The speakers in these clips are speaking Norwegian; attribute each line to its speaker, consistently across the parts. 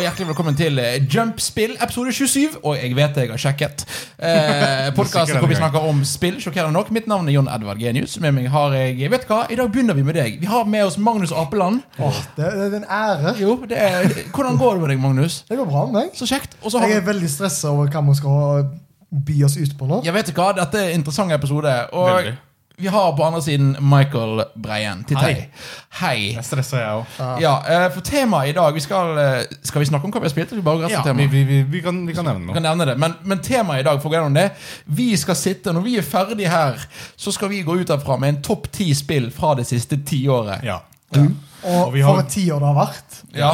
Speaker 1: hjertelig velkommen til eh, Jumpspill, episode 27. Og jeg vet jeg har sjekket. Eh, Podkasten hvor vi snakker om spill, sjokkerende nok. Mitt navn er Jon Edvard Genius. Med meg har jeg Vet du hva, i dag begynner vi med deg. Vi har med oss Magnus Apeland.
Speaker 2: Åh, det, det er en ære.
Speaker 1: Jo, det er, Hvordan går det med deg, Magnus?
Speaker 2: Det går bra med meg.
Speaker 1: Så kjekt. Og så har
Speaker 2: Jeg er veldig stressa over hva vi skal by oss ut på nå.
Speaker 1: Ja, vet du hva? Dette er en interessant episode. Og
Speaker 3: Veldig.
Speaker 1: vi har på andre siden Michael Breien. Titt hei. Hei.
Speaker 3: Jeg stresser, jeg òg.
Speaker 1: Ja, eh, for temaet i dag vi skal, eh, skal vi snakke om hva vi har spilt? eller Skal vi bare gå rett
Speaker 3: Ja,
Speaker 1: til
Speaker 3: vi,
Speaker 1: temaet?
Speaker 3: vi, vi, vi, kan, vi kan nevne
Speaker 1: Vi kan
Speaker 3: noe.
Speaker 1: nevne det, men, men temaet i dag for å gå gjennom det Vi skal sitte, Når vi er ferdig her, så skal vi gå ut herfra med en topp ti spill fra det siste tiåret.
Speaker 3: Ja.
Speaker 2: Og
Speaker 3: Og vi har-
Speaker 2: for et tiår det har vært.
Speaker 1: Ja.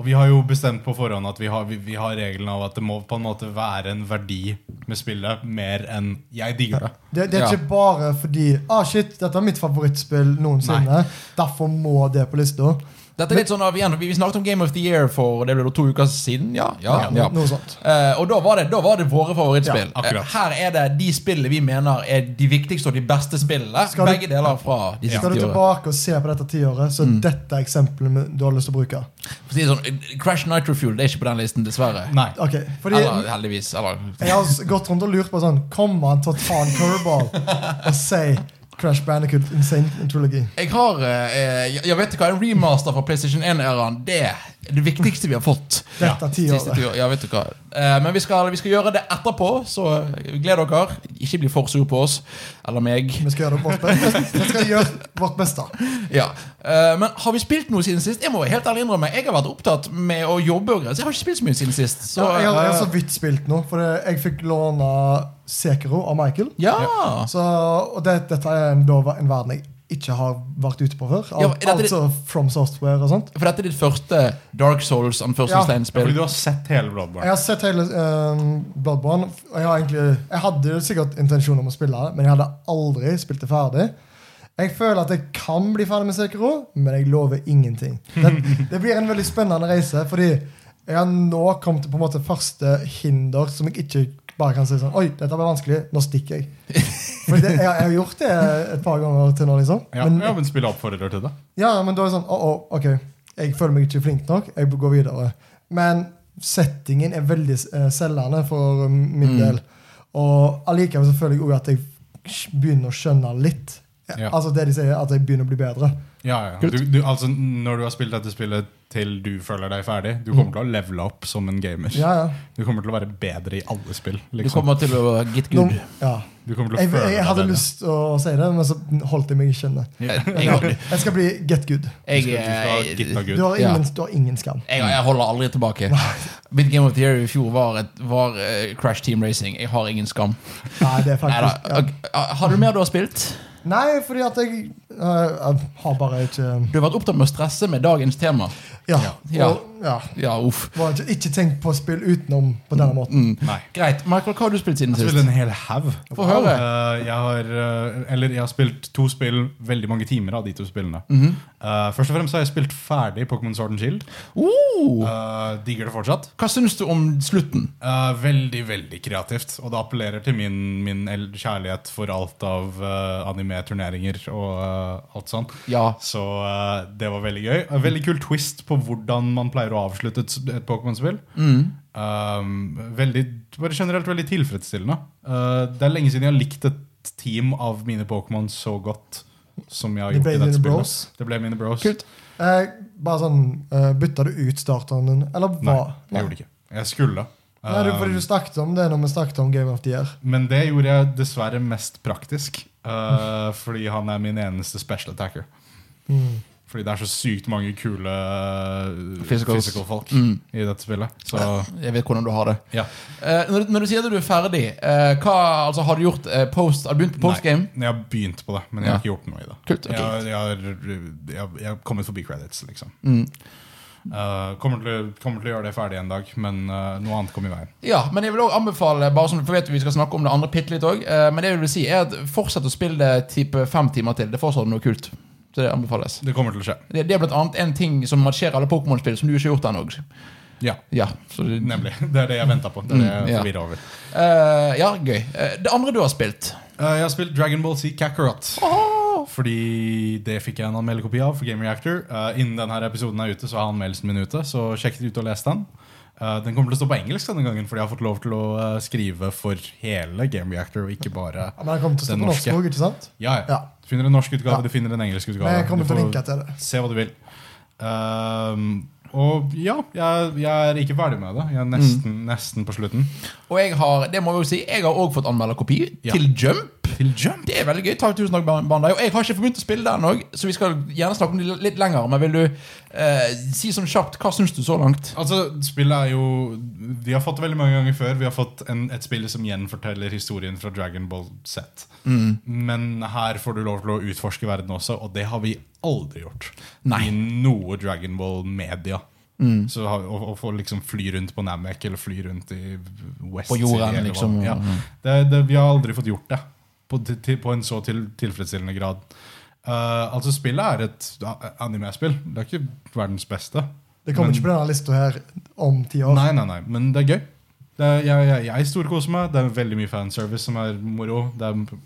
Speaker 3: Og vi har jo bestemt på forhånd at vi har, vi, vi har regelen av at det må på en måte være en verdi med spillet mer enn 'jeg digger det'.
Speaker 2: Det, det er
Speaker 1: Ja.
Speaker 2: ikke bare fordi ah shit, dette er mitt favorittspill noensinne. Derfor må det på lista.
Speaker 1: Dette er litt sånn av, igjen, Vi vi snakket om Game of the Year for det ble det to uker siden. Ja, ja,
Speaker 2: Ja,
Speaker 1: ja.
Speaker 2: Noe sånt.
Speaker 1: Eh, og da var, det, da var det våre favorittspill.
Speaker 3: Ja, akkurat.
Speaker 1: Eh, Her er det de spillene vi mener er de viktigste og de beste spillene.
Speaker 2: Skal du-
Speaker 1: Begge deler fra de siste
Speaker 2: Skal du
Speaker 1: ti årene.
Speaker 2: tilbake og se på dette tiåret, så
Speaker 1: Mm.
Speaker 2: er dette er eksempelet vi- du har lyst til å bruke.
Speaker 1: For å si det Sånn, Crash Nitro Fuel det er ikke på den listen, dessverre.
Speaker 3: Nei.
Speaker 2: Ok, fordi
Speaker 1: Eller heldigvis. Eller.
Speaker 2: Jeg har s- gått rundt og lurt på sånn Kommer han til å ta en curveball og si Crash Bandicoot Insane Trilogy?
Speaker 1: Jeg har eh, jeg, jeg vet ikke hva, en remaster fra PlayStation 1-æraen. Det er det viktigste vi har fått.
Speaker 2: Dette
Speaker 1: Siste
Speaker 2: tiåret.
Speaker 1: tur, ja, vet du hva. Eh, men vi skal, vi skal gjøre det etterpå, så gled dere. Ikke bli for sur på oss eller meg.
Speaker 2: Vi skal gjøre det vårt beste. Vi skal gjøre vårt beste.
Speaker 1: Ja, eh, Men har vi spilt noe siden sist? Jeg må helt ærlig innrømme, jeg har vært opptatt med å jobbe. og greier, så Jeg har ikke spilt så mye siden sist. Så,
Speaker 2: Ja, jeg, har, jeg har
Speaker 1: eh,
Speaker 2: så vidt spilt nå, for det, jeg fikk låne Sekiro av Michael.
Speaker 1: eh, ja.
Speaker 2: Så, og det, dette er en, da, en verden jeg ikke har vært ute på før. Al
Speaker 1: Ja, men dette-
Speaker 2: altså From Software og sånt.
Speaker 1: For dette er ditt første Dark Souls
Speaker 3: Ja,
Speaker 1: anførselstegn-spill.
Speaker 3: fordi du har sett hele
Speaker 2: Jeg
Speaker 3: Bloodborne.
Speaker 2: har sett hele ehm, Bloodborne. og Jeg, har egentlig, jeg hadde jo sikkert intensjon om å spille det, men jeg hadde aldri spilt det ferdig. Jeg føler at jeg kan bli ferdig med Sekiro, men jeg lover ingenting. Det, det blir en veldig spennende reise, fordi jeg har nå kommet til på en måte første hinder som jeg ikke bare kan si sånn Oi, dette ble vanskelig. Nå stikker jeg. For det, jeg, jeg har gjort det et par ganger til nå, liksom.
Speaker 3: Ja,
Speaker 2: Men,
Speaker 3: ja, men spillet oppfordrer til det.
Speaker 2: ja, men da er det sånn Åh, åh, ok, jeg føler meg ikke flink nok. Jeg bør gå videre. Men settingen er veldig eh, selgende for eh, min del. Og allikevel så føler jeg òg at jeg sj- begynner å skjønne litt.
Speaker 3: Ja.
Speaker 2: Altså det de sier, at jeg begynner å bli bedre.
Speaker 3: Ja, ja.
Speaker 1: Kult.
Speaker 3: Du, du, altså, når du har spilt dette spillet til du føler deg ferdig, du
Speaker 1: Mm.
Speaker 3: kommer til å levele opp som en gamer.
Speaker 2: Ja, ja.
Speaker 3: Du kommer til å være bedre i alle spill.
Speaker 1: Du
Speaker 3: Liksom.
Speaker 1: kommer til å get
Speaker 2: Nå,
Speaker 1: good.
Speaker 2: ja.
Speaker 3: Du kommer til å
Speaker 2: Jeg,
Speaker 3: føle
Speaker 2: jeg hadde
Speaker 3: deg bedre.
Speaker 2: lyst til å si det, men så holdt jeg meg ikke inne.
Speaker 1: Jeg,
Speaker 2: Men
Speaker 1: jeg,
Speaker 2: ja, Jeg skal bli get good.
Speaker 1: jeg,
Speaker 3: Du skal
Speaker 1: jeg,
Speaker 3: gitta
Speaker 2: Du
Speaker 3: good.
Speaker 2: har ingen, du har ingen skam.
Speaker 1: Jeg, jeg holder aldri tilbake. Mitt Game of the Year i fjor var, et, var eh, Crash Team Racing. Jeg har ingen skam.
Speaker 2: Nei, det er
Speaker 1: Neida.
Speaker 2: faktisk ja.
Speaker 1: Ok, ah, Har du mer du har spilt?
Speaker 2: Nei, fordi at jeg, eh, jeg har bare ikke
Speaker 1: Du har vært opptatt med å stresse med dagens tema.
Speaker 2: Ja.
Speaker 1: Ja.
Speaker 2: Og, ja.
Speaker 1: Ja, uff.
Speaker 2: Var ikke, ikke tenkt på spill utenom på
Speaker 3: Mm,
Speaker 2: denne måten.
Speaker 3: Nei.
Speaker 1: Greit. Michael, hva har du spilt siden
Speaker 3: Jeg har spilt
Speaker 1: sist?
Speaker 3: en hel haug.
Speaker 1: Få høre.
Speaker 3: Eh, jeg, har, eh, eller, jeg har spilt to spill, veldig mange timer av de to spillene.
Speaker 2: Mhm.
Speaker 3: Eh, først og fremst har jeg spilt ferdig Pokémon Sword and Shield.
Speaker 1: Oh!
Speaker 3: Eh, digger det fortsatt.
Speaker 1: Hva syns du om slutten?
Speaker 3: Eh, veldig, veldig kreativt. Og det appellerer til min, min el- kjærlighet for alt av eh, anime-turneringer og eh, alt sånn.
Speaker 1: Ja.
Speaker 3: Så eh, det var veldig gøy. En veldig kul twist på hvordan man pleier å avslutte et, et Pokémon-spill.
Speaker 2: Mm.
Speaker 3: Um, veldig, bare generelt veldig tilfredsstillende. Eh, det er lenge siden jeg har likt et team av mine Pokémon så godt som jeg har
Speaker 2: Det
Speaker 3: gjort
Speaker 2: ble
Speaker 3: i dette
Speaker 2: dine
Speaker 3: spillet.
Speaker 2: bros?
Speaker 3: Det ble mine bros.
Speaker 1: Kult.
Speaker 2: Eh, bare sånn, eh, Bytta du ut starteren din, eller hva?
Speaker 3: Nei, jeg gjorde det ikke. Jeg skulle.
Speaker 2: Nei, det er fordi
Speaker 3: Um,
Speaker 2: du snakket om det når vi snakket om Game of the Year.
Speaker 3: men det gjorde jeg dessverre mest praktisk, eh, fordi han er min eneste special attacker. Fordi det er så sykt mange kule eh,
Speaker 1: Physicals. Mm.
Speaker 3: physical-folk i dette spillet. Så
Speaker 1: Jeg vet hvordan du har det.
Speaker 3: ja.
Speaker 1: Eh, når, du- når du sier at du er ferdig, eh, hva, altså, har du gjort eh, post Har du begynt på postgame?
Speaker 3: Nei, jeg har begynt på det, men jeg
Speaker 1: Ja.
Speaker 3: har ikke gjort noe i det.
Speaker 1: Kult, ok. Mm.
Speaker 3: jeg, har- jeg, har, jeg, har- jeg har kommet forbi credits, liksom. Eh, kommer, til, å- kommer til å gjøre det ferdig en dag, men eh, noe annet kom i veien.
Speaker 1: Ja, men jeg vil også anbefale bare som, For vet vi skal snakke om det andre pitt litt òg. Eh, men det jeg vil si er at fortsett å spille det type fem timer til. Det er fortsatt noe kult. Så det anbefales.
Speaker 3: Det kommer til å skje.
Speaker 1: Det, det er blant annet en ting som marsjerer alle Pokémon-spill som du ikke har gjort ennå.
Speaker 3: Ja,
Speaker 1: Ja, så det-
Speaker 3: Nemlig. Det er det jeg venta på. Det er det jeg
Speaker 1: Mm. ja.
Speaker 3: er forvirret over.
Speaker 1: Eh, ja, gøy. Eh, det andre du har spilt
Speaker 3: Eh, jeg har spilt Dragon Ball Z Kakarot.
Speaker 1: Åh,
Speaker 3: fordi det fikk jeg en anmeldekopi av for Game Reactor. Eh, innen denne episoden er ute, så er anmeldelsen min ute. Så sjekk ut og les den. Eh, den kommer til å stå på engelsk denne gangen, fordi jeg har fått lov til å eh, skrive for hele Game Reactor. Og ikke bare
Speaker 2: Men den kommer til å stå
Speaker 3: Den
Speaker 2: på norsk
Speaker 3: norske.
Speaker 2: også, ikke sant?
Speaker 3: Ja, ja.
Speaker 2: Ja.
Speaker 3: Du finner en norsk utgave,
Speaker 2: Ja.
Speaker 3: du finner en engelsk utgave.
Speaker 2: Men jeg kommer
Speaker 3: Du
Speaker 2: til å
Speaker 3: får
Speaker 2: linke til det.
Speaker 3: Se hva du vil. Ehm, og ja, jeg, jeg er ikke ferdig med det. Jeg er nesten,
Speaker 2: Mm.
Speaker 3: nesten på slutten.
Speaker 1: Og jeg har det må jeg jo si, jeg har også fått anmelderkopi
Speaker 3: Ja.
Speaker 1: til Jump.
Speaker 3: Til Jump.
Speaker 1: Det er veldig gøy. Takk, tusen takk, Ban- Bandai. Og jeg har ikke begynt å spille den òg, så vi skal gjerne snakke om det litt lenger. Men vil du eh, si sånn kjapt, hva syns du så langt?
Speaker 3: Altså, spillet er jo Vi har fått det veldig mange ganger før. Vi har fått en, et spill som gjenforteller historien fra Dragon Ball Z.
Speaker 1: Mm.
Speaker 3: Men her får du lov til å utforske verden også, og det har vi aldri gjort.
Speaker 1: Nei. Mm.
Speaker 3: I noe Dragon Ball-media. Så har, å, å få liksom fly rundt på Namek eller fly rundt i West
Speaker 1: På jorden,
Speaker 3: City, eller hva-
Speaker 1: liksom.
Speaker 3: Ja.
Speaker 1: Mm.
Speaker 3: Det, det, vi har aldri fått gjort det på, til- til, på en så til, tilfredsstillende grad. Eh, altså, spillet er et a- anime-spill. Det er ikke verdens beste.
Speaker 2: Det kommer
Speaker 3: Men-
Speaker 2: ikke på denne lista her om ti år.
Speaker 3: Nei, nei, nei, men det er gøy. Det er, jeg jeg, jeg storkoser meg. Det er veldig mye fanservice som er moro. Det er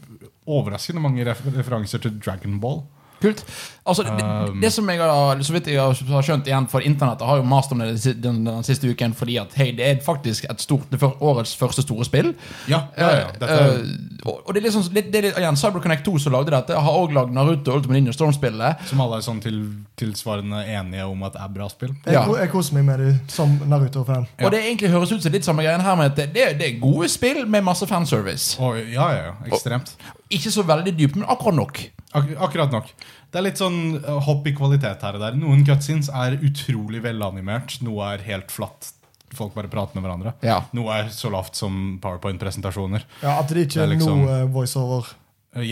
Speaker 3: overraskende mange refer referanser til Dragon Ball.
Speaker 1: Kult. Altså, det,
Speaker 3: Um.
Speaker 1: det som jeg har, så vidt jeg har skjønt igjen, for internettet har jo mast om det den, si- den, den siste uken, fordi at hei, det er faktisk et stort, det er årets første store spill.
Speaker 3: Ja, ja, ja. Dette er,
Speaker 1: Eh, og og det er liksom, litt- det er litt, igjen, CyberConnect 2 som lagde dette, har også lagd Naruto Ultimate Ninja Storm-spillet.
Speaker 3: som alle er sånn til, tilsvarende enige om at er bra spill.
Speaker 2: Jeg,
Speaker 1: Ja.
Speaker 2: ko- jeg koser meg med det som Naruto-fan.
Speaker 1: Og det egentlig høres ut som litt samme greien her, med at det, det er gode spill med masse fanservice.
Speaker 3: Og, ja, ja, ja, ekstremt.
Speaker 1: Ikke så veldig dypt, men akkurat nok.
Speaker 3: Ak akkurat nok. Det er litt sånn eh, hopp i kvalitet her og der. Noen cutscenes er utrolig velanimert. Noe er helt flatt. Folk bare prater med hverandre.
Speaker 1: Ja.
Speaker 3: Noe er så lavt som PowerPoint-presentasjoner.
Speaker 2: Ja, At det ikke
Speaker 3: Det
Speaker 2: er
Speaker 3: er liksom-
Speaker 2: noe eh, voiceover.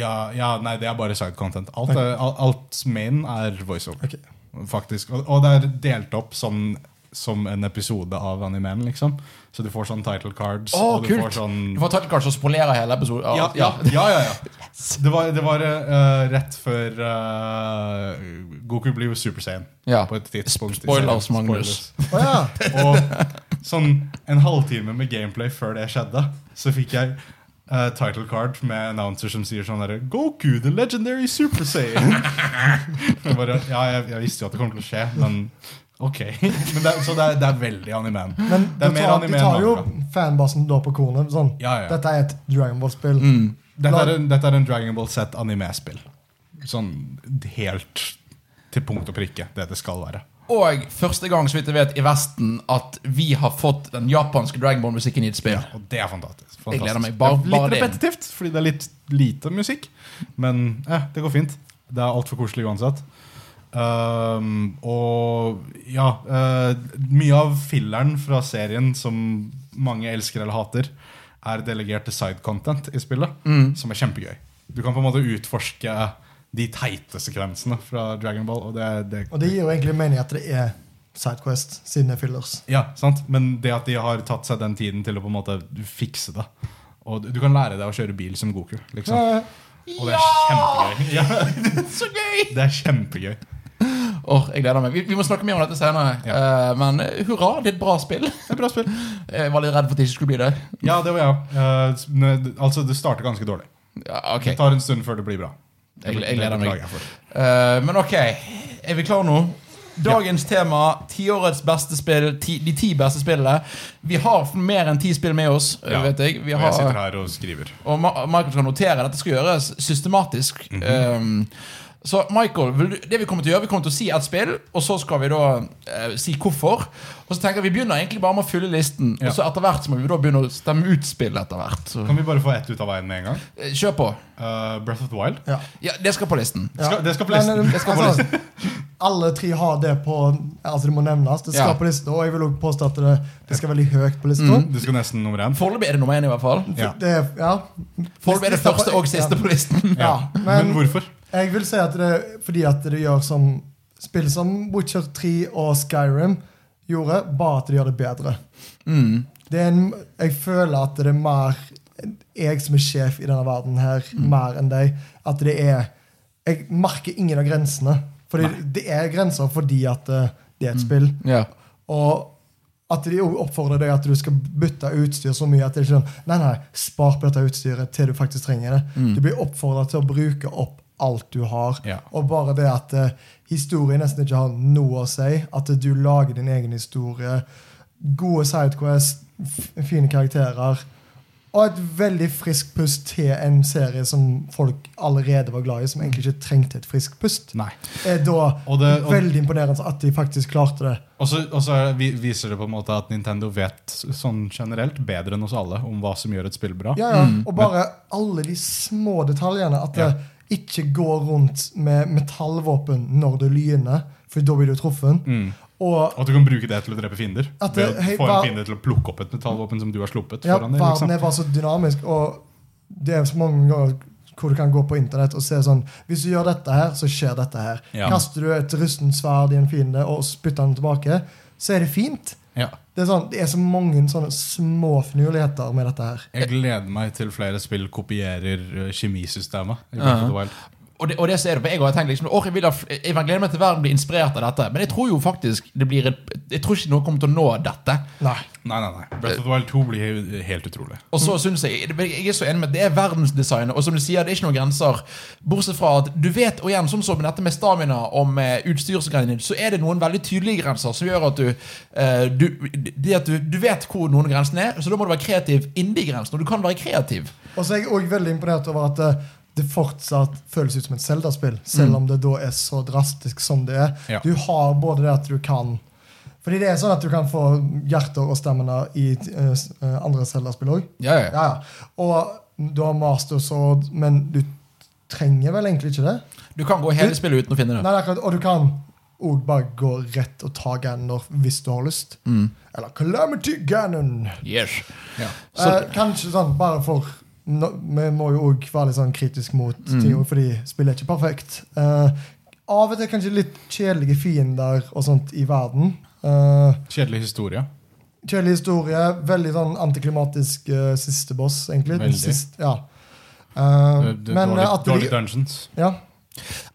Speaker 3: Ja, ja, nei, det er bare side content. Alt, er, al- alt main er voiceover,
Speaker 2: Ok.
Speaker 3: faktisk. Og, og det er delt opp som, som en episode av animen, liksom. Så du får sånn title cards.
Speaker 1: Å,
Speaker 3: og du
Speaker 1: kult!
Speaker 3: får sånn
Speaker 1: Du får tatt kanskje og spolere hele episoden.
Speaker 3: ja, ja, ja, ja, ja. Det var, det var eh, rett før eh, Goku blir jo Super Saiyan
Speaker 1: Ja.
Speaker 3: på et tidspunkt. i
Speaker 1: Spoilers,
Speaker 3: serien.
Speaker 1: Magnus.
Speaker 2: Å ja!
Speaker 3: Og sånn en halvtime med gameplay før det skjedde, så fikk jeg eh, title card med announcer som sier sånn derre Goku, the legendary Super Saiyan. jeg bare, ja, jeg, jeg visste jo at det kom til å skje, men ok. men det, er- så det er, det er veldig animen.
Speaker 2: Men
Speaker 3: Det er
Speaker 2: de
Speaker 3: mer
Speaker 2: tar,
Speaker 3: anime
Speaker 2: de
Speaker 3: enn
Speaker 2: tar jo
Speaker 3: manga.
Speaker 2: fanbasen da på kornet. Sånn.
Speaker 3: Ja, Mm. ja.
Speaker 2: Dette er et Dragon Ball-spill.
Speaker 3: Dette er, en, dette er en Dragon Ball Z animespill. Sånn helt til punkt og prikke, det det skal være.
Speaker 1: Og første gang, så vidt jeg vet, i Vesten at vi har fått den japanske Dragonball-musikken i et spill.
Speaker 3: Og det er fantastisk. fantastisk.
Speaker 1: Jeg gleder meg bare-
Speaker 3: det er
Speaker 1: bare
Speaker 3: litt
Speaker 1: det.
Speaker 3: repetitivt, fordi det er litt lite musikk. Men eh, det går fint. Det er altfor koselig uansett. Ehm, og ja eh, Mye av filleren fra serien som mange elsker eller hater, er delegert til side content i spillet,
Speaker 1: Mm.
Speaker 3: som er kjempegøy. Du kan på en måte utforske de teite sekvensene fra Dragon Ball. Og det, det,
Speaker 2: Og det gir jo egentlig mening at det er Sidequest, siden det er fillers.
Speaker 3: ja, sant? Men det at de har tatt seg den tiden til å på en måte fikse det. Og du- du kan lære deg å kjøre bil som Goku. liksom.
Speaker 2: Eh,
Speaker 3: Og det er kjempegøy. Ja,
Speaker 1: Så gøy!
Speaker 3: det er kjempegøy.
Speaker 1: Åh, jeg gleder meg. Vi, vi må snakke mer om dette senere. Eh, men eh, hurra, det er et bra spill.
Speaker 3: Det er bra spill.
Speaker 1: Jeg var litt redd for at det ikke skulle bli det.
Speaker 3: Ja, det var jeg òg. Eh, men, altså, det starter ganske dårlig.
Speaker 1: Ja, ok,
Speaker 3: Det tar en stund før det blir bra.
Speaker 1: jeg, jeg gleder
Speaker 3: Det beklager
Speaker 1: meg.
Speaker 3: jeg for.
Speaker 1: Eh, men ok, er vi klare nå? Dagens tema, tiårets beste spill, ti, de ti beste spillene. Vi har mer enn ti spill med oss,
Speaker 3: Ja,
Speaker 1: vet jeg. Vi
Speaker 3: Og jeg sitter
Speaker 1: har,
Speaker 3: her og skriver.
Speaker 1: og Ma- Michael skal notere. Dette skal gjøres systematisk.
Speaker 3: Mhm.
Speaker 1: Um, så Michael, vil du, det vi kommer til å gjøre, vi kommer til å si ett spill, og så skal vi da eh, si hvorfor. Og så tenker jeg Vi begynner egentlig bare med å fylle listen,
Speaker 3: Ja.
Speaker 1: og så etter hvert så må vi da begynne å stemme ut spill. etter hvert så,
Speaker 3: Kan vi bare få ett ut av veien med en gang?
Speaker 1: eh, Kjør på.
Speaker 3: Eh, Breath of the Wild.
Speaker 2: ja.
Speaker 1: Ja, Det skal på listen.
Speaker 2: Ja.
Speaker 3: Skal- det skal på
Speaker 2: Men,
Speaker 3: listen.
Speaker 2: eh,
Speaker 3: Det skal på
Speaker 2: altså, Alle tre har det på Altså Det må nevnes. Det skal
Speaker 1: Ja.
Speaker 2: på listen, og jeg vil også påstå at det, det skal veldig høyt på lista.
Speaker 3: Du skal nesten nummer én.
Speaker 1: Foreløpig er det nummer én, i hvert fall.
Speaker 3: Mm. Ja.
Speaker 2: Det, er- ja.
Speaker 1: Foreløpig er det
Speaker 2: Lista på-
Speaker 1: første og siste på listen.
Speaker 3: Ja.
Speaker 2: Ja,
Speaker 3: Men,
Speaker 2: men-
Speaker 3: hvorfor?
Speaker 2: Jeg vil si at det er fordi at det gjør som spill som Witcher 3 og Skyrim gjorde, bare at de gjør det bedre.
Speaker 1: Mm.
Speaker 2: Det er en, jeg føler at det er mer jeg som er sjef i denne verden her, mer enn deg. At det er Jeg merker ingen av grensene. Fordi det er grenser fordi at eh, det er et spill.
Speaker 1: Ja.
Speaker 2: Og at de jo oppfordrer deg at du skal bytte utstyr så mye at det ikke er sånn, nei, nei, spar på dette utstyret til du faktisk trenger det. Du blir oppfordret til å bruke opp alt du har.
Speaker 3: Mm. Ja.
Speaker 2: Og bare det at eh, historie nesten ikke har noe å si. At du lager din egen historie. Gode sidequest, f- fine karakterer. Og et veldig friskt pust til en serie som folk allerede var glad i, som egentlig ikke trengte et friskt pust.
Speaker 3: Nei.
Speaker 2: Er da
Speaker 3: Mm. Og det- og-
Speaker 2: veldig imponerende at de faktisk klarte det.
Speaker 3: Og så, og så er- vi- viser det på en måte at Nintendo vet sånn generelt bedre enn oss alle om hva som gjør et spill bra.
Speaker 2: Ja, ja. Og bare alle de små detaljene. At det
Speaker 3: Ja.
Speaker 2: ikke går rundt med metallvåpen når du lyner, for da blir du truffet.
Speaker 3: Mm.
Speaker 2: Og
Speaker 3: Og at du kan bruke det til å drepe fiender.
Speaker 2: At
Speaker 3: Ved
Speaker 2: det-
Speaker 3: å
Speaker 2: hei,
Speaker 3: få en
Speaker 2: hva-
Speaker 3: fiende til å plukke opp et metallvåpen som du har sluppet.
Speaker 2: ja,
Speaker 3: foran deg, liksom.
Speaker 2: verden er bare så dynamisk, og det er så mange ganger hvor du kan gå på internett og se sånn Hvis du gjør dette her, så skjer dette her.
Speaker 3: Ja.
Speaker 2: Kaster du et rustent sverd i en fiende og spytter den tilbake, så er det fint.
Speaker 3: Ja.
Speaker 2: Det er, sånn, det er så mange sånne små finurligheter med dette her.
Speaker 3: Jeg gleder meg til flere spill kopierer eh, kjemisystemet. i
Speaker 1: Ja.
Speaker 3: Breath of the Wild.
Speaker 1: Og det, og det så er det, for jeg har tenkt liksom, åh, jeg, vil ha, f- jeg gleder meg til verden blir inspirert av dette, men jeg tror jo faktisk det blir et, Jeg tror ikke noen kommer til å nå dette.
Speaker 2: Nei.
Speaker 3: Nei, nei, nei. Breath of the Wild 2 blir he- helt utrolig.
Speaker 1: Og så synes jeg Jeg er så enig med at det er verdensdesign, og som du sier, det er ikke noen grenser. Bortsett fra at du vet, og igjen, sånn som så med dette med stamina og med utstyrsgreiene dine, så er det noen veldig tydelige grenser som gjør at du, eh, du Det at du, du vet hvor noen grensene er, så da må du være kreativ innen de grensene. Og du kan være kreativ.
Speaker 2: Og så er jeg òg veldig imponert over at eh, det fortsatt føles ut som et Zelda-spill, selv om det da er så drastisk som det er.
Speaker 3: Ja.
Speaker 2: Du har både det at du kan Fordi det er sånn at du kan få hjerter og stamina i eh, s- eh, andre Zelda-spill òg.
Speaker 1: Ja, ja.
Speaker 2: Ja, ja. Og du har Master Sword, men du trenger vel egentlig ikke det?
Speaker 1: Du kan gå hele
Speaker 2: Du-
Speaker 1: spillet uten å finne
Speaker 2: Nei,
Speaker 1: det.
Speaker 2: det er akkurat, Og du kan òg bare gå rett og ta Ganon hvis du har lyst. Eller Calamity Ganon.
Speaker 1: Yes.
Speaker 3: Ja.
Speaker 1: Så-
Speaker 2: Eh, kanskje sånn bare for nå, Vi må jo òg være litt sånn kritisk mot
Speaker 3: Mm.
Speaker 2: ting, fordi spillet er ikke perfekt. Eh, av og til kanskje litt kjedelige fiender og sånt i verden. Eh,
Speaker 3: Kjedelig historie.
Speaker 2: kjedelig historie. Veldig sånn antiklimatisk eh, siste boss, egentlig. Den
Speaker 3: Veldig.
Speaker 2: Siste, ja. Eh,
Speaker 3: Eh, det-
Speaker 2: men
Speaker 3: dårlig,
Speaker 2: eh, at
Speaker 3: dårlig
Speaker 2: de,
Speaker 3: dungeons.
Speaker 2: ja,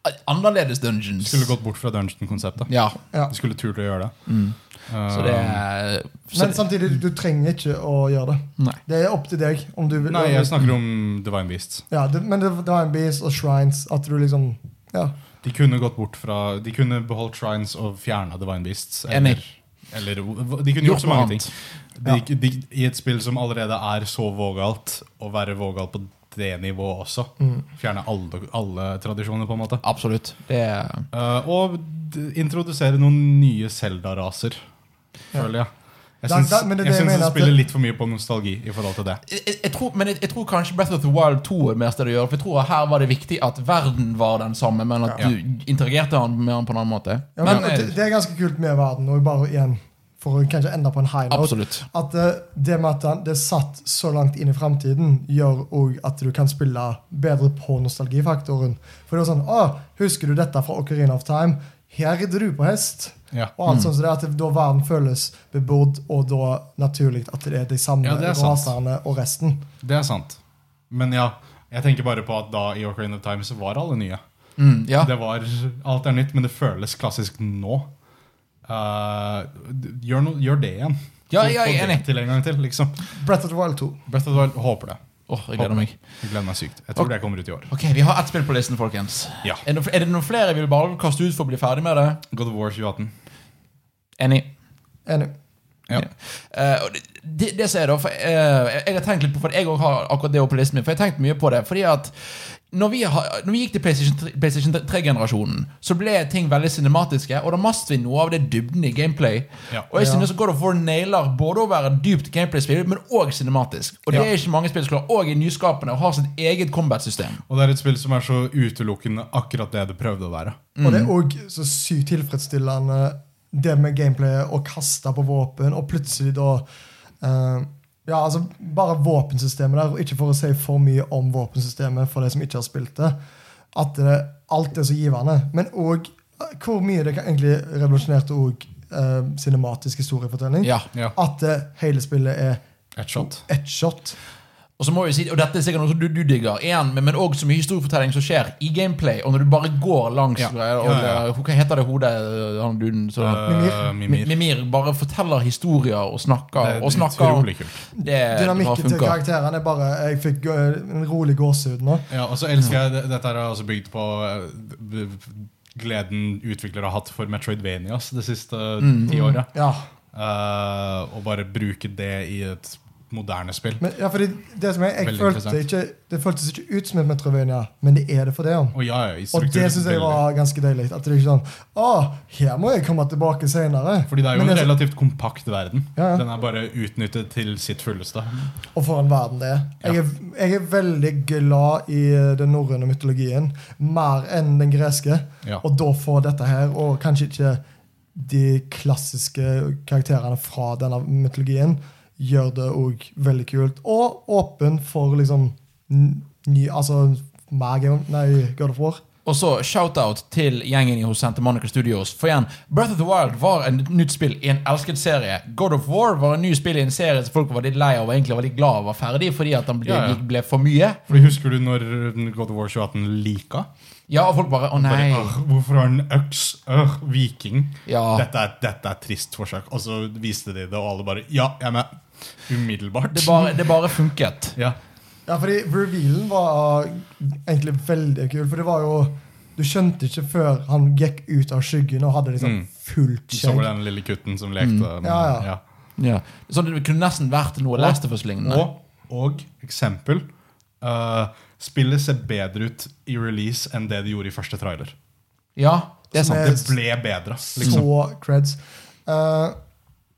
Speaker 1: eh, Annerledes
Speaker 3: Du
Speaker 1: dungeons.
Speaker 3: skulle gått bort fra dungeon-konseptet.
Speaker 1: Ja.
Speaker 2: ja.
Speaker 3: Du skulle turt å gjøre det.
Speaker 1: Mm.
Speaker 3: Eh,
Speaker 1: Så det er- så
Speaker 2: Men sånn- samtidig, du trenger ikke å gjøre det.
Speaker 1: Nei.
Speaker 2: Det er opp til deg. om du vil
Speaker 3: Eh, Nei, jeg snakker om Divine Beasts.
Speaker 2: ja, det, Men det, det var en beast og shrines. At du liksom Ja.
Speaker 3: De kunne gått bort fra De kunne beholdt Shrines og fjerna Divine Beasts.
Speaker 1: Enig.
Speaker 3: eller De kunne gjort så
Speaker 1: noe
Speaker 3: mange ting.
Speaker 1: annet.
Speaker 3: De, de, I et spill som allerede er så vågalt, å være vågal på det nivået også.
Speaker 2: Mm.
Speaker 3: Fjerne alle, alle tradisjoner, på en måte.
Speaker 1: Absolutt. Det er
Speaker 3: Eh, og d- introdusere noen nye Zelda-raser, føler jeg. Jeg
Speaker 2: Da-
Speaker 3: syns
Speaker 2: da- men det er
Speaker 3: jeg
Speaker 2: det jeg
Speaker 3: syns
Speaker 2: mener
Speaker 3: det
Speaker 2: at
Speaker 3: spiller
Speaker 2: det-
Speaker 3: litt for mye på nostalgi i forhold til det.
Speaker 1: jeg, jeg- jeg tror, men jeg, jeg tror kanskje Breath of the Wild 2 er det meste det gjør. For jeg tror at Her var det viktig at verden var den samme, men at
Speaker 3: Ja.
Speaker 1: du interagerte han med han på en annen måte.
Speaker 2: Ja,
Speaker 1: men,
Speaker 2: men, og det, det er ganske kult med verden, og bare igjen for å kanskje enda på en high note.
Speaker 1: Absolutt.
Speaker 2: At eh, det med at den- det er satt så langt inn i framtiden, gjør òg at du kan spille bedre på nostalgifaktoren. For det er sånn Å, husker du dette fra Ocarina of Time? Her rider du på hest.
Speaker 3: Ja.
Speaker 2: Og alt sånt, så det er at det- Da verden føles bebodd, og da naturlig at det er de samme
Speaker 3: Ja, det er sant.
Speaker 2: rasene og resten.
Speaker 3: Det er sant. Men ja, jeg tenker bare på at da i Ocarina of Time så var alle nye.
Speaker 1: mm, ja.
Speaker 3: Det var, alt er nytt, men det føles klassisk nå. Eh, d- gjør, no, gjør det igjen.
Speaker 1: Ja, ja, jeg er
Speaker 3: Få det
Speaker 1: enig.
Speaker 3: Til en gang til, liksom.
Speaker 2: Breath of the Wild 2.
Speaker 3: Breath of the Wild håper det.
Speaker 1: Åh, jeg gleder meg.
Speaker 3: Jeg gleder meg sykt. Jeg tror
Speaker 1: Ok.
Speaker 3: det kommer ut i år.
Speaker 1: Ok, Vi har ett spill på listen, folkens.
Speaker 3: Ja.
Speaker 1: Er det, er det noen flere vi vil bare kaste ut for å bli ferdig med det?
Speaker 3: God of War 2018.
Speaker 1: Enig.
Speaker 2: Enig.
Speaker 3: Ja.
Speaker 1: Eh, og det, det, det som er da for, eh, Jeg har tenkt litt på For jeg også har akkurat det oppe på listen min. For jeg har tenkt mye på det Fordi at når vi, har, når vi gikk til PlayStation 3 PlayStation 3-generasjonen, så ble ting veldig cinematiske. Og da mast vi noe av det dybden i gameplay.
Speaker 3: Ja.
Speaker 1: Og jeg
Speaker 2: Ja.
Speaker 1: synes God of War nailer både å være dypt gameplay-spill, men òg cinematisk. Og det
Speaker 3: Ja.
Speaker 1: er ikke mange spill som klarer. Og er nyskapende og har sitt eget combat-system.
Speaker 3: Og det er et spill som er så utelukkende akkurat det det prøvde å være.
Speaker 1: Mm.
Speaker 2: Og det er òg så sykt tilfredsstillende, det med gameplayet, å kaste på våpen, og plutselig da eh, Ja, altså, bare våpensystemet der, og ikke for å si for mye om våpensystemet for de som ikke har spilt det, at det, alt er så givende. Men òg hvor mye det kan egentlig revolusjonerte òg eh, cinematisk historiefortelling.
Speaker 1: Ja.
Speaker 3: Ja.
Speaker 2: At eh, hele spillet er
Speaker 3: Et shot.
Speaker 2: ett shot.
Speaker 1: Og så må vi si, og dette er sikkert noe som du, du digger, igjen, men, men også så mye historiefortelling som skjer i gameplay, og når du bare går langs eh,
Speaker 3: Ja.
Speaker 1: og,
Speaker 3: Ja, ja, ja.
Speaker 1: og- Hva heter det hodet han duden som
Speaker 3: Eh,
Speaker 1: Mi-
Speaker 3: Mimir.
Speaker 1: Mimir bare forteller historier og snakker
Speaker 3: Det er
Speaker 1: og snakker om
Speaker 3: utrolig kult.
Speaker 1: Eh, det har
Speaker 2: Dynamikken til
Speaker 1: funka.
Speaker 2: karakterene er bare Jeg fikk øh, en rolig gåsehud nå.
Speaker 3: Ja, og så elsker
Speaker 1: Mm.
Speaker 3: jeg det- Dette her er altså bygd på eh, b- b- gleden utviklere har hatt for Metroidvanias det siste
Speaker 1: Mm.
Speaker 3: tiåret.
Speaker 2: Ja.
Speaker 3: Eh, og bare bruke det i et moderne spill.
Speaker 2: Men, ja, fordi det som jeg, jeg
Speaker 3: Veldig
Speaker 2: følte
Speaker 3: interessant.
Speaker 2: ikke, Det føltes ikke ut som et Metrovenia, men det er det for det. ja.
Speaker 3: Og ja, ja, i
Speaker 2: Og
Speaker 3: struktur,
Speaker 2: det syns jeg
Speaker 3: veldig.
Speaker 2: var ganske deilig. At det er ikke sånn Å, her må jeg komme tilbake senere.
Speaker 3: Fordi det er jo
Speaker 2: Men
Speaker 3: en
Speaker 2: det er
Speaker 3: relativt kompakt verden.
Speaker 2: Ja, ja.
Speaker 3: Den er bare utnyttet til sitt fulleste.
Speaker 2: Og for en verden det er. Jeg, er. jeg er veldig glad i eh, den norrøne mytologien. Mer enn den greske.
Speaker 3: Ja.
Speaker 2: Og da få dette her, og kanskje ikke de klassiske karakterene fra denne mytologien, gjør det òg veldig kult. Og åpen for liksom n- ny Altså mer Game of- Nei, God of War.
Speaker 1: Og så shout-out til gjengen hos Santa Monica Studios. For igjen, Breath of the Wild var en nytt spill i en elsket serie. God of War var en ny spill i en serie som folk var litt lei av og egentlig var litt glad av var ferdig fordi at den ble,
Speaker 3: Ja, ja.
Speaker 1: ble for mye.
Speaker 3: Fordi Husker du når God of War 2018 lika?
Speaker 1: Ja, og folk bare Å, nei.
Speaker 3: Bare, «Åh, hvorfor har den øks? Øh, viking?
Speaker 1: Ja.
Speaker 3: Dette, er, dette er trist forsøk. Og så viste de det, og alle bare Ja, jeg er med. Umiddelbart.
Speaker 1: Det bare, det bare funket.
Speaker 3: ja.
Speaker 2: Ja, fordi revealen var eh, egentlig veldig kul. For det var jo Du skjønte ikke før han gikk ut av skyggen og hadde liksom
Speaker 3: Mm.
Speaker 2: fullt
Speaker 3: Så var
Speaker 2: skjegg.
Speaker 3: det den lille gutten som lekte. med-
Speaker 2: Mm. Ja, ja.
Speaker 1: Ja. Sånn Det kunne nesten vært noe Last of Us-lignende.
Speaker 3: Og, og eksempel eh, Spillet ser bedre ut i release enn det det gjorde i første trailer.
Speaker 1: Ja, det er sant.
Speaker 3: Det ble bedre. Liksom.
Speaker 2: Eh, Så creds. Eh,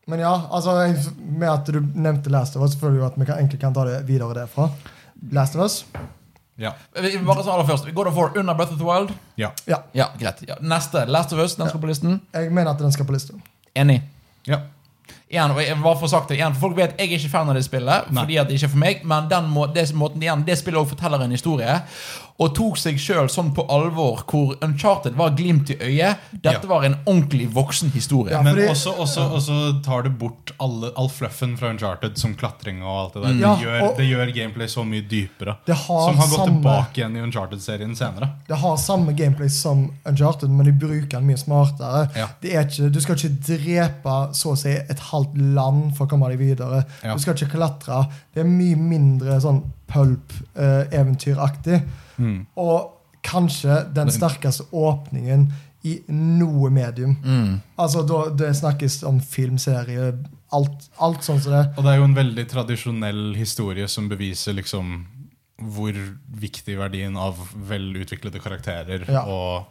Speaker 2: men ja, altså jeg- med at du nevnte Last of Us, føler jeg jo at vi kan, egentlig kan ta det videre derfra. Last of Us?
Speaker 3: Ja.
Speaker 1: Vi- Bare sånn aller først. God of War under Breath of the Wild.
Speaker 3: Ja.
Speaker 2: Ja.
Speaker 1: Ja, greit. Ja. Neste. Last of Us. Den skal på listen.
Speaker 2: Jeg mener at den skal på lista.
Speaker 1: Enig.
Speaker 3: ja.
Speaker 1: Igjen, og jeg, bare for å ha sagt det, igjen, for Folk vet jeg er ikke fan av det spillet,
Speaker 3: Nei.
Speaker 1: fordi at det ikke er for meg, men den må, det, måten, igjen, det spillet også forteller en historie. Og tok seg sjøl sånn på alvor, hvor Uncharted var glimt i øyet. Dette
Speaker 3: Ja.
Speaker 1: var en ordentlig voksen historie.
Speaker 2: Ja,
Speaker 1: Ja.
Speaker 3: Men
Speaker 2: fordi-
Speaker 3: også, også, også tar det bort alle, all fluffen fra Uncharted, som klatring og alt det der.
Speaker 2: Mm. Ja,
Speaker 3: det, gjør,
Speaker 2: og-
Speaker 3: det gjør gameplay så mye dypere.
Speaker 2: Det har
Speaker 3: som har gått
Speaker 2: samme-
Speaker 3: tilbake igjen i Uncharted-serien senere.
Speaker 2: Det har samme gameplay som Uncharted, men de bruker den mye smartere.
Speaker 3: Ja.
Speaker 2: Det er ikke, du skal ikke drepe så å si, et halvt land for å komme deg videre.
Speaker 3: Ja.
Speaker 2: Du skal ikke klatre. Det er mye mindre sånn pulp-eventyraktig.
Speaker 3: Mm.
Speaker 2: Og kanskje den sterkeste åpningen i noe medium.
Speaker 3: Mm.
Speaker 2: Altså, da, Det snakkes om film, serie, alt, alt sånt som det.
Speaker 3: Og det er jo en veldig tradisjonell historie som beviser liksom hvor viktig verdien av velutviklede karakterer
Speaker 2: Ja.
Speaker 3: og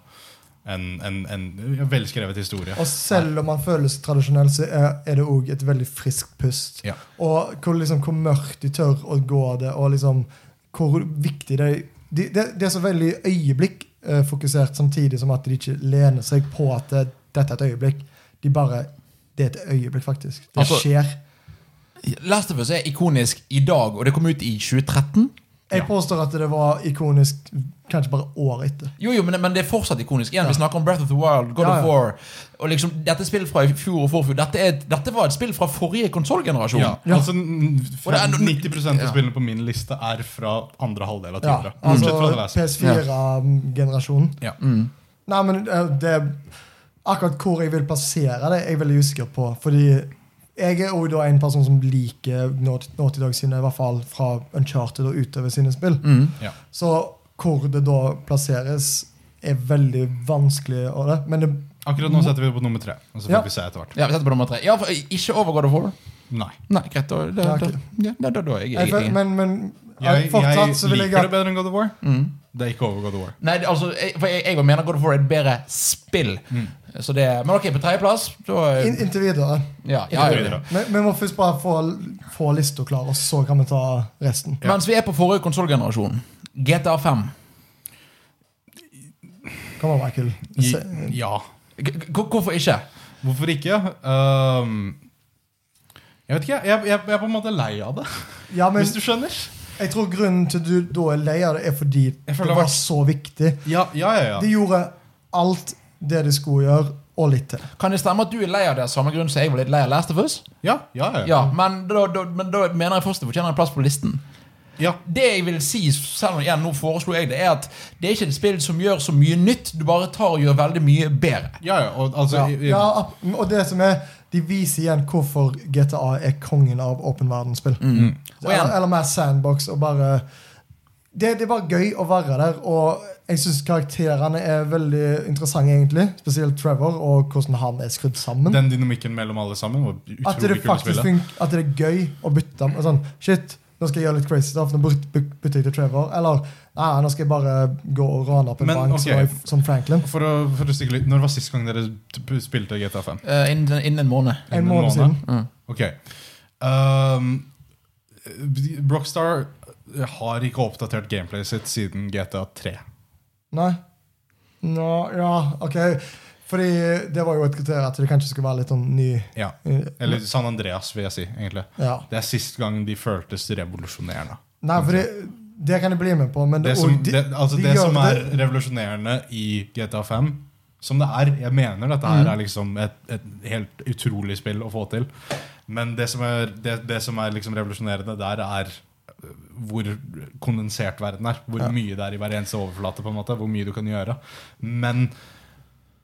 Speaker 3: en, en, en velskrevet historie.
Speaker 2: Og selv om man føles tradisjonell, så er, er det òg et veldig friskt pust.
Speaker 3: Ja.
Speaker 2: Og hvor, liksom, hvor mørkt de tør å gå det, og liksom hvor viktig det er. De, det, det er så veldig øyeblikkfokusert, samtidig som at de ikke lener seg på at det, dette er et øyeblikk. De bare Det er et øyeblikk, faktisk. Det
Speaker 1: Altså,
Speaker 2: skjer.
Speaker 1: Last of Us er ikonisk i dag, og det kom ut i 2013.
Speaker 2: Jeg
Speaker 3: ja.
Speaker 2: påstår at det var ikonisk kanskje bare året etter.
Speaker 1: Jo, jo, men, men det er fortsatt ikonisk. Igjen, Vi snakker om Breath of the Wild, God
Speaker 2: Ja, ja.
Speaker 1: of War. Og liksom, Dette er spill fra i fjor og forfjor. Dette, er, dette var et spill fra forrige konsollgenerasjon.
Speaker 3: Ja, altså n-
Speaker 1: Og det er no-
Speaker 3: 90 av
Speaker 1: Ja.
Speaker 3: spillene på min liste er fra andre halvdel av
Speaker 2: Ja,
Speaker 3: tiåret.
Speaker 2: altså
Speaker 3: Bortsett fra The Last of Us.
Speaker 2: PS4-generasjonen.
Speaker 3: Ja.
Speaker 1: Mm.
Speaker 2: Nei, men eh, det er akkurat hvor jeg vil plassere det, er jeg veldig usikker på. Fordi jeg er jo da en person som liker Naughty Naughty Dog sine, i hvert fall fra Uncharted og utover sine spill.
Speaker 3: Ja.
Speaker 2: Så hvor det da plasseres, er veldig vanskelig å det. Men det,
Speaker 3: Akkurat nå setter vi det på nummer tre. Og så får
Speaker 2: Ja.
Speaker 3: vi se etter hvert.
Speaker 1: Ja, vi setter på nummer tre. Ja, for, ikke over God of War.
Speaker 3: Nei.
Speaker 1: Nei, greit. Da, da,
Speaker 2: Ja,
Speaker 1: da,
Speaker 2: ok.
Speaker 1: ja, da, da, da er jeg,
Speaker 2: jeg,
Speaker 1: jeg,
Speaker 2: føl-
Speaker 1: jeg
Speaker 2: men, men eh,
Speaker 3: Jeg,
Speaker 2: fortsatt så
Speaker 3: jeg
Speaker 2: vil jeg Mm.
Speaker 3: liker det
Speaker 2: at
Speaker 3: bedre enn God of War. Det er ikke over God of War.
Speaker 1: Nei, det- altså, jeg, for jeg, jeg mener God of War er et bedre spill. Så det, men ok, på tredjeplass da,
Speaker 2: Mm. in, Inntil videre.
Speaker 1: ja, ja,
Speaker 3: Inntil
Speaker 1: ja.
Speaker 3: videre.
Speaker 2: Men vi må først bare få, få lista klar, og så kan vi ta resten.
Speaker 1: Mens vi er på forrige konsollgenerasjon, GTA5
Speaker 2: Kom an, Michael. Se-
Speaker 3: I- Ja.
Speaker 1: G- g- Hvorfor ikke?
Speaker 3: Hvorfor ikke? Ehm, jeg vet ikke, jeg, jeg, jeg er på en måte lei av det,
Speaker 2: Ja, men
Speaker 3: hvis du skjønner.
Speaker 2: Jeg tror grunnen til du da er lei av det, er fordi det
Speaker 3: føler det
Speaker 2: var
Speaker 3: var-
Speaker 2: så viktig.
Speaker 3: Ja, ja, ja, ja.
Speaker 2: De gjorde alt det de skulle gjøre, og litt til.
Speaker 1: Kan det stemme at du er lei av det av samme grunn som jeg var litt lei av Last of Us?
Speaker 3: ja, ja, ja.
Speaker 1: Ja, men da, da, men da mener jeg fortsatt det fortjener en plass på listen.
Speaker 3: Ja.
Speaker 1: Det jeg vil si, selv om igjen nå foreslo jeg det, er at det er ikke et spill som gjør så mye nytt. Du bare tar og gjør veldig mye bedre.
Speaker 3: Ja, ja, og, altså,
Speaker 2: Ja.
Speaker 3: i- i-
Speaker 2: Ja, ab- og det som er De viser igjen hvorfor GTA er kongen av åpen verdensspill.
Speaker 1: Og igjen-
Speaker 2: Eller, eller mer sandbox og bare det, det er bare gøy å være der, og jeg syns karakterene er veldig interessante, egentlig. Spesielt Trevor, og hvordan han er skrudd sammen.
Speaker 3: Den dynamikken mellom alle sammen var
Speaker 2: At det
Speaker 3: utrolig kult å
Speaker 2: faktisk
Speaker 3: spille.
Speaker 2: funker, at det er gøy å bytte og sånn, Shit, nå skal jeg gjøre litt crazy stuff. Nå byt- byt- bytter jeg til Trevor. Eller nei, nå skal jeg bare gå og rane opp en
Speaker 3: Men,
Speaker 2: bank
Speaker 3: ok.
Speaker 2: som, var i- som Franklin.
Speaker 3: For å, for å stikke litt, Når var sist gang dere t- spilte GTA 5?
Speaker 1: Eh, innen, innen en måned.
Speaker 2: En måned siden.
Speaker 3: Ok. Ehm, Rockstar har ikke oppdatert gameplayet sitt siden GTA 3.
Speaker 2: Nei. Nå, ja, ok. Fordi det var jo et kriterium at det kanskje skulle være litt sånn ny
Speaker 3: Ja. Eller San Andreas, vil jeg si. egentlig.
Speaker 2: ja.
Speaker 3: Det er sist gang de føltes revolusjonerende.
Speaker 2: Nei, for det, det kan jeg bli med på, men
Speaker 3: Det
Speaker 2: det,
Speaker 3: som,
Speaker 2: og de-
Speaker 3: det, altså
Speaker 2: de
Speaker 3: det
Speaker 2: gjør
Speaker 3: som er
Speaker 2: det-
Speaker 3: revolusjonerende i GTA 5, som det er Jeg mener dette
Speaker 2: Mm.
Speaker 3: her er liksom et, et helt utrolig spill å få til. Men det som er, det, det som er liksom revolusjonerende der, er øh, hvor kondensert verden er. Hvor mye det er i hver eneste overflate. på en måte Hvor mye du kan gjøre. Men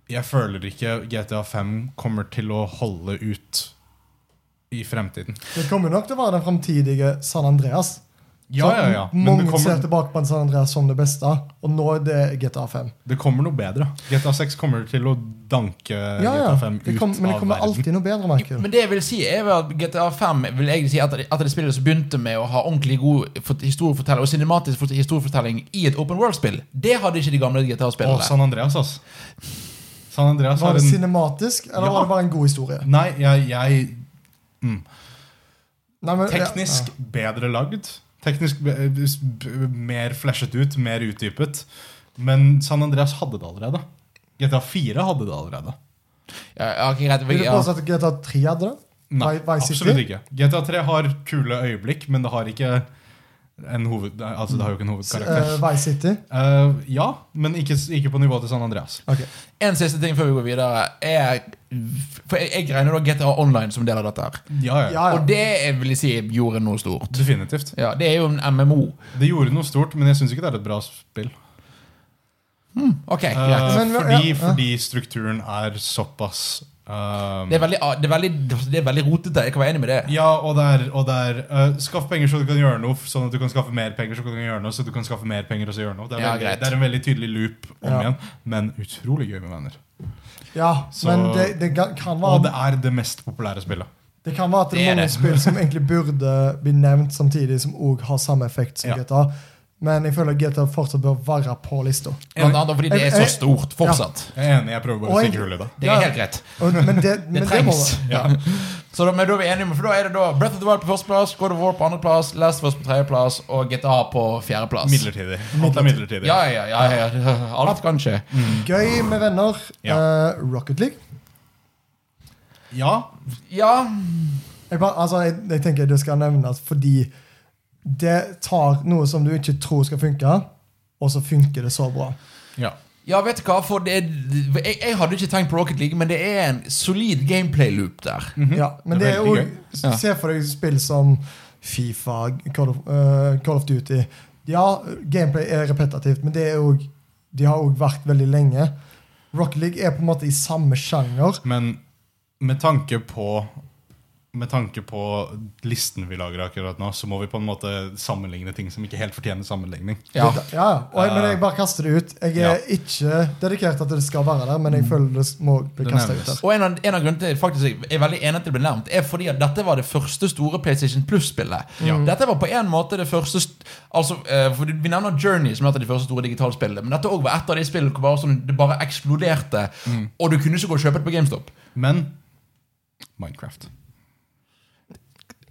Speaker 3: jeg føler ikke GTA 5 kommer til å holde ut i fremtiden.
Speaker 2: Det kommer nok til å være den framtidige San Andreas.
Speaker 3: Ja,
Speaker 2: Så
Speaker 3: ja, ja. Men
Speaker 2: Mange
Speaker 3: det
Speaker 2: ser
Speaker 3: kommer,
Speaker 2: tilbake på en San Andreas som det beste, og nå er det GTA 5.
Speaker 3: det kommer noe bedre. GTA 6 kommer til å danke
Speaker 2: Ja, ja.
Speaker 3: GTA 5 Eh, ut
Speaker 2: Det kom, men det
Speaker 3: av
Speaker 2: kommer
Speaker 3: verden.
Speaker 2: alltid noe bedre, Michael.
Speaker 1: Men det jeg vil si er vel at GTA 5 vil jeg si at, at det spillet som begynte med å ha ordentlig god fort- historiefortelling og cinematisk fort- historiefortelling i et open world-spill, det hadde ikke de gamle
Speaker 3: Og
Speaker 1: GTA-spillene.
Speaker 3: San Andreas, altså. San Andreas
Speaker 2: Var
Speaker 3: har
Speaker 2: det
Speaker 3: en
Speaker 2: cinematisk, eller
Speaker 3: Ja.
Speaker 2: var det bare en god historie?
Speaker 3: Nei, jeg, jeg
Speaker 2: Nei, men-
Speaker 3: Teknisk bedre lagd. Teknisk be- eh, b- mer flashet ut, mer utdypet. Men San Andreas hadde det allerede. GTA 4 hadde det allerede.
Speaker 1: Ja, ja, ok, greit,
Speaker 2: Ja. Vil du
Speaker 1: ja.
Speaker 2: påstå at GTA 3 hadde det?
Speaker 3: Nei,
Speaker 2: Vi- Vice
Speaker 3: absolutt
Speaker 2: City?
Speaker 3: ikke. GTA 3 har kule øyeblikk, men det har ikke en hoved... Altså, det har jo ikke en
Speaker 2: Eh,
Speaker 3: hovedkarakter.
Speaker 2: Vice City?
Speaker 3: Eh, ja, men ikke, ikke på nivået til San Andreas.
Speaker 2: Ok.
Speaker 1: En siste ting før vi går videre. Er, for jeg, jeg regner da GTA Online som del av dette. her
Speaker 3: Ja, ja.
Speaker 2: Ah, Ja, ja.
Speaker 1: Og det jeg vil si gjorde noe stort.
Speaker 3: Definitivt.
Speaker 1: Ja, Det er jo en MMO.
Speaker 3: Det gjorde noe stort, men jeg syns ikke det er et bra spill.
Speaker 1: Ok,
Speaker 3: Eh,
Speaker 1: greit
Speaker 2: Men- men-
Speaker 3: fordi,
Speaker 2: ja, ja.
Speaker 3: fordi strukturen er såpass eh,
Speaker 1: Det er veldig, ah, det er veldig, det er veldig rotete. Jeg kan være enig med det.
Speaker 3: Ja, og der, og der eh, Skaff penger så du kan gjøre noe, sånn at du kan skaffe mer penger, så du kan gjøre noe, så du kan skaffe mer penger og så gjøre noe. Det er,
Speaker 1: Ja,
Speaker 3: veldig,
Speaker 1: greit.
Speaker 3: det er en veldig tydelig loop om
Speaker 2: Ja.
Speaker 3: igjen, men utrolig gøy med venner.
Speaker 2: Ja,
Speaker 3: Så-
Speaker 2: men det, det ga- kan
Speaker 3: Og det
Speaker 2: være
Speaker 3: er det mest populære spillet.
Speaker 2: Det kan være at det
Speaker 1: Det er
Speaker 2: er mange
Speaker 1: det.
Speaker 2: spill som egentlig burde bli nevnt samtidig, som òg har samme effekt som
Speaker 3: Ja.
Speaker 2: GTA. Men jeg føler GTA fortsatt bør være på lista.
Speaker 1: Blant annet fordi det er så stort fortsatt.
Speaker 3: Jeg er enig, jeg prøver bare
Speaker 2: Og
Speaker 3: å
Speaker 2: en-
Speaker 3: stikke hull i det.
Speaker 1: Det
Speaker 2: Ja.
Speaker 1: er helt greit.
Speaker 2: Og, men det, men
Speaker 1: Det
Speaker 2: det, må
Speaker 1: trengs.
Speaker 2: være-
Speaker 1: Ja. Så da, men da er vi enige om For da er det da Breath of the Wild på førsteplass, God of War på andreplass, Last of Us på tredjeplass og GTA på fjerdeplass.
Speaker 3: Midlertidig. Alt er midlertidig.
Speaker 1: Ja, ja, ja, ja, ja. Alt kan skje.
Speaker 2: Mm. Gøy med venner.
Speaker 3: Ja.
Speaker 2: eh, Rocket League.
Speaker 3: Ja,
Speaker 1: Ja,
Speaker 2: Jeg, bare, altså, jeg, jeg tenker det skal nevnes fordi det tar noe som du ikke tror skal funke, og så funker det så bra.
Speaker 3: ja.
Speaker 1: ja vet du hva for det, jeg, jeg hadde ikke tenkt på Rocket League, men det er en solid gameplay-loop der.
Speaker 2: ja,
Speaker 3: Mhm.
Speaker 2: men det
Speaker 3: Det er
Speaker 2: er
Speaker 3: veldig
Speaker 2: jo,
Speaker 1: Ja.
Speaker 2: Se for deg spill som Fifa, Call of, eh, Call of Duty. Ja, gameplay er repetitivt, men det er jo, de har òg vært veldig lenge. Rocket League er på en måte i samme sjanger.
Speaker 3: Men med tanke på med tanke på listen vi lager akkurat nå, så må vi på en måte sammenligne ting som ikke helt fortjener sammenligning.
Speaker 1: Ja.
Speaker 2: Det- ja, ja. Og jeg, men jeg bare kaster det ut. Jeg er
Speaker 3: Ja. Mm.
Speaker 2: ikke dedikert til at det skal være der, men jeg føler det må bli
Speaker 3: Det
Speaker 2: kasta
Speaker 3: nevnes.
Speaker 2: ut der.
Speaker 1: Og en av, en av grunnene til faktisk jeg er veldig enig til det ble nevnt, er fordi at dette var det første store PlayStation Plus-spillet.
Speaker 2: Mm.
Speaker 1: Dette var på en måte det første st- Altså, eh, for Vi nevner Journey som et av de første store digitalspillene, men dette også var et av de spillene hvor bare sånn, det bare eksploderte, og du kunne ikke gå og kjøpe det på GameStop.
Speaker 3: Men Minecraft.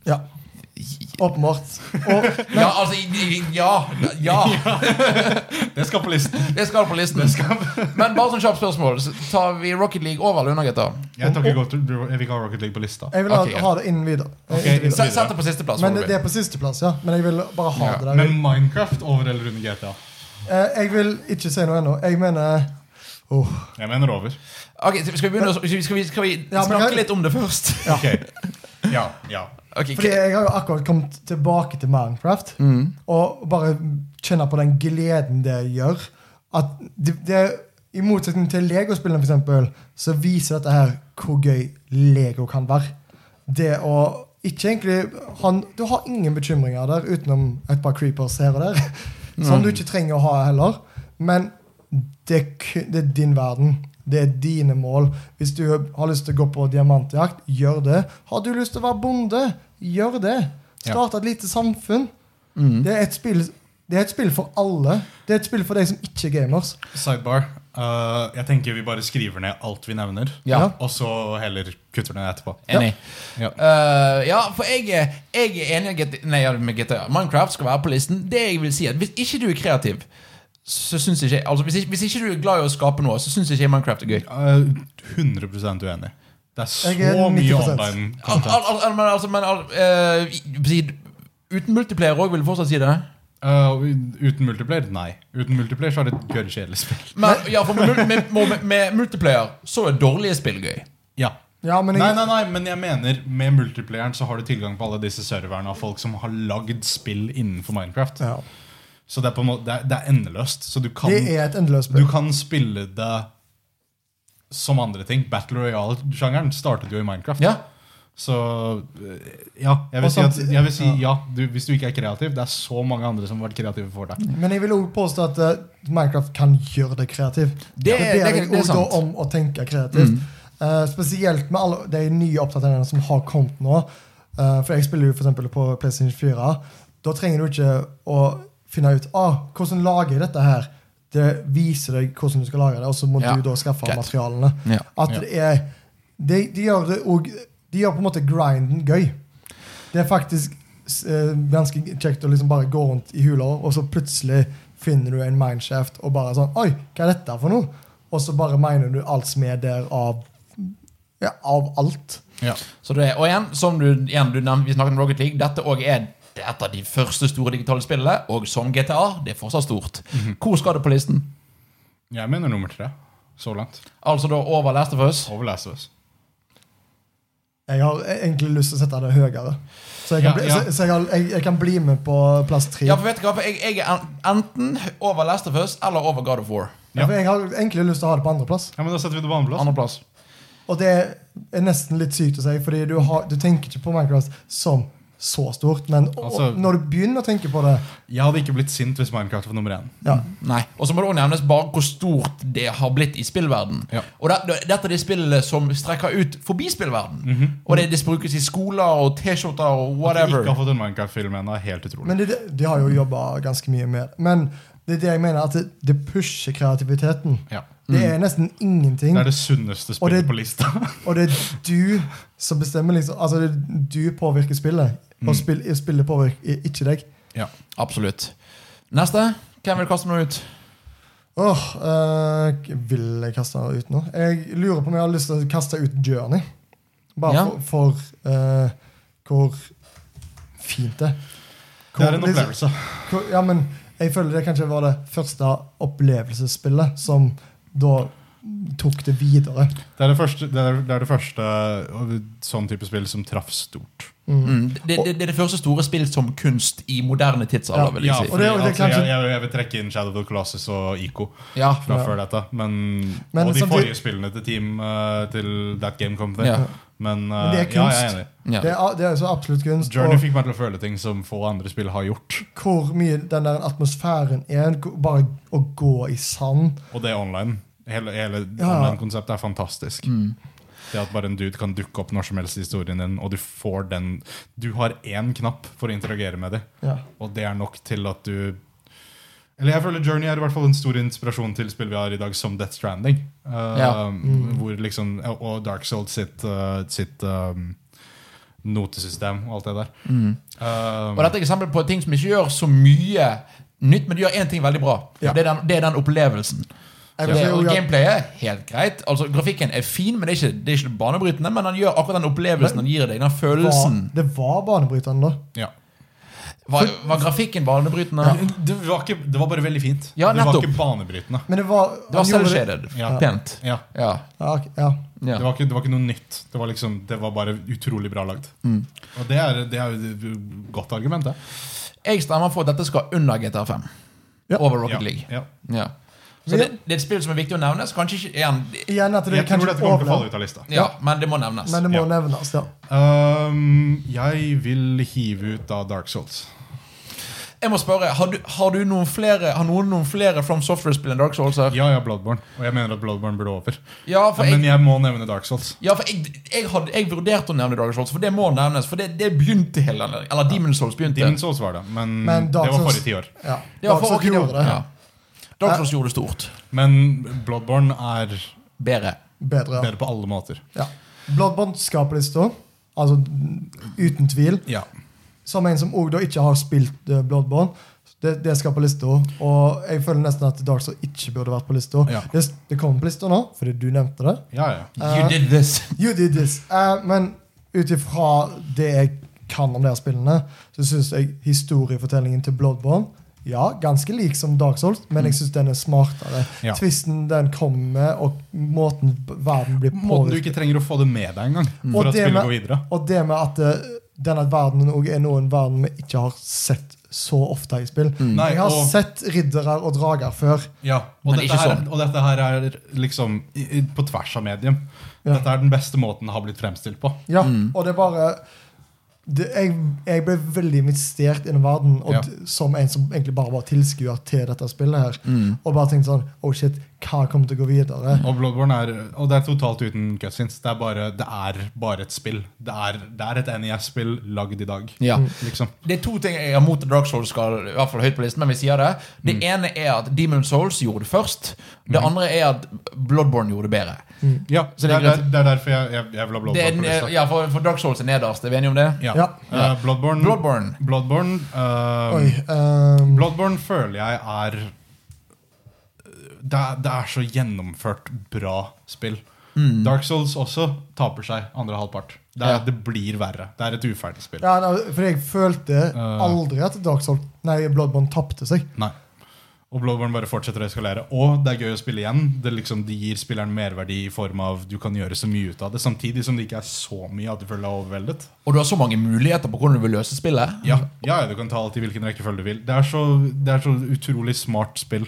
Speaker 2: Ja. Åpenbart. Og
Speaker 1: Ja, altså i- i- Ja! ja
Speaker 3: Det skal på listen.
Speaker 1: Det skal på listen. Men bare sånn kjapt spørsmål. Så tar vi Rocket League over eller under, gutter?
Speaker 3: Jeg, tar ikke godt, jeg vil ikke ha Rocket League på lista.
Speaker 2: jeg vil ha,
Speaker 1: Ok, ja.
Speaker 2: ha det innen videre. Eh,
Speaker 3: Ok,
Speaker 2: inntil
Speaker 3: innen
Speaker 2: videre.
Speaker 1: Se- Sett det på sisteplass.
Speaker 2: Men det, det er på sisteplass, ja. Men jeg vil bare ha
Speaker 1: Ja,
Speaker 2: det der.
Speaker 3: Men Minecraft over eller under GTA?
Speaker 2: Eh, jeg vil ikke si noe ennå. Jeg mener Åh.
Speaker 3: Jeg mener over.
Speaker 1: Ok, Skal vi begynne å- Skal vi, skal vi, skal vi
Speaker 2: Ja, men
Speaker 1: snakke
Speaker 2: kan-
Speaker 1: litt om det først?
Speaker 3: Ok. Ja, ja.
Speaker 1: Ok,
Speaker 2: Fordi
Speaker 1: ok.
Speaker 2: jeg har jo akkurat kommet tilbake til Minecraft. Og bare kjenne på den gleden det gjør. At det, det I motsetning til Lego-spillene, for eksempel så viser dette her hvor gøy Lego kan være. Det å ikke egentlig han, Du har ingen bekymringer der utenom et par creepers her og der. Som du ikke trenger å ha heller. Men det, er ku- det er din verden. Det er dine mål. Hvis du har lyst til å gå på diamantjakt, gjør det. Har du lyst til å være bonde, gjør det.
Speaker 3: Ja.
Speaker 2: Start et lite samfunn.
Speaker 1: Mm.
Speaker 2: Det er et spill det er et spill for alle. Det er et spill for deg som ikke er gamers.
Speaker 3: Sidebar. Eh, jeg tenker vi bare skriver ned alt vi nevner,
Speaker 1: Ja.
Speaker 3: og så heller kutter ned etterpå.
Speaker 1: Enig.
Speaker 3: Ja.
Speaker 1: Eh, ja, for jeg, er- jeg er enig i at Nei, ja, med GTA. Minecraft skal være på listen. Det jeg vil si er at Hvis ikke du er kreativ, så syns ikke jeg altså, hvis, ikke, hvis ikke du er glad i å skape noe, så syns ikke jeg Minecraft er gøy.
Speaker 3: Eh, 100 uenig. Det er så
Speaker 2: Jeg er
Speaker 3: mye
Speaker 2: 90%
Speaker 3: online.
Speaker 1: Al, al,
Speaker 3: content.
Speaker 1: al, al, men altså, men al, eh, i- si- Uten multiplayer òg, vil du fortsatt si det?
Speaker 3: Eh, og uten multiplayer? Nei. Uten multiplayer så er det et gørrkjedelig spill.
Speaker 1: Men, ja, for med, med, med, med multiplayer så er dårlige spill gøy.
Speaker 3: Ja.
Speaker 2: Ja, men
Speaker 3: Nei,
Speaker 2: jeg,
Speaker 3: nei, nei, men jeg mener med multiplayeren så har du tilgang på alle disse serverne av folk som har lagd spill innenfor Minecraft.
Speaker 2: Ja.
Speaker 3: Så det er på en måte, det er, det er endeløst. Så du kan,
Speaker 2: Det er et endeløst
Speaker 3: du
Speaker 2: spill.
Speaker 3: kan spille det som andre ting. Battle Royale-sjangeren startet jo i Minecraft.
Speaker 1: Ja,
Speaker 3: Så øh, ja, jeg vil
Speaker 2: Og
Speaker 3: si, at,
Speaker 2: samtidig-
Speaker 3: jeg vil si
Speaker 2: ja.
Speaker 3: ja, du, hvis du ikke er kreativ. Det er så mange andre som har vært kreative for deg.
Speaker 2: Men jeg vil også påstå at eh, Minecraft kan gjøre deg kreativ.
Speaker 1: Det-
Speaker 2: ber
Speaker 1: det-
Speaker 2: jeg
Speaker 1: det er
Speaker 2: også
Speaker 1: sant. Mm.
Speaker 2: om å tenke kreativt. Eh, spesielt med alle de nye oppdateringene som har kommet nå. Eh, for jeg spiller jo for eksempel på PlayStation 4. Da trenger du ikke å finne ut ah, hvordan lager jeg dette her. Det viser deg hvordan du skal lage det, og så må
Speaker 1: Ja.
Speaker 2: du da skaffe
Speaker 1: Greit.
Speaker 2: materialene.
Speaker 1: Ja.
Speaker 2: At
Speaker 3: Ja.
Speaker 2: det er de, de, gjør det og, de gjør på en måte grinden gøy. Det er faktisk eh, ganske kjekt å liksom bare gå rundt i hula, og så plutselig finner du en mineshaft og bare sånn Oi, hva er dette for noe? Og så bare mener du alt som er der av ja, av alt.
Speaker 3: Ja.
Speaker 1: så det er, og igjen, som du, igjen, du nevnte, vi snakket om Rocket League, dette òg er et av de første store digitale spillene. Og som GTA, det er fortsatt stort.
Speaker 3: Mhm.
Speaker 1: Hvor skal det på listen?
Speaker 3: Jeg mener nummer tre så langt.
Speaker 1: Altså da over Last of Us.
Speaker 3: Over Last of Us.
Speaker 2: Jeg har e-, egentlig lyst til å sette det høyere. Så jeg kan
Speaker 3: Ja,
Speaker 2: bli,
Speaker 3: ja.
Speaker 2: Så, så jeg, har, jeg, jeg kan bli med på plass tre.
Speaker 1: Ja, for vet du hva, for jeg, jeg er en- enten over Last of Us eller over God of War.
Speaker 2: Ja, for jeg har egentlig lyst til å ha det på andreplass.
Speaker 3: Ja, men Da setter vi det på andreplass.
Speaker 1: Andreplass.
Speaker 2: Og det er nesten litt sykt å si, fordi du, har, du tenker ikke på Minecraft som så stort, men å-
Speaker 3: Altså-
Speaker 2: når du begynner å tenke på det
Speaker 3: Jeg hadde ikke blitt sint hvis Minecraft var nummer én.
Speaker 2: ja.
Speaker 1: Nei. Og så må det også nevnes bare hvor stort det har blitt i spillverden.
Speaker 3: Ja.
Speaker 1: Og det, det, dette er de spillene som strekker ut forbi spillverden. Og det, det brukes i skoler og T-skjorter og
Speaker 3: Mhm. At vi
Speaker 1: whatever.
Speaker 3: ikke har fått en Minecraft-film ennå, er helt utrolig.
Speaker 2: Men det, de har jo jobba ganske mye med det. Men det er det jeg mener, at det, det pusher kreativiteten.
Speaker 3: ja.
Speaker 2: Det
Speaker 1: Mm.
Speaker 2: er nesten ingenting,
Speaker 3: Mm. Det er det sunneste
Speaker 2: Og
Speaker 3: spillet
Speaker 2: det-
Speaker 3: på lista.
Speaker 2: og det er du som bestemmer. liksom Altså, det er du påvirker spillet,
Speaker 3: Mm.
Speaker 2: og spill, spillet påvirker ikke deg.
Speaker 3: ja.
Speaker 1: Absolutt. Neste. Hvem vil kaste noe ut?
Speaker 2: Åh, eh, Vil jeg kaste ut nå? Jeg lurer på om jeg har lyst til å kaste ut Journey. Bare
Speaker 1: Ja.
Speaker 2: for, for eh, hvor fint det er.
Speaker 3: Det er en
Speaker 2: Hvor- liksom-
Speaker 3: opplevelse.
Speaker 2: hvor- Ja, men jeg føler det kanskje var det første opplevelsesspillet som da tok det videre.
Speaker 3: Det er det første, det er, det er det første øh, sånn type spill som traff stort.
Speaker 1: Mm. Det, det, det er det første store spill som kunst i moderne tidsalder,
Speaker 2: Ja.
Speaker 1: vil jeg
Speaker 3: Ja,
Speaker 1: si.
Speaker 2: for-
Speaker 3: fordi,
Speaker 2: og det er
Speaker 3: altså,
Speaker 2: kanskje-
Speaker 3: jeg, jeg, jeg vil trekke inn Shadow of the Colossus og Ico
Speaker 1: Ja.
Speaker 3: fra
Speaker 2: Ja.
Speaker 3: før dette. Men,
Speaker 2: Men
Speaker 3: og de
Speaker 2: samtidig-
Speaker 3: forrige spillene til Team øh, til That Game Company.
Speaker 1: Ja.
Speaker 3: Men, øh,
Speaker 2: Men det
Speaker 3: ja,
Speaker 2: er
Speaker 3: jeg er
Speaker 2: kunst.
Speaker 3: enig.
Speaker 1: Ja.
Speaker 2: Det, er, det er så absolutt kunst.
Speaker 3: Journey
Speaker 2: Og
Speaker 3: fikk meg til å føle ting som få andre spill har gjort.
Speaker 2: hvor mye den der atmosfæren er. hvor- Bare å gå i sand.
Speaker 3: Og det er online. Hele, hele
Speaker 2: Ja.
Speaker 3: online-konseptet er fantastisk. Det at bare en dude kan dukke opp når som helst i historien din, og du får den Du har én knapp for å interagere med dem.
Speaker 2: Ja.
Speaker 3: Og det er nok til at du Eller jeg føler Journey er i hvert fall en stor inspirasjon til spill vi har i dag, som Death Stranding. Eh,
Speaker 1: Ja.
Speaker 3: hvor liksom, og Dark Souls sitt, eh, sitt eh, notesystem og alt det der.
Speaker 1: Mm.
Speaker 3: Eh,
Speaker 1: Og dette er et eksempel på ting som ikke gjør så mye nytt, men de gjør én ting veldig bra.
Speaker 2: Ja.
Speaker 1: Det, er den, det er den opplevelsen. Det,
Speaker 2: Jeg vil si
Speaker 1: og
Speaker 2: jo at-
Speaker 1: gameplayet er helt greit. Altså Grafikken er fin, men det er ikke, det er ikke banebrytende. Men han gjør akkurat den opplevelsen han gir deg. Den følelsen.
Speaker 2: var, det var banebrytende, da.
Speaker 3: ja.
Speaker 1: Var, var grafikken banebrytende?
Speaker 3: Det, var ikke, det var bare veldig fint.
Speaker 1: Ja,
Speaker 3: det var
Speaker 1: nettopp.
Speaker 3: ikke banebrytende.
Speaker 2: Men det var
Speaker 1: Det var
Speaker 2: han gjorde det-
Speaker 1: selvshaded.
Speaker 3: Ja.
Speaker 1: Pent.
Speaker 3: Ja,
Speaker 1: Ja.
Speaker 2: Ja, ok, ja.
Speaker 1: ja.
Speaker 3: Det, var ikke, det var ikke noe nytt. Det var, liksom, det var bare utrolig bra lagd.
Speaker 1: Mm.
Speaker 3: Og det er, det er jo et godt argument, det.
Speaker 1: Jeg stemmer for at dette skal under GTA 5.
Speaker 2: Ja.
Speaker 1: Over Rocket
Speaker 3: Ja,
Speaker 1: League.
Speaker 3: ja.
Speaker 1: Ja. Så
Speaker 2: Ja.
Speaker 1: det, det er et spill som er viktig å nevne. Så kanskje ikke igjen,
Speaker 2: Igjen at det
Speaker 3: Jeg tror
Speaker 2: kanskje
Speaker 3: dette kommer til å falle
Speaker 2: overlevde,
Speaker 3: ut av lista.
Speaker 1: ja, Men det må nevnes.
Speaker 2: men det må
Speaker 3: Ja.
Speaker 2: nevnes. Ja.
Speaker 3: Ehm, jeg vil hive ut av Dark Souls.
Speaker 1: Jeg må spørre, Har, du, har, du noen flere, har noen noen flere From Software-spill enn Dark Souls her?
Speaker 3: Ja, ja, Bloodborne. Og jeg mener at Bloodborne burde over.
Speaker 1: Ja, for
Speaker 3: Men
Speaker 1: jeg,
Speaker 3: jeg må nevne Dark Souls.
Speaker 1: ja, for jeg, jeg, hadde, jeg vurderte å nevne Dark Souls, for det må nevnes. For det, det begynte hele den Eller Demon's Souls begynte.
Speaker 3: Demon Souls var det, men,
Speaker 2: Men Dark
Speaker 3: det var
Speaker 2: Souls-
Speaker 3: forrige tiår.
Speaker 2: Ja.
Speaker 1: det var for,
Speaker 2: Dark Souls
Speaker 1: ok,
Speaker 2: gjorde det Eh,
Speaker 1: Ja. Dark Souls gjorde det stort.
Speaker 3: Men Bloodborne er
Speaker 1: Bedre.
Speaker 2: bedre.
Speaker 3: bedre på alle måter.
Speaker 2: Ja. Bloodbond skaper lista. Altså, uten tvil.
Speaker 3: Ja.
Speaker 2: Som en som også da ikke har spilt eh, Bloodborne. Det, det skal på lista. Og jeg føler nesten at Dark Souls ikke burde vært på lista.
Speaker 3: Ja.
Speaker 2: Det, det kommer på lista nå, fordi du nevnte det.
Speaker 3: Ja, ja.
Speaker 2: Eh,
Speaker 1: You did this.
Speaker 2: You did this. Eh, men ut ifra det jeg kan om de her spillene, så syns jeg historiefortellingen til Bloodborne ja, ganske lik som Dark Souls, men jeg syns den er smartere.
Speaker 3: Mm. Ja.
Speaker 2: Tvisten den kommer med, og måten verden blir
Speaker 3: Måten du
Speaker 2: påvirket
Speaker 3: ikke trenger å få det med deg engang. For at
Speaker 2: det
Speaker 3: spillet
Speaker 2: med-
Speaker 3: går videre.
Speaker 2: Og det med at eh, denne verdenen òg er noen verden vi ikke har sett så ofte i spill.
Speaker 3: Mm. Nei,
Speaker 2: jeg har
Speaker 3: og-
Speaker 2: sett riddere og drager før.
Speaker 3: Ja, og,
Speaker 1: Men
Speaker 3: dette
Speaker 1: ikke
Speaker 3: her,
Speaker 1: sånn.
Speaker 3: og dette her er liksom i- i- på tvers av medium.
Speaker 2: Ja.
Speaker 3: Dette er den beste måten det har blitt fremstilt på.
Speaker 2: Ja, Og det er bare det, jeg, jeg ble veldig investert i den verden og
Speaker 3: Ja.
Speaker 2: d- som en som egentlig bare var tilskuer til dette spillet. her
Speaker 3: Mm.
Speaker 2: Og bare tenkte sånn Oh shit, hva kommer til å gå videre?
Speaker 3: Og Bloodborne er Og det er totalt uten cutscenes. Det er bare, det er bare et spill. Det er, det er et NES-spill lagd i dag.
Speaker 1: Ja.
Speaker 3: Liksom.
Speaker 1: Det er to ting jeg har mot at Dark Souls skal i hvert fall høyt på listen. men vi sier Det Det
Speaker 3: Mm.
Speaker 1: ene er at Demon Souls gjorde det først. Det andre er at Bloodborne gjorde det bedre.
Speaker 3: Ja,
Speaker 1: Så
Speaker 3: det
Speaker 1: det er
Speaker 3: er, der, det er derfor jeg, jeg, jeg
Speaker 1: Det
Speaker 3: vil ha
Speaker 1: er, eh,
Speaker 3: Bloodborne på
Speaker 1: den-
Speaker 3: lista.
Speaker 1: ja, for, for Dark Souls er nederst. Er vi enige om det?
Speaker 3: Ja.
Speaker 2: Ja.
Speaker 3: Eh, Bloodborne,
Speaker 1: Bloodborne.
Speaker 3: Bloodborne, eh,
Speaker 2: Oi, ehm,
Speaker 3: Bloodborne føler jeg er eh, det, er det er så gjennomført bra spill. Dark Souls også taper seg andre halvpart. Det, er,
Speaker 1: Mm. Ja.
Speaker 3: det blir verre. Det er et uferdig spill.
Speaker 2: ja, nei, for jeg følte aldri at Dark Soul, nei, Bloodborne tapte seg.
Speaker 3: Nei. Og Bloodborne bare fortsetter å eskalere. Og det er gøy å spille igjen. Det, liksom, det gir spilleren merverdi i form av du kan gjøre så mye ut av det, samtidig som det ikke er så mye at du føler deg overveldet.
Speaker 1: Og du har så mange muligheter på hvordan du vil løse spillet.
Speaker 3: Ja, ja, ja, du kan ta alt i hvilken rekkefølge du vil. Det er så, det er så utrolig smart spill.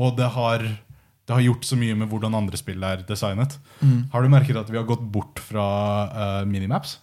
Speaker 3: Og det har, det har gjort så mye med hvordan andre spill er designet.
Speaker 1: Mm.
Speaker 3: Har du merket at vi har gått bort fra eh, minimaps?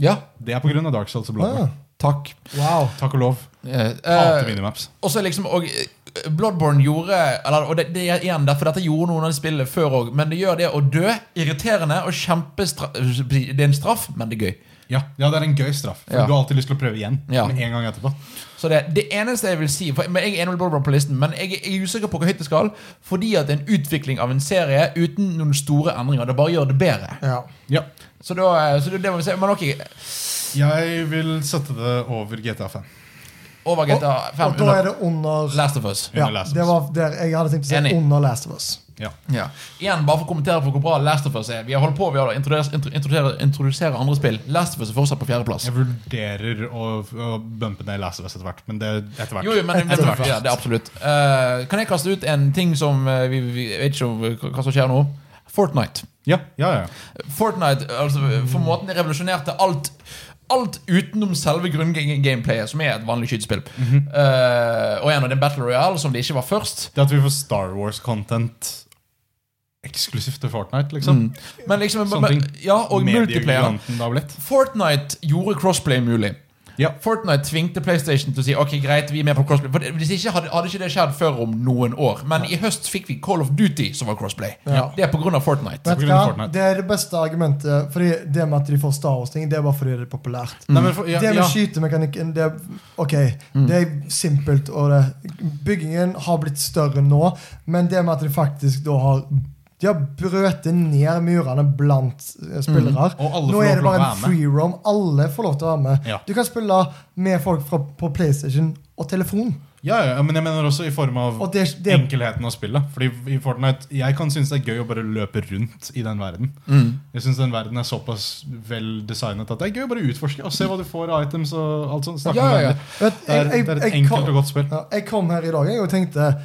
Speaker 1: Ja,
Speaker 3: Det er pga. Dark Souls og Bloodborne.
Speaker 1: takk.
Speaker 2: Ah. Wow.
Speaker 3: Takk og lov.
Speaker 1: Eh, Ah.
Speaker 3: Hater
Speaker 1: eh,
Speaker 3: minimaps.
Speaker 1: og så liksom og, eh, Bloodborne gjorde eller, Og det, det er igjen derfor dette gjorde noen av de spillene før òg, men det gjør det å dø irriterende og kjempestra... Det er en straff, men det er gøy.
Speaker 3: Ja, ja, det er en gøy straff. For
Speaker 1: Ja.
Speaker 3: Du har alltid lyst til å prøve igjen.
Speaker 1: Ja.
Speaker 3: Med en gang etterpå.
Speaker 1: Så det, det eneste jeg vil si for, men Jeg er enig med Bloodborne på listen, men jeg er- jeg er usikker på hvor høyt det skal. Fordi at det er en utvikling av en serie uten noen store endringer. Det bare gjør det bedre.
Speaker 2: Ja.
Speaker 3: Ja.
Speaker 1: Så, da, eh, så det, det må vi se. Men ok,
Speaker 3: Jeg vil sette det over GTA 5.
Speaker 1: over
Speaker 2: Og,
Speaker 1: GTA 5
Speaker 2: og da er det under
Speaker 1: Last of Us.
Speaker 2: ja,
Speaker 3: Under Last of
Speaker 2: Det
Speaker 3: Us.
Speaker 2: var der jeg hadde tenkt å
Speaker 1: Enig.
Speaker 2: si under Last of Us.
Speaker 3: Ja.
Speaker 1: Ja. Igjen, bare for å kommentere for hvor bra Last of Us er. Vi har holdt på vi har introdusert introdusere, introdusere andre spill. Last of Us er fortsatt på fjerdeplass.
Speaker 3: Jeg vurderer å, å bumpe ned Last of Us etter hvert, men det etter hvert.
Speaker 1: Jo, jo, men, men
Speaker 2: Etter hvert.
Speaker 1: ja, det er absolutt. Eh, kan jeg kaste ut en ting som eh, vi, vi jeg vet ikke om, hva som skjer nå? Fortnite.
Speaker 3: Ja, ja, ja.
Speaker 1: Fortnite altså, for måten det revolusjonerte alt Alt utenom selve grunngameplayet, som er et vanlig skytespill.
Speaker 3: Mhm.
Speaker 1: Eh, og en av den Battle Royale, som det ikke var først.
Speaker 3: Det at vi får Star Wars-content eksklusivt til Fortnite, liksom.
Speaker 1: Mm. Men liksom
Speaker 3: Sånne
Speaker 1: men-
Speaker 3: ting.
Speaker 1: Ja, og multiplayer.
Speaker 3: Mediegiganten det har blitt.
Speaker 1: Fortnite gjorde crossplay mulig.
Speaker 3: Ja.
Speaker 1: Fortnite tvingte PlayStation til å si Ok, greit, vi er med på crossplay. For det- hvis ikke hadde, hadde ikke det skjedd før om noen år. Men i høst fikk vi Call of Duty, som var crossplay.
Speaker 2: Ja.
Speaker 1: Det er pga. Fortnite.
Speaker 2: Vet du
Speaker 3: grunn av
Speaker 2: hva?
Speaker 3: Fortnite.
Speaker 2: Det er det beste argumentet. Fordi det med at de får Star Wars-ting, det er bare fordi det er populært.
Speaker 3: Nei, men for, ja,
Speaker 2: Mm. Det med
Speaker 3: ja. Mm.
Speaker 2: skytemekanikken, det er ok, det er simpelt. Og det, byggingen har blitt større nå, men det med at de faktisk da har de har brøtet ned murene blant eh, spillere.
Speaker 3: Mm. Og alle
Speaker 2: Nå
Speaker 3: får lov
Speaker 2: er det
Speaker 3: til å
Speaker 2: bare
Speaker 3: være
Speaker 2: en
Speaker 3: med.
Speaker 2: free roam. Alle får lov til å være med.
Speaker 3: Ja.
Speaker 2: Du kan spille med folk fra, på PlayStation og telefon.
Speaker 3: Ja, ja, ja, men jeg mener også i form av
Speaker 2: Og det, det,
Speaker 3: enkelheten av spillet. Fordi i Fortnite, Jeg kan synes det er gøy å bare løpe rundt i den verden.
Speaker 1: Mm.
Speaker 3: Jeg synes den verden er såpass vel designet at det er gøy å bare utforske og se hva du får av items. og alt sånt. Snakke
Speaker 1: Ja,
Speaker 3: om
Speaker 1: ja, ja.
Speaker 3: det.
Speaker 2: vet,
Speaker 3: Det er,
Speaker 2: jeg,
Speaker 3: det er
Speaker 2: jeg,
Speaker 3: et
Speaker 2: jeg,
Speaker 3: enkelt
Speaker 2: kom,
Speaker 3: og godt spill.
Speaker 2: ja, jeg kom her i dag jeg, og tenkte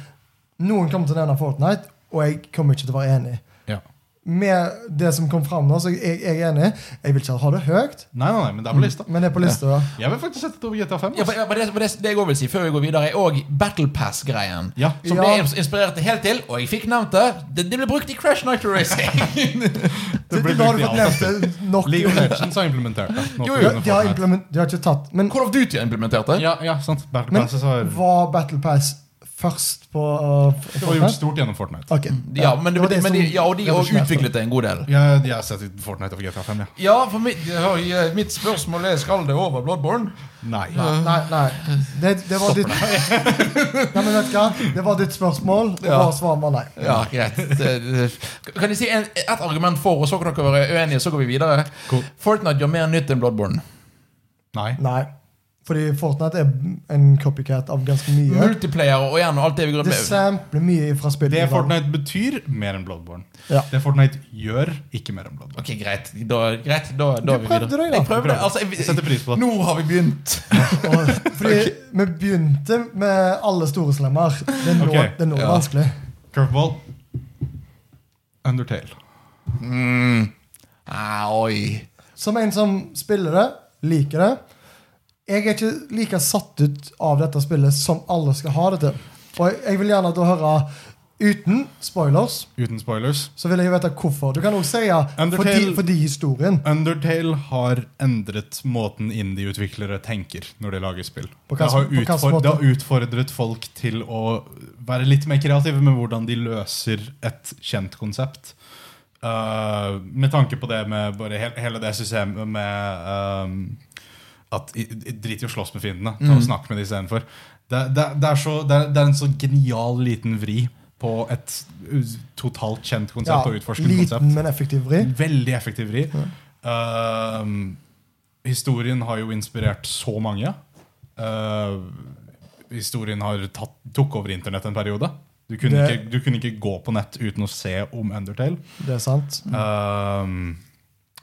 Speaker 2: Noen kommer til å nevne Fortnite, og jeg kommer ikke til å være enig.
Speaker 3: Ja.
Speaker 2: Med det som kom fram nå, så jeg, jeg er enig. Jeg vil ikke ha det høyt,
Speaker 3: Nei, nei, nei, men det er på lista.
Speaker 2: men det er på lista.
Speaker 3: Jeg vil faktisk sette det over GTA 5.
Speaker 1: Ja, for, ja, for det, for det, det jeg også vil si før vi går videre, er òg Battle Pass-greien.
Speaker 3: Ja.
Speaker 1: Som
Speaker 2: Ja.
Speaker 1: ble inspirert helt til, og jeg fikk nevnt det. Det, det ble brukt i Crash Night Racing.
Speaker 2: Du,
Speaker 3: Det
Speaker 2: du
Speaker 3: blir
Speaker 2: har
Speaker 3: brukt i alt.
Speaker 2: fått nevnt det nok.
Speaker 3: League of Legends har implementert det. nå
Speaker 1: Jo, jo,
Speaker 3: på
Speaker 2: Ja,
Speaker 3: grunn av
Speaker 2: de, har
Speaker 3: Fortnite.
Speaker 2: implement, de har ikke tatt. Men
Speaker 1: Call of Duty har implementert det.
Speaker 3: ja, ja, sant. Battle
Speaker 2: Men-
Speaker 3: Passes har
Speaker 2: var Battle Pass først på uh,
Speaker 3: det var gjort
Speaker 2: Fortnite?
Speaker 3: stort gjennom Fortnite.
Speaker 2: Ok.
Speaker 1: Ja, men,
Speaker 2: var
Speaker 1: men,
Speaker 2: det
Speaker 1: men
Speaker 2: som
Speaker 1: Mm, de, ja, og de har
Speaker 2: revolusjonerte.
Speaker 1: utviklet det en god del.
Speaker 3: Jeg, jeg har sett Fortnite over GTA 5, ja.
Speaker 1: Ja, for mitt, ja, ja, eh, mitt spørsmål er skal det over Bloodborne.
Speaker 3: Nei.
Speaker 2: Nei, nei. Det, det var ditt Nei, men vet du hva? Det var ditt spørsmål, og
Speaker 1: Ja.
Speaker 2: vårt svar var nei.
Speaker 1: Ja, greit. Det- det- Kan jeg si en, et argument for, og så kan dere være uenige, så går vi videre.
Speaker 3: Cool.
Speaker 1: Fortnite gjør mer nytt enn Bloodborne.
Speaker 3: Nei.
Speaker 2: Nei. Fordi Fortnite er en copycat av ganske mye.
Speaker 1: Multiplayer og igjen og alt det vi går
Speaker 2: Det
Speaker 1: med.
Speaker 2: sampler mye fra spillet.
Speaker 3: Det Fortnite betyr, mer enn Bloodborne.
Speaker 2: Ja.
Speaker 3: Det Fortnite gjør, ikke mer enn Bloodborne.
Speaker 1: Ok, greit. Da, greit. da, da er vi
Speaker 2: prøvde
Speaker 1: videre.
Speaker 2: deg, da.
Speaker 1: Jeg prøvde.
Speaker 3: Bra.
Speaker 1: Altså,
Speaker 3: Jeg setter
Speaker 1: jeg,
Speaker 3: pris på det.
Speaker 1: nå har vi begynt.
Speaker 2: Og, fordi vi begynte med alle store slemmer. Det er nå,
Speaker 3: Ok,
Speaker 2: det er nå
Speaker 1: ja.
Speaker 2: vanskelig.
Speaker 3: Curveball. Undertale.
Speaker 1: Mm. Ah, oi.
Speaker 2: Som en som spiller det, liker det. Jeg er ikke like satt ut av dette spillet som alle skal ha det til. Og jeg- jeg vil gjerne at du hører uten spoilers.
Speaker 3: Uten spoilers.
Speaker 2: Så vil jeg vite hvorfor. Du kan også si ja,
Speaker 3: Undertale-
Speaker 2: fordi, fordi historien.
Speaker 3: Undertale har endret måten indie-utviklere tenker når de lager spill.
Speaker 2: På hva-
Speaker 3: Det har,
Speaker 2: på hva slags
Speaker 3: utfor,
Speaker 2: måte?
Speaker 3: det har utfordret folk til å være litt mer kreative med hvordan de løser et kjent konsept. Uh, med tanke på det med bare he hele det systemet med um, at i- i- Drit i å slåss med fiendene. Ta
Speaker 2: Mm.
Speaker 3: og Snakk med dem istedenfor. Det, det, det, er så- det, er- det er en så genial liten vri på et u- totalt kjent konsept. og utforskende konsept.
Speaker 2: liten, men effektiv vri.
Speaker 3: Veldig effektiv vri. Ehm, historien har jo inspirert så mange. Ehm, historien har tatt, tok over internett en periode. Du kunne,
Speaker 2: Det-
Speaker 3: ikke, du kunne ikke gå på nett uten å se om Undertale.
Speaker 2: Det er sant.
Speaker 3: Ehm,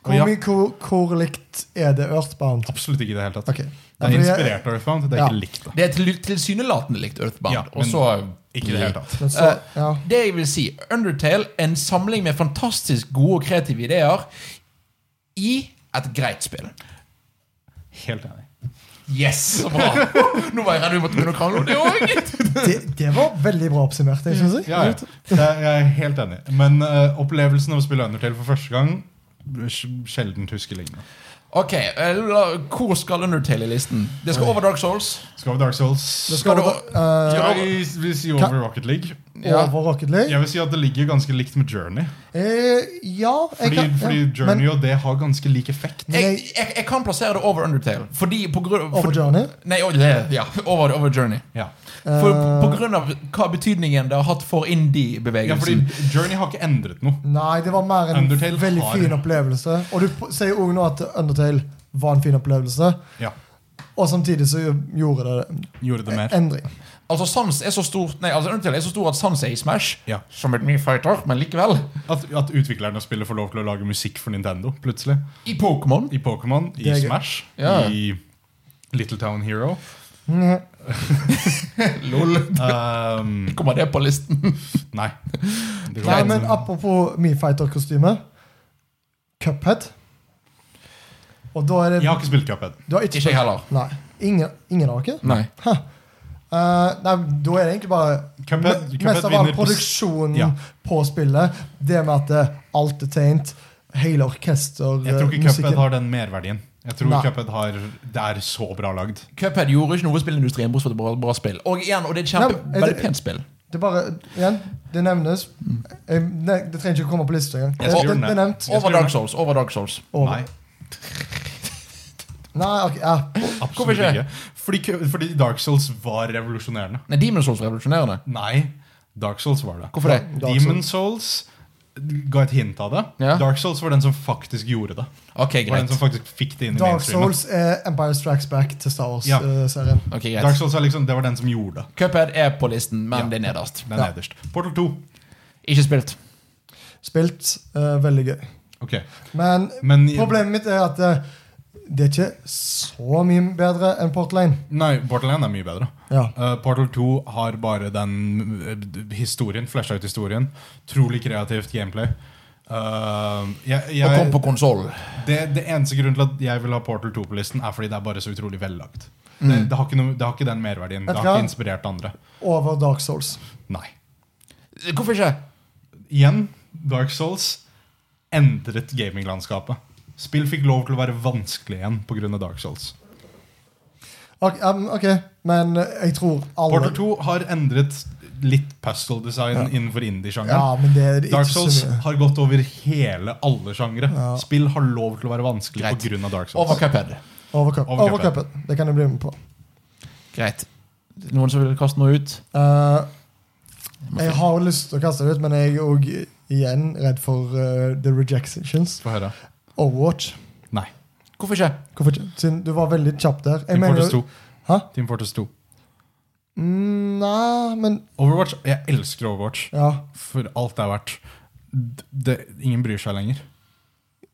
Speaker 3: og
Speaker 2: Hvor,
Speaker 3: ja,
Speaker 2: mye- hvor, hvor likt er det Earthbound?
Speaker 3: absolutt ikke i det hele tatt.
Speaker 2: Ok.
Speaker 3: Det er
Speaker 2: Ja, fordi jeg-
Speaker 3: inspirert av Earthbound. Det er
Speaker 2: Ja.
Speaker 3: ikke likt. det.
Speaker 1: Det er til- tilsynelatende likt Earthbound.
Speaker 3: Ja,
Speaker 1: og
Speaker 3: men
Speaker 1: så
Speaker 3: Ikke i det hele tatt.
Speaker 2: Men så, ja.
Speaker 1: Det jeg vil si, Undertale er en samling med fantastisk gode og kreative ideer i et greit spill.
Speaker 3: Helt enig.
Speaker 1: Yes! Så bra. Nå var jeg redd vi måtte begynne å krangle om det òg.
Speaker 2: det, det var veldig bra oppsummert. Jeg synes jeg.
Speaker 3: Ja, ja. Jeg, jeg er helt enig. Men eh, opplevelsen av å spille Undertale for første gang sjelden husker lignende.
Speaker 1: Ok, eh, la- hvor skal Undertale i listen? Det skal over Dark Souls.
Speaker 3: Skal vi Dark Souls?
Speaker 2: Det skal
Speaker 1: du-
Speaker 2: over, eh,
Speaker 3: Ja, jeg vil si over Rocket League.
Speaker 1: Ja.
Speaker 2: over Rocket League.
Speaker 3: Jeg vil si at det ligger ganske likt med Journey.
Speaker 2: Eh, ja, jeg
Speaker 3: Fordi,
Speaker 2: kan-
Speaker 3: fordi
Speaker 2: ja,
Speaker 3: Journey
Speaker 2: men,
Speaker 3: og det har ganske lik effekt.
Speaker 2: Men
Speaker 1: Jeg,
Speaker 2: jeg-
Speaker 1: jeg, jeg kan plassere det over Undertale. Fordi på grunn
Speaker 2: Over
Speaker 1: for,
Speaker 2: Journey?
Speaker 1: Nei, over, ja, over, over Journey.
Speaker 3: Ja.
Speaker 1: For,
Speaker 2: Eh,
Speaker 1: på grunn av hva betydningen det har hatt for
Speaker 3: ja, fordi
Speaker 1: indie-bevegelsen.
Speaker 3: Journey har ikke endret noe.
Speaker 2: Nei, det var mer en
Speaker 3: Undertale
Speaker 2: veldig
Speaker 3: har-
Speaker 2: fin opplevelse. Og du p- sier jo også nå at Undertale var en fin opplevelse,
Speaker 3: Ja,
Speaker 2: og samtidig så gjorde det
Speaker 3: Gjorde det mer.
Speaker 2: endring.
Speaker 1: Altså Sans er så stort Nei, altså Undertale er så stor at Sans er i Smash.
Speaker 3: Ja.
Speaker 1: Som et Mii Fighter, men likevel.
Speaker 2: eh.
Speaker 3: At, at utviklerne og spillet får lov til å lage musikk for Nintendo plutselig.
Speaker 1: I Pokémon.
Speaker 3: I Pokémon,
Speaker 2: Det
Speaker 3: i
Speaker 2: er gøy.
Speaker 3: Smash,
Speaker 1: Ja.
Speaker 3: i Little Town Hero.
Speaker 2: Mhm.
Speaker 1: Lol.
Speaker 3: Um,
Speaker 1: Kommer det på listen?
Speaker 3: nei. Det går
Speaker 2: Nei,
Speaker 3: ikke.
Speaker 2: men eh, apropos Me Fighter-kostyme. Cuphead. Og da er det
Speaker 3: Jeg har ikke spilt Cuphead.
Speaker 2: du har ikke,
Speaker 1: Ikke jeg heller.
Speaker 2: Nei, ingen, ingen av dere?
Speaker 1: Nei.
Speaker 2: Eh, nei, da er det egentlig bare
Speaker 3: Cuphead,
Speaker 2: me-
Speaker 3: Cuphead
Speaker 2: mest av all
Speaker 3: vinner på s-
Speaker 2: produksjonen
Speaker 3: Ja.
Speaker 2: på spillet. Det med at eh, alt er tegnet. Hele eh,
Speaker 3: Jeg tror ikke Cuphead
Speaker 2: orkestermusikken.
Speaker 3: har den merverdien. Jeg tror
Speaker 2: Nei.
Speaker 3: Cuphead har, det er så bra lagd.
Speaker 1: Cuphead gjorde ikke noe i spillindustrien, bortsett fra et bra, bra spill. Og igjen, og det er et kjempe,
Speaker 2: Nei, er det-
Speaker 1: veldig pent spill.
Speaker 2: Det er bare, igjen, det nevnes. Eh, nei, det trenger ikke å komme på lista engang.
Speaker 3: Jeg skal
Speaker 2: Det,
Speaker 3: gjøre den,
Speaker 2: det, det er nevnt.
Speaker 3: Jeg skal
Speaker 1: Over
Speaker 3: gjøre
Speaker 1: Dark
Speaker 3: det.
Speaker 1: Souls. over Dark Souls
Speaker 2: Over.
Speaker 3: Nei.
Speaker 2: Nei, ok, ja.
Speaker 1: Hvorfor
Speaker 3: Absolutt
Speaker 1: ikke?
Speaker 3: ikke. Fordi, kø- fordi Dark Souls var revolusjonerende.
Speaker 1: Nei, Demon's Souls revolusjonerende.
Speaker 3: Nei, Dark Souls var det.
Speaker 1: Hvorfor det?
Speaker 2: Dark
Speaker 3: Demon Souls ga et hint av det.
Speaker 1: Ja.
Speaker 3: Dark Souls var den som faktisk gjorde det.
Speaker 1: Ok,
Speaker 3: Det var den
Speaker 1: greit.
Speaker 3: som faktisk fikk det inn i
Speaker 2: Dark
Speaker 3: mainstreamen.
Speaker 2: Souls er Empire Strikes Back til Star eh,
Speaker 3: Ja.
Speaker 2: Wars-serien.
Speaker 1: Ok,
Speaker 3: Dark
Speaker 1: greit.
Speaker 3: Souls er liksom, Det var den som gjorde det.
Speaker 1: Cuphead er på listen, men
Speaker 3: Ja.
Speaker 1: det er nederst.
Speaker 3: Den
Speaker 2: Ja.
Speaker 3: nederst. Portal 2.
Speaker 1: Ikke spilt.
Speaker 2: Spilt eh, veldig gøy.
Speaker 3: Ok.
Speaker 2: Men
Speaker 3: Men
Speaker 2: problemet mitt er at eh, det er ikke så mye bedre enn Portal 1.
Speaker 3: Nei, Portal 1 er mye bedre.
Speaker 2: Ja.
Speaker 3: Eh, Portal 2 har bare den eh, historien, flasha ut historien. Trolig kreativt gameplay. Eh, jeg,
Speaker 1: Og kom
Speaker 3: jeg,
Speaker 1: på konsoll.
Speaker 3: det, det eneste grunnen til at jeg vil ha Portal 2 på listen, er fordi det er bare så utrolig vellagt. Det, det, har ikke noe, det har ikke den merverdien.
Speaker 2: Mm.
Speaker 3: Det
Speaker 2: Vet du
Speaker 3: har
Speaker 2: hva?
Speaker 3: ikke inspirert andre.
Speaker 2: Over Dark Souls.
Speaker 3: Nei.
Speaker 1: Hvorfor ikke?
Speaker 3: Igjen, Dark Souls endret gaminglandskapet. Spill fikk lov til å være vanskelig igjen pga. Dark Souls.
Speaker 2: Ok, um, ok, men eh, jeg tror alle
Speaker 3: Portal 2 har endret litt puzzle design innenfor indie-sjangeren.
Speaker 2: Ja, men det er ikke
Speaker 3: Dark Souls
Speaker 2: så mye.
Speaker 3: har gått over hele alle sjangre.
Speaker 2: Ja.
Speaker 3: Spill har lov til å være vanskelig
Speaker 1: Greit.
Speaker 3: pga. Dark Souls.
Speaker 1: Over Cuphead.
Speaker 2: Over cup-
Speaker 3: Over
Speaker 2: over
Speaker 3: cupen.
Speaker 2: cupen. Det kan jeg bli med på.
Speaker 1: Greit. Noen som vil kaste noe ut?
Speaker 2: Eh, jeg har jo lyst til å kaste det ut, men jeg er òg igjen redd for eh, the rejections.
Speaker 3: Få høre.
Speaker 2: Overwatch.
Speaker 3: Nei.
Speaker 1: Hvorfor ikke?
Speaker 2: Hvorfor ikke? Siden du var veldig kjapp der. Jeg
Speaker 3: Team
Speaker 2: mener-
Speaker 3: Fortress 2.
Speaker 2: Hæ?
Speaker 3: Team Fortress 2.
Speaker 2: Mm, nei, men
Speaker 3: Overwatch. Jeg elsker Overwatch
Speaker 2: Ja.
Speaker 3: for alt det er verdt. D- Det, ingen bryr seg lenger.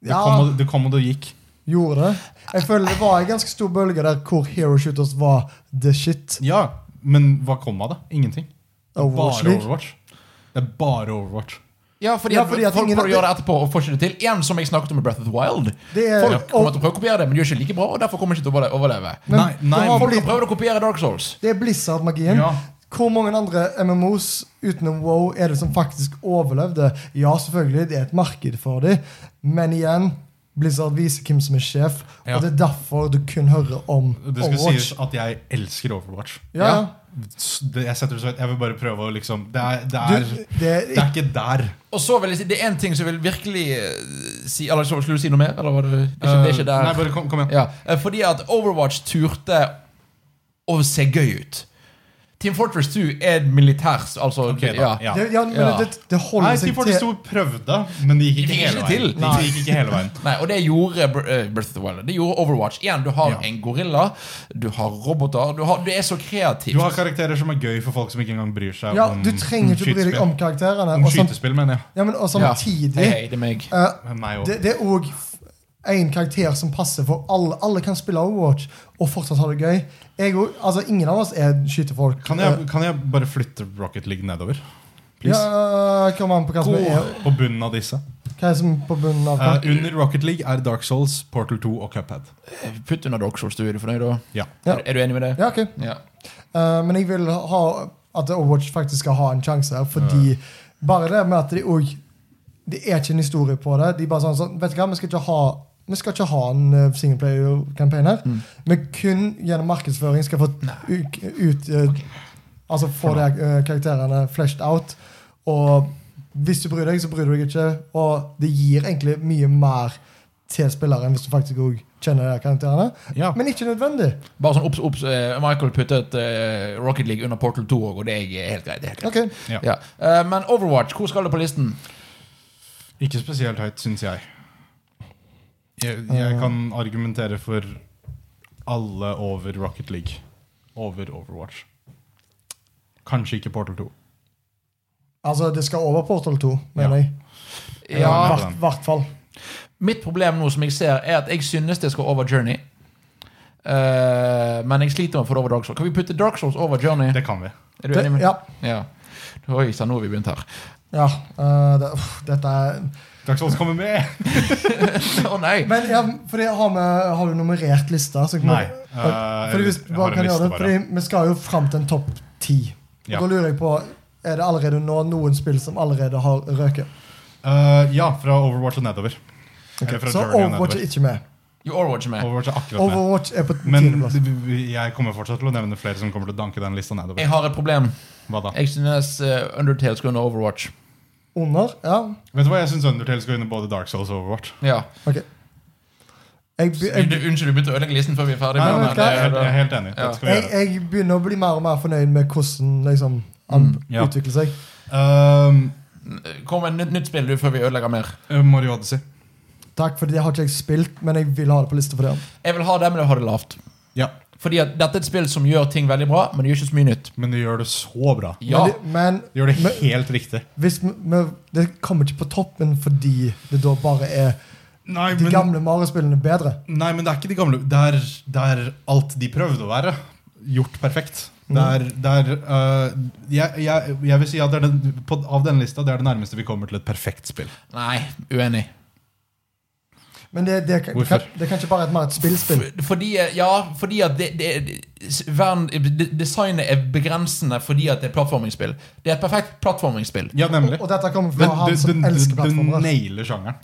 Speaker 3: Det
Speaker 2: ja
Speaker 3: kom, og, det kom og det gikk.
Speaker 2: Gjorde det. Jeg føler det var en ganske stor bølge der hvor Hero Shooters var the shit.
Speaker 3: Ja, men hva kom av det? Ingenting.
Speaker 2: Overwatch
Speaker 3: bare
Speaker 2: League.
Speaker 3: Overwatch. Det er bare Overwatch.
Speaker 1: Ja, fordi,
Speaker 2: Ja, fordi
Speaker 1: at
Speaker 2: at
Speaker 1: folk
Speaker 2: ingen-
Speaker 1: prøver å gjøre det etterpå og får ikke det til. Igjen som jeg snakket om med Breath of the Wild.
Speaker 2: Det er-
Speaker 1: folk
Speaker 2: Ja.
Speaker 1: kommer til å prøve å kopiere det, men de gjør ikke like bra, og derfor kommer de ikke til å overle- overleve.
Speaker 2: Men
Speaker 3: Nei, nei,
Speaker 2: det, har
Speaker 3: men-
Speaker 1: Folk har
Speaker 2: blitt,
Speaker 1: prøvd å kopiere Dark Souls.
Speaker 2: det er Blizzard-magien.
Speaker 3: Ja.
Speaker 2: Hvor mange andre MMOs utenom WoW er det som faktisk overlevde? Ja, selvfølgelig, det er et marked for dem, men igjen Blizzard viser hvem som er sjef,
Speaker 3: Ja.
Speaker 2: og det er derfor du kun hører om
Speaker 3: Det skal sies
Speaker 2: Overwatch.
Speaker 3: at jeg elsker Overwatch.
Speaker 2: Ja, ja.
Speaker 3: S- det- Jeg setter det så høyt. Jeg vil bare prøve å liksom Det er, det er,
Speaker 2: Du, det
Speaker 3: det er
Speaker 2: er
Speaker 3: ikke der.
Speaker 1: Og så vil jeg si, det er én ting som vil virkelig eh, si Eller så skulle du si noe mer? Eller var det, det, er ikke, det er ikke
Speaker 3: Eh,
Speaker 1: der?
Speaker 3: Nei, bare kom, kom igjen.
Speaker 1: Ja, eh, fordi at Overwatch turte å se gøy ut. Team Fortress 2 er militærs, altså
Speaker 3: Ok, da.
Speaker 1: ja.
Speaker 3: Ja.
Speaker 2: det, ja, men
Speaker 1: Ja.
Speaker 2: Det, det holder
Speaker 3: Nei, Team
Speaker 2: seg til
Speaker 3: Fortress 2 prøvde, men det gikk
Speaker 1: De
Speaker 3: ikke
Speaker 1: fikk
Speaker 3: hele
Speaker 1: ikke
Speaker 3: veien.
Speaker 1: til.
Speaker 3: De gikk ikke hele veien.
Speaker 1: Nei, og det gjorde Br- eh, Breath of the Wild. Det gjorde Overwatch. Igjen, du har
Speaker 3: Ja.
Speaker 1: en gorilla, du har roboter Du, har, du er så kreativ.
Speaker 3: Du har karakterer som er gøy for folk som ikke engang bryr seg
Speaker 2: Ja,
Speaker 3: om
Speaker 2: du trenger ikke å bry deg om karakterene.
Speaker 3: Om
Speaker 2: Og, sånn- sam,
Speaker 3: skytespill, mener jeg.
Speaker 2: ja, men, og
Speaker 1: Ja.
Speaker 2: samtidig
Speaker 1: Hei, hei, det er meg.
Speaker 2: eh,
Speaker 3: Men Meg også.
Speaker 2: Det, det er òg en karakter som passer for alle. Alle kan spille Overwatch og fortsatt ha det gøy. Jeg, og- altså, ingen av oss er skytefolk. Eh,
Speaker 3: Kan jeg, kan jeg bare flytte Rocket League nedover?
Speaker 2: Please?
Speaker 3: Please?
Speaker 2: Ja, altså, kom an på hva som er,
Speaker 3: På bunnen av disse.
Speaker 2: hva er som er på bunnen av
Speaker 3: Eh,
Speaker 2: kart.
Speaker 3: under Rocket League er Dark Souls, Portal 2 og Cuphead.
Speaker 1: Putt under Dark Souls, du. Er du fornøyd da?
Speaker 3: Ja.
Speaker 2: Ja.
Speaker 1: Er, er du enig med det?
Speaker 2: Ja, ok.
Speaker 1: Ja.
Speaker 2: Eh, men jeg vil ha at Overwatch faktisk skal ha en sjanse her, fordi bare det med at de òg Det er ikke en historie på det. De er bare sånn, sånn Vet du hva, vi skal ikke ha vi skal ikke ha en eh, singleplayer-campaign her. Vi kun gjennom markedsføring skal få ut, ut eh, Altså få de eh, karakterene fleshed out. Og hvis du bryr deg, så bryr du deg ikke. Og det gir egentlig mye mer til spilleren hvis du faktisk òg kjenner de karakterene.
Speaker 3: Ja.
Speaker 2: Men ikke nødvendig.
Speaker 1: Bare sånn obs, obs. eh, Michael puttet eh, Rocket League under Portal 2 òg, og det er helt greit. Det er helt greit.
Speaker 2: Ok.
Speaker 3: Ja.
Speaker 1: Ja. Eh, men Overwatch, hvor skal det på listen?
Speaker 3: Ikke spesielt høyt, syns jeg. jeg. Jeg kan argumentere for alle over Rocket League. Over Overwatch. Kanskje ikke Portal 2.
Speaker 2: Altså, det skal over Portal 2, mener
Speaker 3: Ja.
Speaker 2: jeg.
Speaker 3: Ja.
Speaker 2: I hvert- hvert fall.
Speaker 1: Mitt problem nå som jeg ser, er at jeg synes det skal over Journey. Eh, men jeg sliter med å få det over Dark Souls. Kan vi putte Dark Souls over Journey?
Speaker 3: Det kan vi.
Speaker 1: Er du enig med
Speaker 2: Ja.
Speaker 1: Ja. Oi sann, nå har vi begynt her.
Speaker 2: ja eh, det, uff, dette er
Speaker 3: Dark Souls kommer med!
Speaker 1: Å nei!
Speaker 2: Men ja, fordi har, vi, har du nummerert lista? Så kan vi-
Speaker 3: Nei. Eh,
Speaker 2: Fordi hvis
Speaker 3: jeg
Speaker 2: vi bare
Speaker 3: har en
Speaker 2: kan gjøre
Speaker 3: liste
Speaker 2: det,
Speaker 3: bare.
Speaker 2: fordi vi skal jo fram til en topp ti. Og
Speaker 3: Ja.
Speaker 2: Da lurer jeg på er det allerede nå noen spill som allerede har røket.
Speaker 3: Eh, ja, fra Overwatch og nedover. Eller fra
Speaker 2: Så
Speaker 3: Journey og
Speaker 2: Overwatch er
Speaker 3: nedover.
Speaker 2: ikke med.
Speaker 1: You Overwatch er med.
Speaker 3: Overwatch er akkurat med.
Speaker 2: Overwatch er på
Speaker 3: Men
Speaker 2: tiendeplass.
Speaker 3: jeg kommer fortsatt til å nevne flere som kommer til å danke den lista nedover.
Speaker 1: Jeg har et problem.
Speaker 3: Hva da?
Speaker 1: Jeg synes eh, Undertale skal under Overwatch.
Speaker 2: Under? Ja.
Speaker 3: Vet du hva, jeg syns Undertale skal under både Dark Souls og Overwatch.
Speaker 1: Ja.
Speaker 2: Ok. Jeg, be- jeg,
Speaker 1: Du- Unnskyld, du begynte å ødelegge listen før vi er ferdig.
Speaker 3: Nei,
Speaker 1: men-
Speaker 3: nei,
Speaker 2: vet
Speaker 3: nei,
Speaker 2: du
Speaker 3: jeg,
Speaker 2: hva?
Speaker 3: er helt- jeg er helt enig.
Speaker 1: Ja.
Speaker 3: Det skal vi
Speaker 2: jeg,
Speaker 3: gjøre.
Speaker 2: jeg begynner å bli mer og mer fornøyd med hvordan liksom, han
Speaker 3: Mm. Ja.
Speaker 2: utvikler seg.
Speaker 3: Ehm,
Speaker 1: Kom med et nytt spill du før vi ødelegger mer.
Speaker 3: Eh, Mario Odyssey.
Speaker 2: Takk, for det har ikke jeg spilt, men jeg vil ha det på lista for det.
Speaker 1: Jeg vil ha det, men jeg vil ha det lavt.
Speaker 3: Ja,
Speaker 1: Fordi at dette er et spill som gjør ting veldig bra, men det gjør ikke så mye nytt.
Speaker 3: men de gjør det så bra.
Speaker 1: Ja,
Speaker 2: Men, det- men
Speaker 3: De gjør det
Speaker 2: Men-
Speaker 3: helt riktig.
Speaker 2: hvis, m- men det kommer ikke på toppen fordi det da bare er
Speaker 3: Nei,
Speaker 2: de gamle Mario-spillene bedre.
Speaker 3: Nei, men det er ikke de gamle Det er, det er alt de prøvde å være Gjort perfekt Det
Speaker 2: Mm.
Speaker 3: er, det er øh, jeg, jeg, jeg vil si at det er den, på, av denne lista Det er det nærmeste vi kommer til et perfekt spill
Speaker 1: Nei, uenig.
Speaker 2: Men det, det, kan,
Speaker 3: Hvorfor?
Speaker 2: kan, det kan ikke bare være et mer et spillspill.
Speaker 1: Fordi, ja, fordi at det, det, s- verden, de- designet er begrensende fordi at det er plattformingsspill. Det er et perfekt plattformingsspill.
Speaker 3: Ja, nemlig
Speaker 2: Og dette kommer
Speaker 3: Men
Speaker 2: fra han
Speaker 3: du,
Speaker 2: som
Speaker 3: du,
Speaker 2: elsker
Speaker 3: du, du
Speaker 2: plattformer.
Speaker 3: nailer sjangeren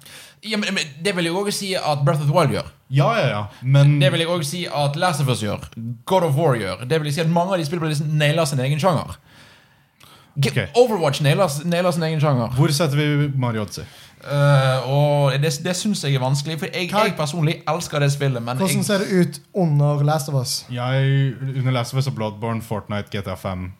Speaker 1: Ja, men, men Det vil jeg òg si at Breath of the Wild gjør.
Speaker 3: Ja, ja, ja Men
Speaker 1: Det vil jeg også si at Last of Us gjør. God of War gjør. Det vil jeg si at Mange av de spiller på listen nailer sin egen sjanger. Ge-
Speaker 3: Ok.
Speaker 1: Overwatch nailer, nailer sin egen sjanger.
Speaker 3: Hvor setter vi Mario Odyssey?
Speaker 1: Eh, og det, det syns jeg er vanskelig, for jeg,
Speaker 2: Hva-
Speaker 1: jeg personlig elsker det spillet. Men
Speaker 2: Hvordan
Speaker 1: jeg,
Speaker 2: ser det ut under Last of Us?
Speaker 3: Jeg, under Last of Us og Bloodborne, Fortnite, GTA 5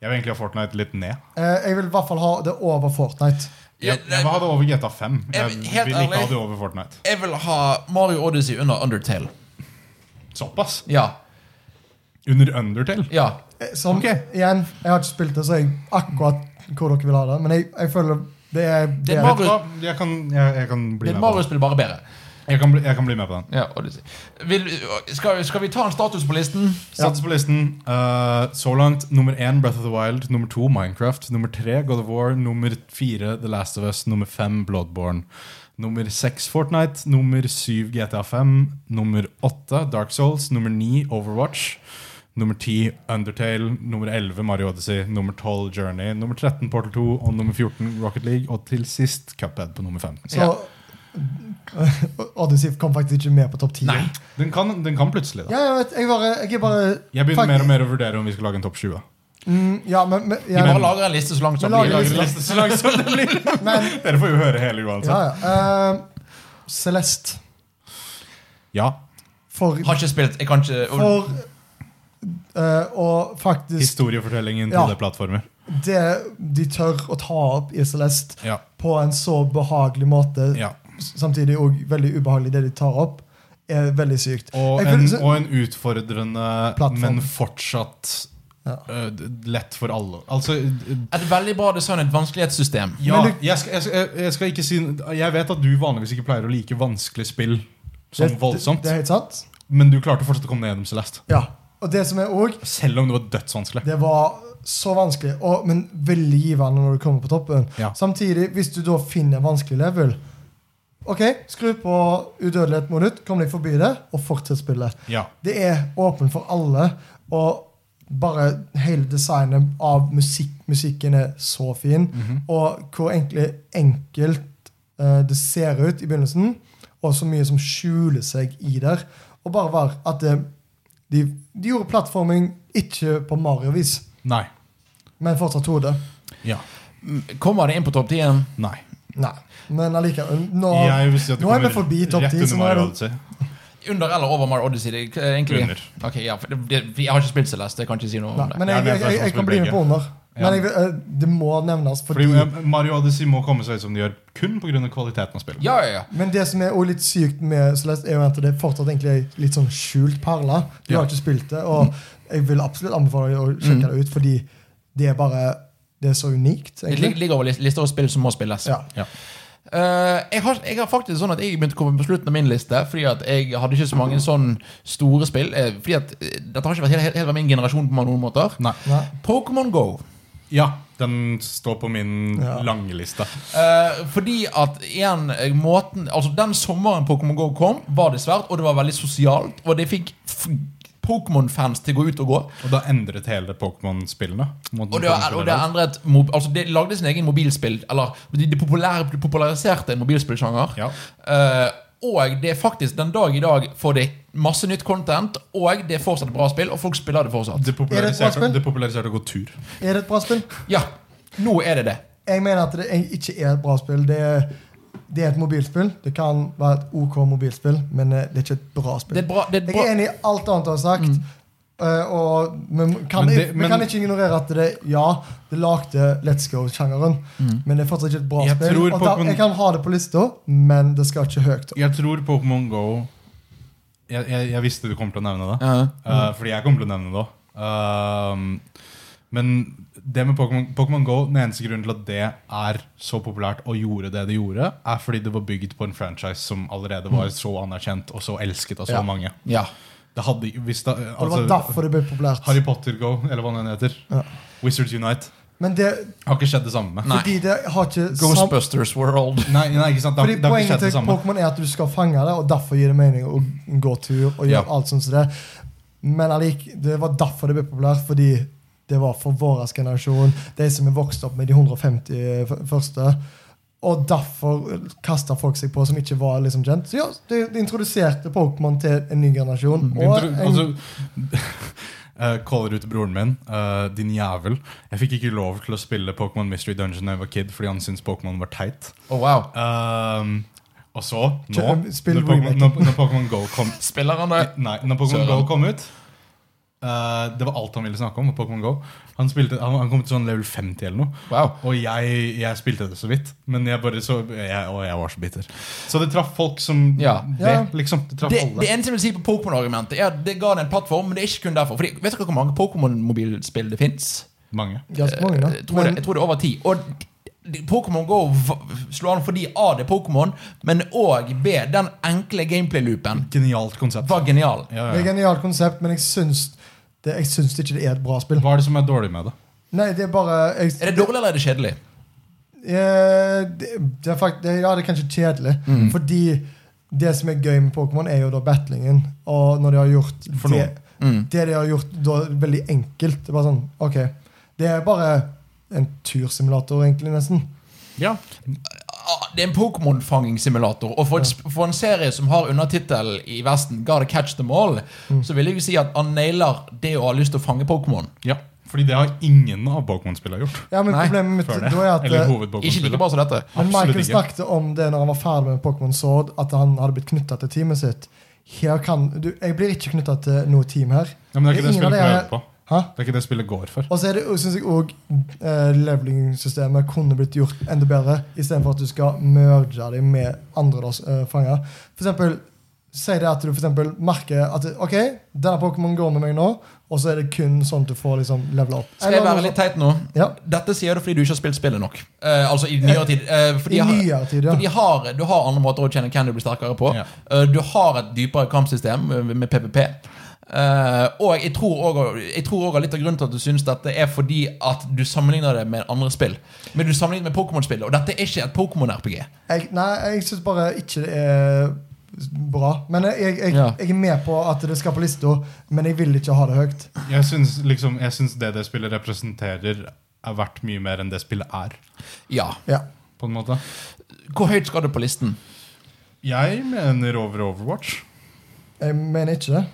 Speaker 3: Jeg vil egentlig ha Fortnite litt ned
Speaker 2: Eh, jeg vil i hvert fall ha det over Fortnite.
Speaker 1: Ja,
Speaker 3: Jeg, jeg vil ha det over GTA 5 Jeg
Speaker 1: Jeg-
Speaker 3: vil
Speaker 1: helt
Speaker 3: ikke ha
Speaker 1: ærlig.
Speaker 3: det over Fortnite
Speaker 1: jeg vil ha Mario Odyssey under Undertale.
Speaker 3: Såpass
Speaker 1: Ja.
Speaker 3: Under Undertale
Speaker 1: ja
Speaker 2: Eh, Som,
Speaker 3: Ok.
Speaker 2: Igjen, jeg har ikke spilt det, så jeg akkurat hvor dere vil ha det. Men jeg, jeg føler det er
Speaker 1: er
Speaker 2: bedre.
Speaker 1: Mario-
Speaker 3: Vet du hva? Jeg kan, jeg, jeg kan
Speaker 1: Det
Speaker 3: bli
Speaker 1: er et
Speaker 3: med på det
Speaker 1: Mario-spill, bare bedre.
Speaker 3: Jeg kan, bli, jeg kan bli med på den.
Speaker 1: Ja, Odyssey. Vil, skal, skal vi ta en status på listen?
Speaker 3: Sats på listen. Eh, så langt nummer én Breath of the Wild, nummer to Minecraft, nummer tre God of War, nummer fire The Last of Us, nummer fem Bloodborne, nummer seks Fortnite, nummer syv GTA5, nummer åtte Dark Souls, nummer ni Overwatch, nummer ti Undertale, nummer elleve Mario Odyssey, nummer tolv Journey, nummer 13 Portal 2 og nummer 14 Rocket League, og til sist Cuphead på nummer 15.
Speaker 2: Så Odyssey kom faktisk ikke med på topp 10.
Speaker 1: Nei.
Speaker 3: Den kan, den kan plutselig, da.
Speaker 2: Ja, jeg vet, jeg bare, jeg er bare
Speaker 3: Jeg begynner
Speaker 2: Fakt-
Speaker 3: mer og mer å vurdere om vi skal lage en topp 20.
Speaker 2: mm, Ja, men, men,
Speaker 1: Vi
Speaker 2: ja,
Speaker 1: bare
Speaker 2: men,
Speaker 1: lager en liste så langt som
Speaker 2: Men
Speaker 1: vi
Speaker 2: lager en
Speaker 1: lager.
Speaker 3: liste så langt som det blir.
Speaker 2: men
Speaker 3: Dere får jo høre hele uansett.
Speaker 2: ja, ja. Eh, Celeste.
Speaker 3: Ja.
Speaker 2: For,
Speaker 1: Har ikke spilt. Jeg kan ikke
Speaker 2: for eh, Og faktisk
Speaker 3: Historiefortellingen til
Speaker 2: Ja.
Speaker 3: det plattformer.
Speaker 2: det de tør å ta opp i Celeste
Speaker 3: Ja.
Speaker 2: på en så behagelig måte,
Speaker 3: ja.
Speaker 2: s- samtidig òg veldig ubehagelig, det de tar opp, er veldig sykt.
Speaker 3: Og,
Speaker 2: Jeg
Speaker 3: en,
Speaker 2: føler så-
Speaker 3: og en utfordrende,
Speaker 2: Plattform.
Speaker 3: men fortsatt
Speaker 2: Ja.
Speaker 3: øh, d- lett for alle. Altså øh,
Speaker 1: Et veldig bra designet vanskelighetssystem.
Speaker 3: Ja,
Speaker 2: Men du-
Speaker 3: jeg skal, jeg, skal, jeg- jeg skal ikke si Jeg vet at du vanligvis ikke pleier å like vanskelige spill som
Speaker 2: Det-
Speaker 3: voldsomt,
Speaker 2: Det, det er helt sant.
Speaker 3: men du klarte fortsatt å komme deg gjennom Celeste.
Speaker 2: Ja. Og det som er òg,
Speaker 3: Selv om det var dødsvanskelig.
Speaker 2: det var så vanskelig, og, men veldig givende når du kommer på toppen.
Speaker 3: Ja.
Speaker 2: Samtidig, hvis du da finner en vanskelig level OK, skru på udødelighet et minutt, kom deg forbi det, og fortsett spillet.
Speaker 3: Ja.
Speaker 2: Det er åpen for alle, og bare hele designet av musikk, musikken er så fin.
Speaker 3: Mhm.
Speaker 2: Og hvor egentlig enkelt eh, det ser ut i begynnelsen, og så mye som skjuler seg i der. Og bare var at det, de, de gjorde plattforming ikke på Mario-vis,
Speaker 3: Nei.
Speaker 2: men fortsatt hodet.
Speaker 3: Ja.
Speaker 1: Kommer det inn på topp 10?
Speaker 3: Nei.
Speaker 2: Nei. Men allikevel Nå,
Speaker 3: Jeg vil si at du
Speaker 2: nå er vi
Speaker 3: kommer
Speaker 2: forbi topp
Speaker 3: rett
Speaker 2: 10, så
Speaker 3: under
Speaker 2: nå er
Speaker 3: Mario
Speaker 2: det-
Speaker 3: Odyssey.
Speaker 1: Under eller over Mario Odyssey? Det er egentlig
Speaker 3: Under.
Speaker 1: Ok, ja, for det, det, Jeg har ikke spilt Celeste. Jeg kan ikke si noe
Speaker 2: nei,
Speaker 1: om det.
Speaker 2: men
Speaker 3: Jeg
Speaker 2: jeg,
Speaker 3: er med
Speaker 2: jeg,
Speaker 3: på
Speaker 2: jeg, jeg kan bli med
Speaker 3: begge.
Speaker 2: på under.
Speaker 3: Ja.
Speaker 2: Men jeg, vil- eh, det må nevnes
Speaker 3: Fordi
Speaker 2: fordi
Speaker 3: eh, Mario Odyssey må komme seg ut som de gjør, kun pga. kvaliteten av spillet.
Speaker 1: Ja, ja, ja.
Speaker 2: Men det som er også litt sykt med Celeste, er jo at det er fortsatt egentlig er litt sånn skjult perle. Du
Speaker 3: Ja.
Speaker 2: har ikke spilt det, og jeg vil absolutt anbefale deg å sjekke det ut, fordi det er bare Det er så unikt,
Speaker 1: Det lig-
Speaker 2: egentlig.
Speaker 1: ligger over lis- lister og spill som må spilles.
Speaker 2: Ja.
Speaker 1: Eh, jeg, har, jeg har faktisk sånn at jeg begynte å komme på slutten av min liste, fordi at jeg hadde ikke så mange sånn store spill. eh, fordi at eh, Dette har ikke vært helt, helt, helt min generasjon på noen måter.
Speaker 3: Nei.
Speaker 2: Nei.
Speaker 1: Pokémon Go.
Speaker 3: Ja, den står på min
Speaker 2: Ja.
Speaker 3: lange liste.
Speaker 1: Eh, fordi at igjen, eh, måten Altså Den sommeren Pokémon Go kom, var det svært, og det var veldig sosialt. Og det fikk f- Pokémon-fans til å gå ut og gå.
Speaker 3: Og da endret hele Pokémon-spillene. måten
Speaker 1: Og det, har-
Speaker 3: Pokémon
Speaker 1: og det har endret mob- altså Det lagde sin egen mobilspill Eller de, de, populære, de populariserte en mobilspillsjanger.
Speaker 3: Ja.
Speaker 1: Eh, og det er faktisk den dag i dag får det masse nytt content, og det er fortsatt bra spill, og folk spiller det fortsatt.
Speaker 3: Det populariserte,
Speaker 2: Er det et bra spill?
Speaker 3: det populariserte å gå tur.
Speaker 2: Er det et bra spill?
Speaker 1: Ja, nå er det det.
Speaker 2: Jeg mener at det er- ikke er et bra spill. Det er, det er et mobilspill. Det kan være et OK mobilspill, men eh, det er ikke et bra
Speaker 1: Det
Speaker 2: spill.
Speaker 1: er bra, det er
Speaker 2: Jeg
Speaker 1: bra.
Speaker 2: er enig i alt annet du har sagt. Eh, og vi, må- kan,
Speaker 3: Mm. Men det-
Speaker 2: vi
Speaker 3: men-
Speaker 2: kan ikke ignorere at det ja, det lagde Let's Go-sjangeren, men det er fortsatt ikke et bra
Speaker 3: Mm. Jeg
Speaker 2: spill.
Speaker 3: tror
Speaker 2: Og da,
Speaker 3: Pokémon-
Speaker 2: jeg kan ha det på lista, men det skal ikke høyt opp.
Speaker 3: Jeg tror Pokémon Go jeg, jeg, jeg visste du kom til å nevne det.
Speaker 1: Ja.
Speaker 3: Eh, fordi jeg kommer til å nevne det òg. men det med Pokémon Pokémon Go, den eneste grunnen til at det er så populært og gjorde det det gjorde, er fordi det var bygd på en franchise som allerede var så anerkjent og så elsket av så
Speaker 2: Ja.
Speaker 3: mange.
Speaker 1: ja.
Speaker 3: Det hadde, hvis da,
Speaker 2: Og det var
Speaker 3: altså,
Speaker 2: derfor det ble populært.
Speaker 3: Harry Potter Go, eller hva den heter.
Speaker 2: Ja.
Speaker 3: Wizards Unite.
Speaker 2: Men det,
Speaker 3: Har ikke skjedd det samme med.
Speaker 1: Nei.
Speaker 2: fordi det har ikke sam-
Speaker 1: Ghostbusters World.
Speaker 3: Nei, nei, ikke sant? Det har,
Speaker 2: Fordi
Speaker 3: det har ikke
Speaker 2: Poenget
Speaker 3: skjedd det
Speaker 2: til
Speaker 3: samme.
Speaker 2: Pokémon er at du skal fange det, og derfor gir det mening å gå tur. og gjøre
Speaker 3: Ja.
Speaker 2: alt sånt som det. Men allik, det var derfor det ble populært, fordi det var for vår generasjon. De som er vokst opp med de 150 eh, f- første. Og derfor kasta folk seg på som ikke var liksom kjent. Så ja, det, det introduserte Pokémon til en ny generasjon.
Speaker 1: Mm.
Speaker 2: Og
Speaker 3: Intro-
Speaker 2: en,
Speaker 3: altså, eh, caller ut broren min. eh, din jævel. Jeg fikk ikke lov til å spille Pokémon Mystery Dungeon da jeg var kid fordi han syntes Pokémon var teit.
Speaker 1: Oh, wow.
Speaker 3: Ehm, og så, nå,
Speaker 2: Kjø- spill
Speaker 3: når Pokémon-
Speaker 2: remaken.
Speaker 3: når når Pokémon Go kom
Speaker 1: Spiller han det?
Speaker 3: Nei, når Pokémon Go
Speaker 1: Søren.
Speaker 3: kom ut eh, Det var alt han ville snakke om. var Pokémon Go han, spilte, han, han kom til sånn level 50 eller noe.
Speaker 1: Wow.
Speaker 3: Og jeg, jeg spilte det så vidt. Men jeg bare så jeg, Og jeg var så bitter. Så det traff folk som
Speaker 1: Ja.
Speaker 3: det,
Speaker 2: Ja.
Speaker 3: liksom. Det traff
Speaker 1: Det,
Speaker 3: alle.
Speaker 1: det eneste jeg vil si på Pokémon-argumentet, er at det ga det en plattform, men det er ikke kun derfor. Fordi, vet dere hvor mange Pokémon-mobilspill det fins?
Speaker 3: Mange.
Speaker 2: ganske mange, da.
Speaker 1: eh, Jeg tror det,
Speaker 2: Men-
Speaker 1: jeg tror det er over ti. Og d- Pokémon Go v- slår an fordi A, det er Pokémon, men òg B, den enkle gameplay-loopen
Speaker 3: Genialt konsept.
Speaker 1: var genial.
Speaker 3: Ja,
Speaker 2: det er et
Speaker 3: ja.
Speaker 2: genialt konsept, men jeg syns, det, jeg syns det ikke det er et bra spill.
Speaker 3: Hva er det som er dårlig med det?
Speaker 2: Nei, det er bare jeg,
Speaker 1: Er det dårlig, eller er det kjedelig?
Speaker 2: Eh, det, det er fakt, det, ja, det er kanskje kjedelig.
Speaker 3: Mm.
Speaker 2: Fordi det som er gøy med Pokémon, er jo da battlingen. Og når de har gjort
Speaker 3: For
Speaker 2: det,
Speaker 3: noen.
Speaker 2: det de har gjort da, er det veldig enkelt. Det er bare sånn, ok Det er bare en tursimulator, egentlig, nesten.
Speaker 3: Ja.
Speaker 1: Ah, Det er en Pokémon-fangingssimulator. Og for, et, sp- for en serie som har undertittel i Vesten, Gotta Catch Them All, så vil jeg jo si at han nailer det å ha lyst til å fange Pokémon.
Speaker 3: Fordi det har ingen av Pokémon-spillene gjort.
Speaker 2: Ja, men
Speaker 1: Nei,
Speaker 2: problemet mitt
Speaker 3: Før det.
Speaker 2: da er at
Speaker 3: Eller
Speaker 2: eh,
Speaker 1: Ikke like
Speaker 3: hoved-Pokémon-spillene.
Speaker 1: bra som dette.
Speaker 2: Men
Speaker 3: Absolutt
Speaker 2: Michael
Speaker 3: ikke.
Speaker 2: snakket om det når han var ferdig med Pokémon Sword, at han hadde blitt knytta til teamet sitt. Her kan, du, jeg blir ikke knytta til noe team her.
Speaker 3: Ja, men det er ikke det
Speaker 2: Ingen av
Speaker 3: spillet
Speaker 2: dere-
Speaker 3: prøver på.
Speaker 2: Hæ?
Speaker 3: Det er ikke det spillet går for.
Speaker 2: Og så er det, synes jeg òg leveling-systemet kunne blitt gjort enda bedre, istedenfor at du skal merge deg med andre da, eh, fanger. For eksempel, Si det at du for eksempel merker at ok, denne Pokémon går med meg nå, og så er det kun sånn at du får liksom levela opp.
Speaker 1: Skal jeg være litt teit nå?
Speaker 2: Ja.
Speaker 1: Dette sier du fordi du ikke har spilt spillet nok. Eh, altså i nyere tid. Eh, fordi
Speaker 2: I
Speaker 1: jeg har-
Speaker 2: nyere tid, ja.
Speaker 1: Fordi har, Du har andre måter å tjene candy bli sterkere på.
Speaker 3: Ja.
Speaker 1: Eh, Du har et dypere kampsystem eh, med PPP. Eh, og jeg tror også- jeg tror òg litt av grunnen til at du syns dette, er fordi at du sammenligner det med andre spill. Men du sammenligner med Pokémon-spill, og dette er ikke et Pokémon-RPG.
Speaker 2: Jeg, nei, jeg syns bare ikke det er bra. Men jeg, jeg, jeg,
Speaker 1: Ja.
Speaker 2: jeg er med på at det skal på lista, men jeg vil ikke ha det høyt.
Speaker 3: Jeg syns liksom, jeg syns det det spillet representerer, er verdt mye mer enn det spillet er.
Speaker 1: Ja.
Speaker 2: Ja.
Speaker 3: På en måte
Speaker 1: Hvor høyt skal du på listen?
Speaker 3: Jeg mener over Overwatch.
Speaker 2: Jeg mener ikke det.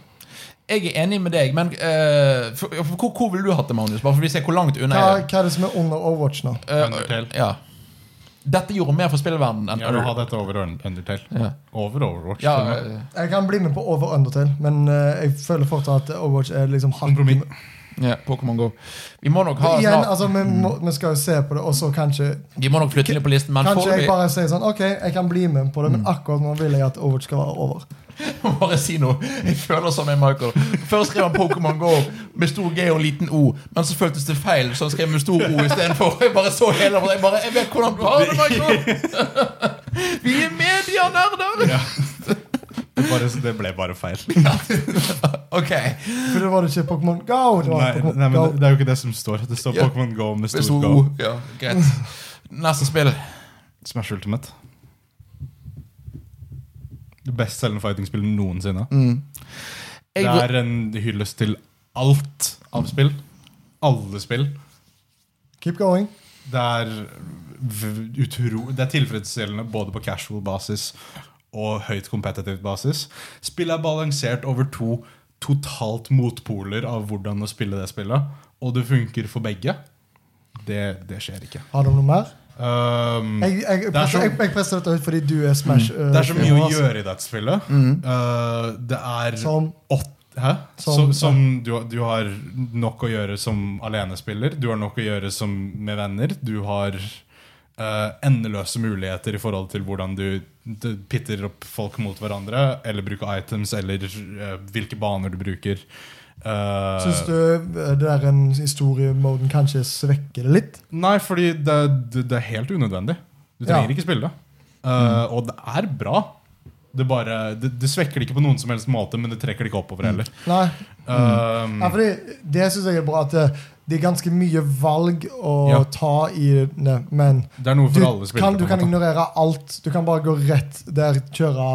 Speaker 1: Jeg er enig med deg, men eh, for, for, hvor, hvor ville du hatt det, Magnus? Bare for vi ser hvor langt unna
Speaker 2: Hva,
Speaker 1: jeg er.
Speaker 2: hva er det som er under Overwatch nå?
Speaker 1: Eh,
Speaker 3: Undertale.
Speaker 1: ja. Dette gjorde mer for spillverdenen enn
Speaker 3: Jeg vil ha dette over Un- Undertale.
Speaker 1: Ja.
Speaker 3: Over Overwatch.
Speaker 1: Ja,
Speaker 3: til og med.
Speaker 1: eh,
Speaker 2: Jeg kan bli med på over Undertale, men eh, jeg føler fortsatt at Overwatch er liksom hakket-
Speaker 3: Kompromiss.
Speaker 1: ja, eh, Pokémon Go. Vi må nok ha
Speaker 2: Igjen,
Speaker 1: snart,
Speaker 2: altså, vi,
Speaker 3: Mm.
Speaker 2: må, vi skal jo se på det, og så kanskje
Speaker 1: Vi må nok flytte litt på listen, men
Speaker 2: Kanskje
Speaker 1: foreløpig bare...
Speaker 2: jeg bare sier sånn Ok, jeg kan bli med på det,
Speaker 3: Mm.
Speaker 2: men akkurat nå vil jeg at Overwatch skal være over.
Speaker 1: bare si noe. Jeg føler som en Michael. Først skrev han Pokémon Go med stor G og liten O, men så føltes det feil, så han skrev med stor O istedenfor. Jeg bare så hele Jeg bare Jeg vet hvordan du har det, Michael! Vi er medianerder!
Speaker 3: Ja. Det, bare, det ble bare feil.
Speaker 1: Ok.
Speaker 2: For det var det ikke Pokémon Go! Det var
Speaker 3: Nei,
Speaker 2: Pokémon
Speaker 3: nei, men
Speaker 2: Go.
Speaker 3: det, det er jo ikke det som står. Det står
Speaker 1: Ja.
Speaker 3: Pokémon Go med
Speaker 1: Med
Speaker 3: stor
Speaker 1: stor
Speaker 3: Go.
Speaker 1: O. Ja, greit. Neste spill.
Speaker 3: Smash Ultimate. Det bestselgende fighting-spillet noensinne.
Speaker 1: Jeg,
Speaker 3: Det er en hyllest til alt av spill. Alle spill.
Speaker 2: Keep going.
Speaker 3: Det er, v- utro, det er tilfredsstillende både på casual basis og høyt competitive basis. Spillet er balansert over to totalt motpoler av hvordan å spille det spillet. Og det funker for begge. Det, det skjer ikke.
Speaker 2: Har du noe mer?
Speaker 3: Um,
Speaker 2: Jeg, jeg, jeg,
Speaker 3: Det er så- Mm.
Speaker 2: presser, jeg, jeg presser dette ut fordi du er Smash.
Speaker 3: Det er så
Speaker 2: eh,
Speaker 3: mye å
Speaker 2: altså.
Speaker 3: gjøre i dette spillet. Eh, det er
Speaker 2: Som?
Speaker 3: åtte Hæ? Som,
Speaker 2: Som-
Speaker 3: som du, har- du har nok å gjøre som alenespiller, du har nok å gjøre som med venner. Du har eh, endeløse muligheter i forhold til hvordan du, du pitter opp folk mot hverandre, eller bruker items, eller eh, hvilke baner du bruker. Eh,
Speaker 2: Syns du eh, det der en historiemoden kanskje svekker det litt?
Speaker 3: Nei, fordi det, det, det er helt unødvendig. Du trenger
Speaker 2: Ja.
Speaker 3: ikke spille det. Eh, Og det er bra. Det, bare, det, det svekker det ikke på noen som helst måte, men det trekker det ikke oppover heller.
Speaker 2: Nei.
Speaker 3: Eh,
Speaker 2: Ja, fordi det syns jeg er bra. At det, det er ganske mye valg å
Speaker 3: Ja.
Speaker 2: ta i det, men
Speaker 3: det er noe
Speaker 2: du
Speaker 3: for alle spillere.
Speaker 2: kan, du
Speaker 3: på en
Speaker 2: kan
Speaker 3: måte.
Speaker 2: ignorere alt. Du kan bare gå rett der, kjøre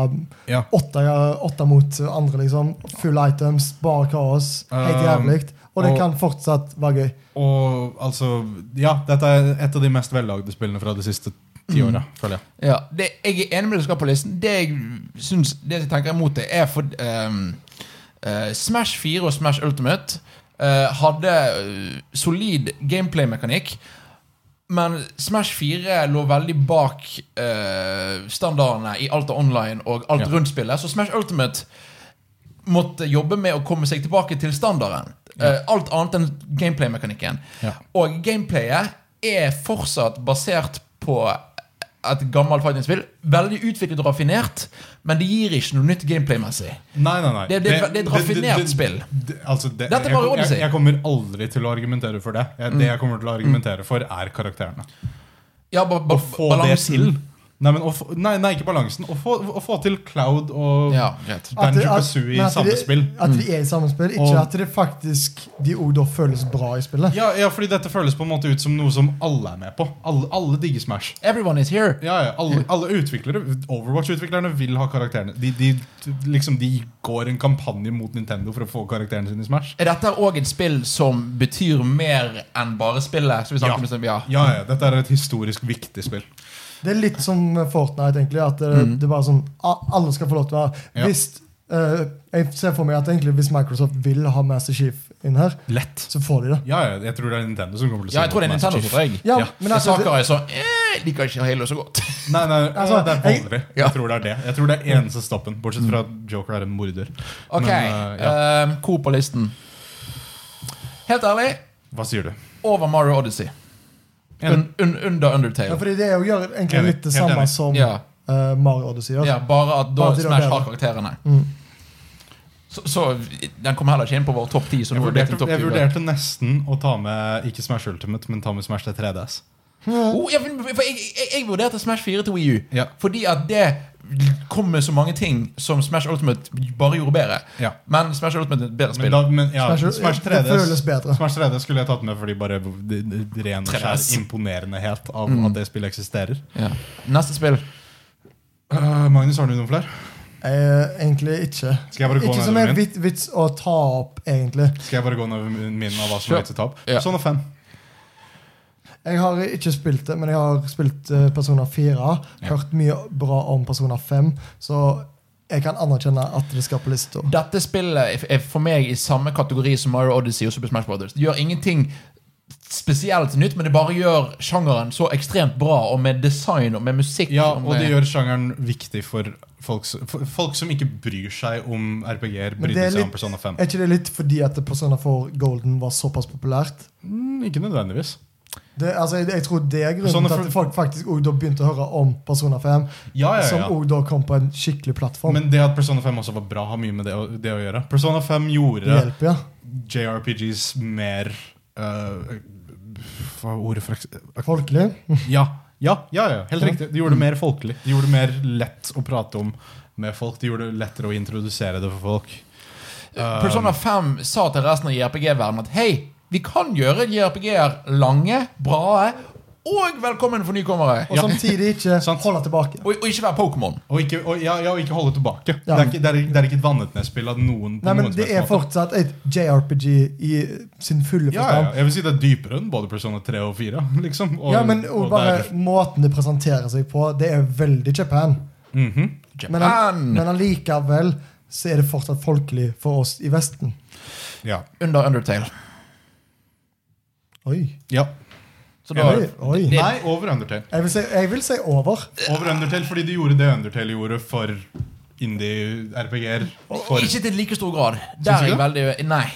Speaker 3: Ja.
Speaker 2: åtte, åtte mot andre, liksom. Full items, bare kaos. Helt
Speaker 3: Um,
Speaker 2: jævlig. Og det
Speaker 3: og-
Speaker 2: kan fortsatt være gøy.
Speaker 3: Og altså Ja, dette er et av de mest vellagde spillene fra de siste ti åra, føler jeg.
Speaker 1: Ja, det, jeg er enig med det du skal på listen. Det jeg, syns, det jeg tenker imot det, er for ehm, eh, Smash 4 og Smash Ultimate eh, hadde eh, solid gameplay-mekanikk. Men Smash 4 lå veldig bak eh, standardene i alt av online og alt
Speaker 3: Ja.
Speaker 1: rundt spillet. Så Smash Ultimate måtte jobbe med å komme seg tilbake til standarden. Eh, alt annet enn gameplay-mekanikken.
Speaker 3: Ja.
Speaker 1: Og gameplayet er fortsatt basert på et gammelt fighting-spill. Veldig utviklet og raffinert, men det gir ikke noe nytt gameplay-messig.
Speaker 3: Nei, nei, nei.
Speaker 1: Det- det- det er et raffinert
Speaker 3: det-
Speaker 1: spill.
Speaker 3: det- altså, det,
Speaker 1: Dette er bare
Speaker 3: jeg, kom-
Speaker 1: Odyssey.
Speaker 3: jeg, jeg kommer aldri til å argumentere for det. Jeg,
Speaker 1: Mm.
Speaker 3: Det jeg kommer til å argumentere for, er karakterene.
Speaker 1: Ja, ba ba
Speaker 3: Å få
Speaker 1: balansen.
Speaker 3: det til. Nei, men å få, nei, nei, ikke balansen. Å få, å få til Cloud og
Speaker 1: Ja, greit.
Speaker 2: At det-
Speaker 3: Banjo
Speaker 2: at-
Speaker 3: Kazooie
Speaker 2: men
Speaker 3: i
Speaker 2: at
Speaker 3: samme
Speaker 2: det-
Speaker 3: spill. Mm.
Speaker 2: At de er i samme spill. Ikke
Speaker 3: Og-
Speaker 2: at det faktisk de òg da føles bra i spillet.
Speaker 3: Ja, ja, fordi dette føles på en måte ut som noe som alle er med på. Alle, alle digger Smash.
Speaker 1: Everyone is here.
Speaker 3: Ja, ja, alle, alle utviklere Overwatch-utviklerne vil ha karakterene. De, de, liksom, de går en kampanje mot Nintendo for å få karakterene sine i Smash.
Speaker 1: Er dette òg et spill som betyr mer enn bare spillet? Som vi snakket
Speaker 3: Ja.
Speaker 1: om, som- ja.
Speaker 3: Ja, ja, dette er et historisk viktig spill.
Speaker 2: Det er litt som Fortnite, egentlig. At det, det er bare sånn a- Alle skal få lov til å
Speaker 3: Mm. Ja.
Speaker 2: være Hvis eh, Jeg ser for meg at egentlig hvis Microsoft vil ha Master Chief inn her,
Speaker 3: Lett.
Speaker 2: så får de det.
Speaker 3: Ja, ja, jeg tror det er Nintendo som kommer til å
Speaker 1: ja, jeg tror det er Nintendo som tror jeg.
Speaker 2: Ja,
Speaker 3: Ja.
Speaker 2: men altså, det,
Speaker 1: Saker er så eh, Liker ikke Halo så godt.
Speaker 3: Nei, nei,
Speaker 2: Altså,
Speaker 3: det er
Speaker 2: jeg-
Speaker 3: Boldry.
Speaker 1: Ja.
Speaker 3: Jeg tror det er det. Jeg tror det er eneste stoppen, bortsett fra at Joker er en morder.
Speaker 1: Ok,
Speaker 3: Men, eh, ja.
Speaker 1: eh, Hvor på listen? Helt ærlig,
Speaker 3: Hva sier du?
Speaker 1: over Mario Odyssey. Un, un, under
Speaker 2: ja,
Speaker 1: Undertale.
Speaker 2: fordi det er å gjøre egentlig
Speaker 3: Enig.
Speaker 2: litt det
Speaker 3: Helt
Speaker 2: samme
Speaker 3: enig.
Speaker 2: som
Speaker 1: Ja.
Speaker 2: eh, Mario Odyssey gjør.
Speaker 1: Ja, bare at da
Speaker 2: Bare til å
Speaker 1: Smash
Speaker 2: bedre.
Speaker 1: har karakterene.
Speaker 2: Mm.
Speaker 1: Så, så den kommer heller ikke inn på vår topp 10. Så
Speaker 3: Jeg
Speaker 1: nå er det til
Speaker 3: vurderte,
Speaker 1: topp
Speaker 3: jeg
Speaker 1: 20.
Speaker 3: vurderte nesten å ta med ikke Smash Ultimate, men ta med Smash til 3DS.
Speaker 1: Oh, ja, for for jeg, jeg, jeg vurderte Smash 4 til Wii U.
Speaker 3: Ja.
Speaker 1: Fordi at det kom med så mange ting som Smash Ultimate bare gjorde bedre.
Speaker 3: Ja.
Speaker 1: Men Smash Ultimate er et bedre
Speaker 3: Men
Speaker 1: spill.
Speaker 3: da, men, ja,
Speaker 2: Smash-
Speaker 3: Smash,
Speaker 2: det
Speaker 3: 3DS,
Speaker 2: føles bedre.
Speaker 3: Smash 3DS skulle jeg tatt med fordi bare d- d- ren og skjær
Speaker 1: 3DS.
Speaker 3: imponerendehet av
Speaker 1: Mm.
Speaker 3: at det spillet eksisterer.
Speaker 1: Ja. Neste spill.
Speaker 3: Øh, Magnus, har du noen flere?
Speaker 2: Eh, egentlig ikke.
Speaker 3: Skal jeg bare gå
Speaker 2: Ikke som
Speaker 3: nedover
Speaker 2: er
Speaker 3: min?
Speaker 2: vit, vits å ta opp, egentlig.
Speaker 3: Skal jeg bare gå nedover min av hva som
Speaker 1: Sure.
Speaker 3: er til tap?
Speaker 1: Ja.
Speaker 3: Sånn og fem.
Speaker 2: Jeg har ikke spilt det, men jeg har spilt eh, Persona 4.
Speaker 3: Ja.
Speaker 2: Hørt mye bra om Persona 5, så jeg kan anerkjenne at det skal på lista.
Speaker 1: Dette spillet er for meg i samme kategori som Mario Odyssey og Super Smash Brothers. Det gjør ingenting spesielt nytt, men det bare gjør sjangeren så ekstremt bra, og med design og med musikk.
Speaker 3: Ja,
Speaker 1: og
Speaker 3: og
Speaker 1: med,
Speaker 3: det gjør sjangeren viktig for folk, s- for folk som ikke bryr seg om RPG-er,
Speaker 2: Men det
Speaker 3: brydde
Speaker 2: er
Speaker 3: seg
Speaker 2: litt-
Speaker 3: om Persona 5.
Speaker 2: Er ikke det litt fordi at Persona 4 Golden var såpass populært?
Speaker 3: Mm, ikke nødvendigvis.
Speaker 2: Det, altså, jeg, jeg tror det er grunnen
Speaker 3: Persona
Speaker 2: til
Speaker 3: for-
Speaker 2: at folk faktisk også da begynte å høre om Persona 5,
Speaker 3: Ja, ja,
Speaker 2: som
Speaker 3: ja.
Speaker 2: også da kom på en skikkelig plattform.
Speaker 3: Men det at Persona 5 også var bra, har mye med det å, det å gjøre. Persona 5
Speaker 2: Det
Speaker 3: gjorde
Speaker 2: hjelper, ja.
Speaker 3: JRPGs mer eh, Hva er ordet for eks-
Speaker 2: Folkelig.
Speaker 3: Ja, ja, ja, ja. helt
Speaker 2: Ja. Mm.
Speaker 3: riktig. De gjorde det mer folkelig. De gjorde det mer lett å prate om med folk. De gjorde det lettere å introdusere det for folk.
Speaker 1: Eh,
Speaker 3: eh,
Speaker 1: Persona 5 sa til resten av JRPG-verdenen at hei, vi kan gjøre JRPG-er lange, bra og velkommen for nykommere.
Speaker 2: Og
Speaker 3: Ja.
Speaker 2: samtidig ikke
Speaker 3: Sant.
Speaker 2: holde tilbake.
Speaker 1: Og, og ikke være Pokémon.
Speaker 3: Og ikke, og, ja, ja, og ikke holde tilbake. Det,
Speaker 2: Ja.
Speaker 3: er ikke, det, er, det er ikke et vannet nedspill av noen. på
Speaker 2: Nei, men
Speaker 3: noen som
Speaker 2: Det
Speaker 3: helst
Speaker 2: er
Speaker 3: måte.
Speaker 2: fortsatt et JRPG i sin fulle
Speaker 3: ja, ja,
Speaker 2: forstand.
Speaker 3: Jeg vil si det er dypere enn både Persona 3 og 4. Liksom. Og,
Speaker 2: Ja, men og
Speaker 3: og
Speaker 2: bare
Speaker 3: det er-
Speaker 2: Måten det presenterer seg på, det er veldig Japan.
Speaker 3: Mhm.
Speaker 2: Men,
Speaker 1: Japan!
Speaker 2: men allikevel så er det fortsatt folkelig for oss i Vesten.
Speaker 3: ja.
Speaker 1: Under Undertale.
Speaker 2: Oi.
Speaker 3: ja.
Speaker 1: Så da,
Speaker 2: Oi. oi.
Speaker 1: Det-
Speaker 3: Nei, over Undertale.
Speaker 2: Jeg vil si, jeg vil si over.
Speaker 3: Over Undertale fordi de gjorde det Undertale gjorde for indie-RPG-er. for-
Speaker 1: Ikke til like stor grad. Der
Speaker 3: Syns
Speaker 1: er
Speaker 3: du
Speaker 1: jeg
Speaker 3: det?
Speaker 1: veldig Nei.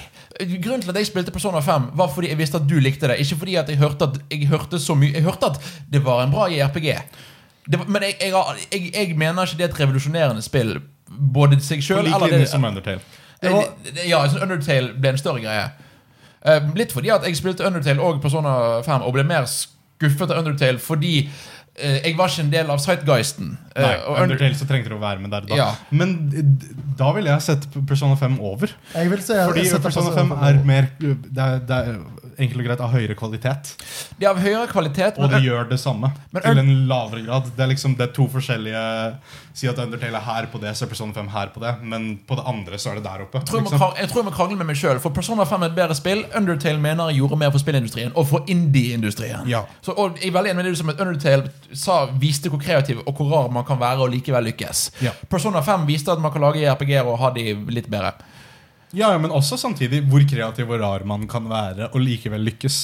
Speaker 1: Grunnen til at jeg spilte Persona 5, var fordi jeg visste at du likte det. Ikke fordi at jeg hørte at, jeg hørte så mye, jeg hørte at det var en bra JRPG. Det var, men jeg, jeg, har- jeg, jeg mener ikke det er et revolusjonerende spill. Både seg
Speaker 3: På
Speaker 1: sjøl
Speaker 3: lik
Speaker 1: eller
Speaker 3: linje
Speaker 1: det,
Speaker 3: som Undertale.
Speaker 1: Eh,
Speaker 2: var-
Speaker 1: det- Ja, jeg synes Undertale ble en større greie. Eh, Litt fordi at jeg spilte Undertale og Persona 5 og ble mer skuffet av Undertale fordi eh, jeg var ikke en del av Sightguisten. Eh,
Speaker 3: Nei,
Speaker 1: og Under-
Speaker 3: Undertale så trengte du å være med der da.
Speaker 1: Ja.
Speaker 3: Men d- da ville jeg sett Persona 5 over.
Speaker 2: Jeg vil si at
Speaker 3: Fordi
Speaker 2: jeg setter
Speaker 3: Persona 5 er mer Det er, det er enkelt og greit av høyere kvalitet.
Speaker 1: De har høyere kvalitet.
Speaker 3: Og
Speaker 1: men-
Speaker 3: det gjør det samme,
Speaker 1: Men-
Speaker 3: til en lavere grad. Det er liksom det er to forskjellige Si at Undertale er her på det, så er Persona 5 her på det. Men på det andre så er det der oppe.
Speaker 1: Jeg tror jeg må
Speaker 3: liksom.
Speaker 1: krang- jeg tror jeg må krangle med meg sjøl. For Persona 5 er et bedre spill. Undertale mener jeg gjorde mer for spillindustrien og for indie-industrien.
Speaker 3: Ja.
Speaker 1: Så, og jeg er veldig enig med det du som at Undertale sa viste hvor kreativ og hvor rar man kan være og likevel lykkes.
Speaker 3: Ja.
Speaker 1: Persona 5 viste at man kan lage RPG-er og ha de litt bedre.
Speaker 3: Ja, ja, men også samtidig hvor kreativ og rar man kan være og likevel lykkes.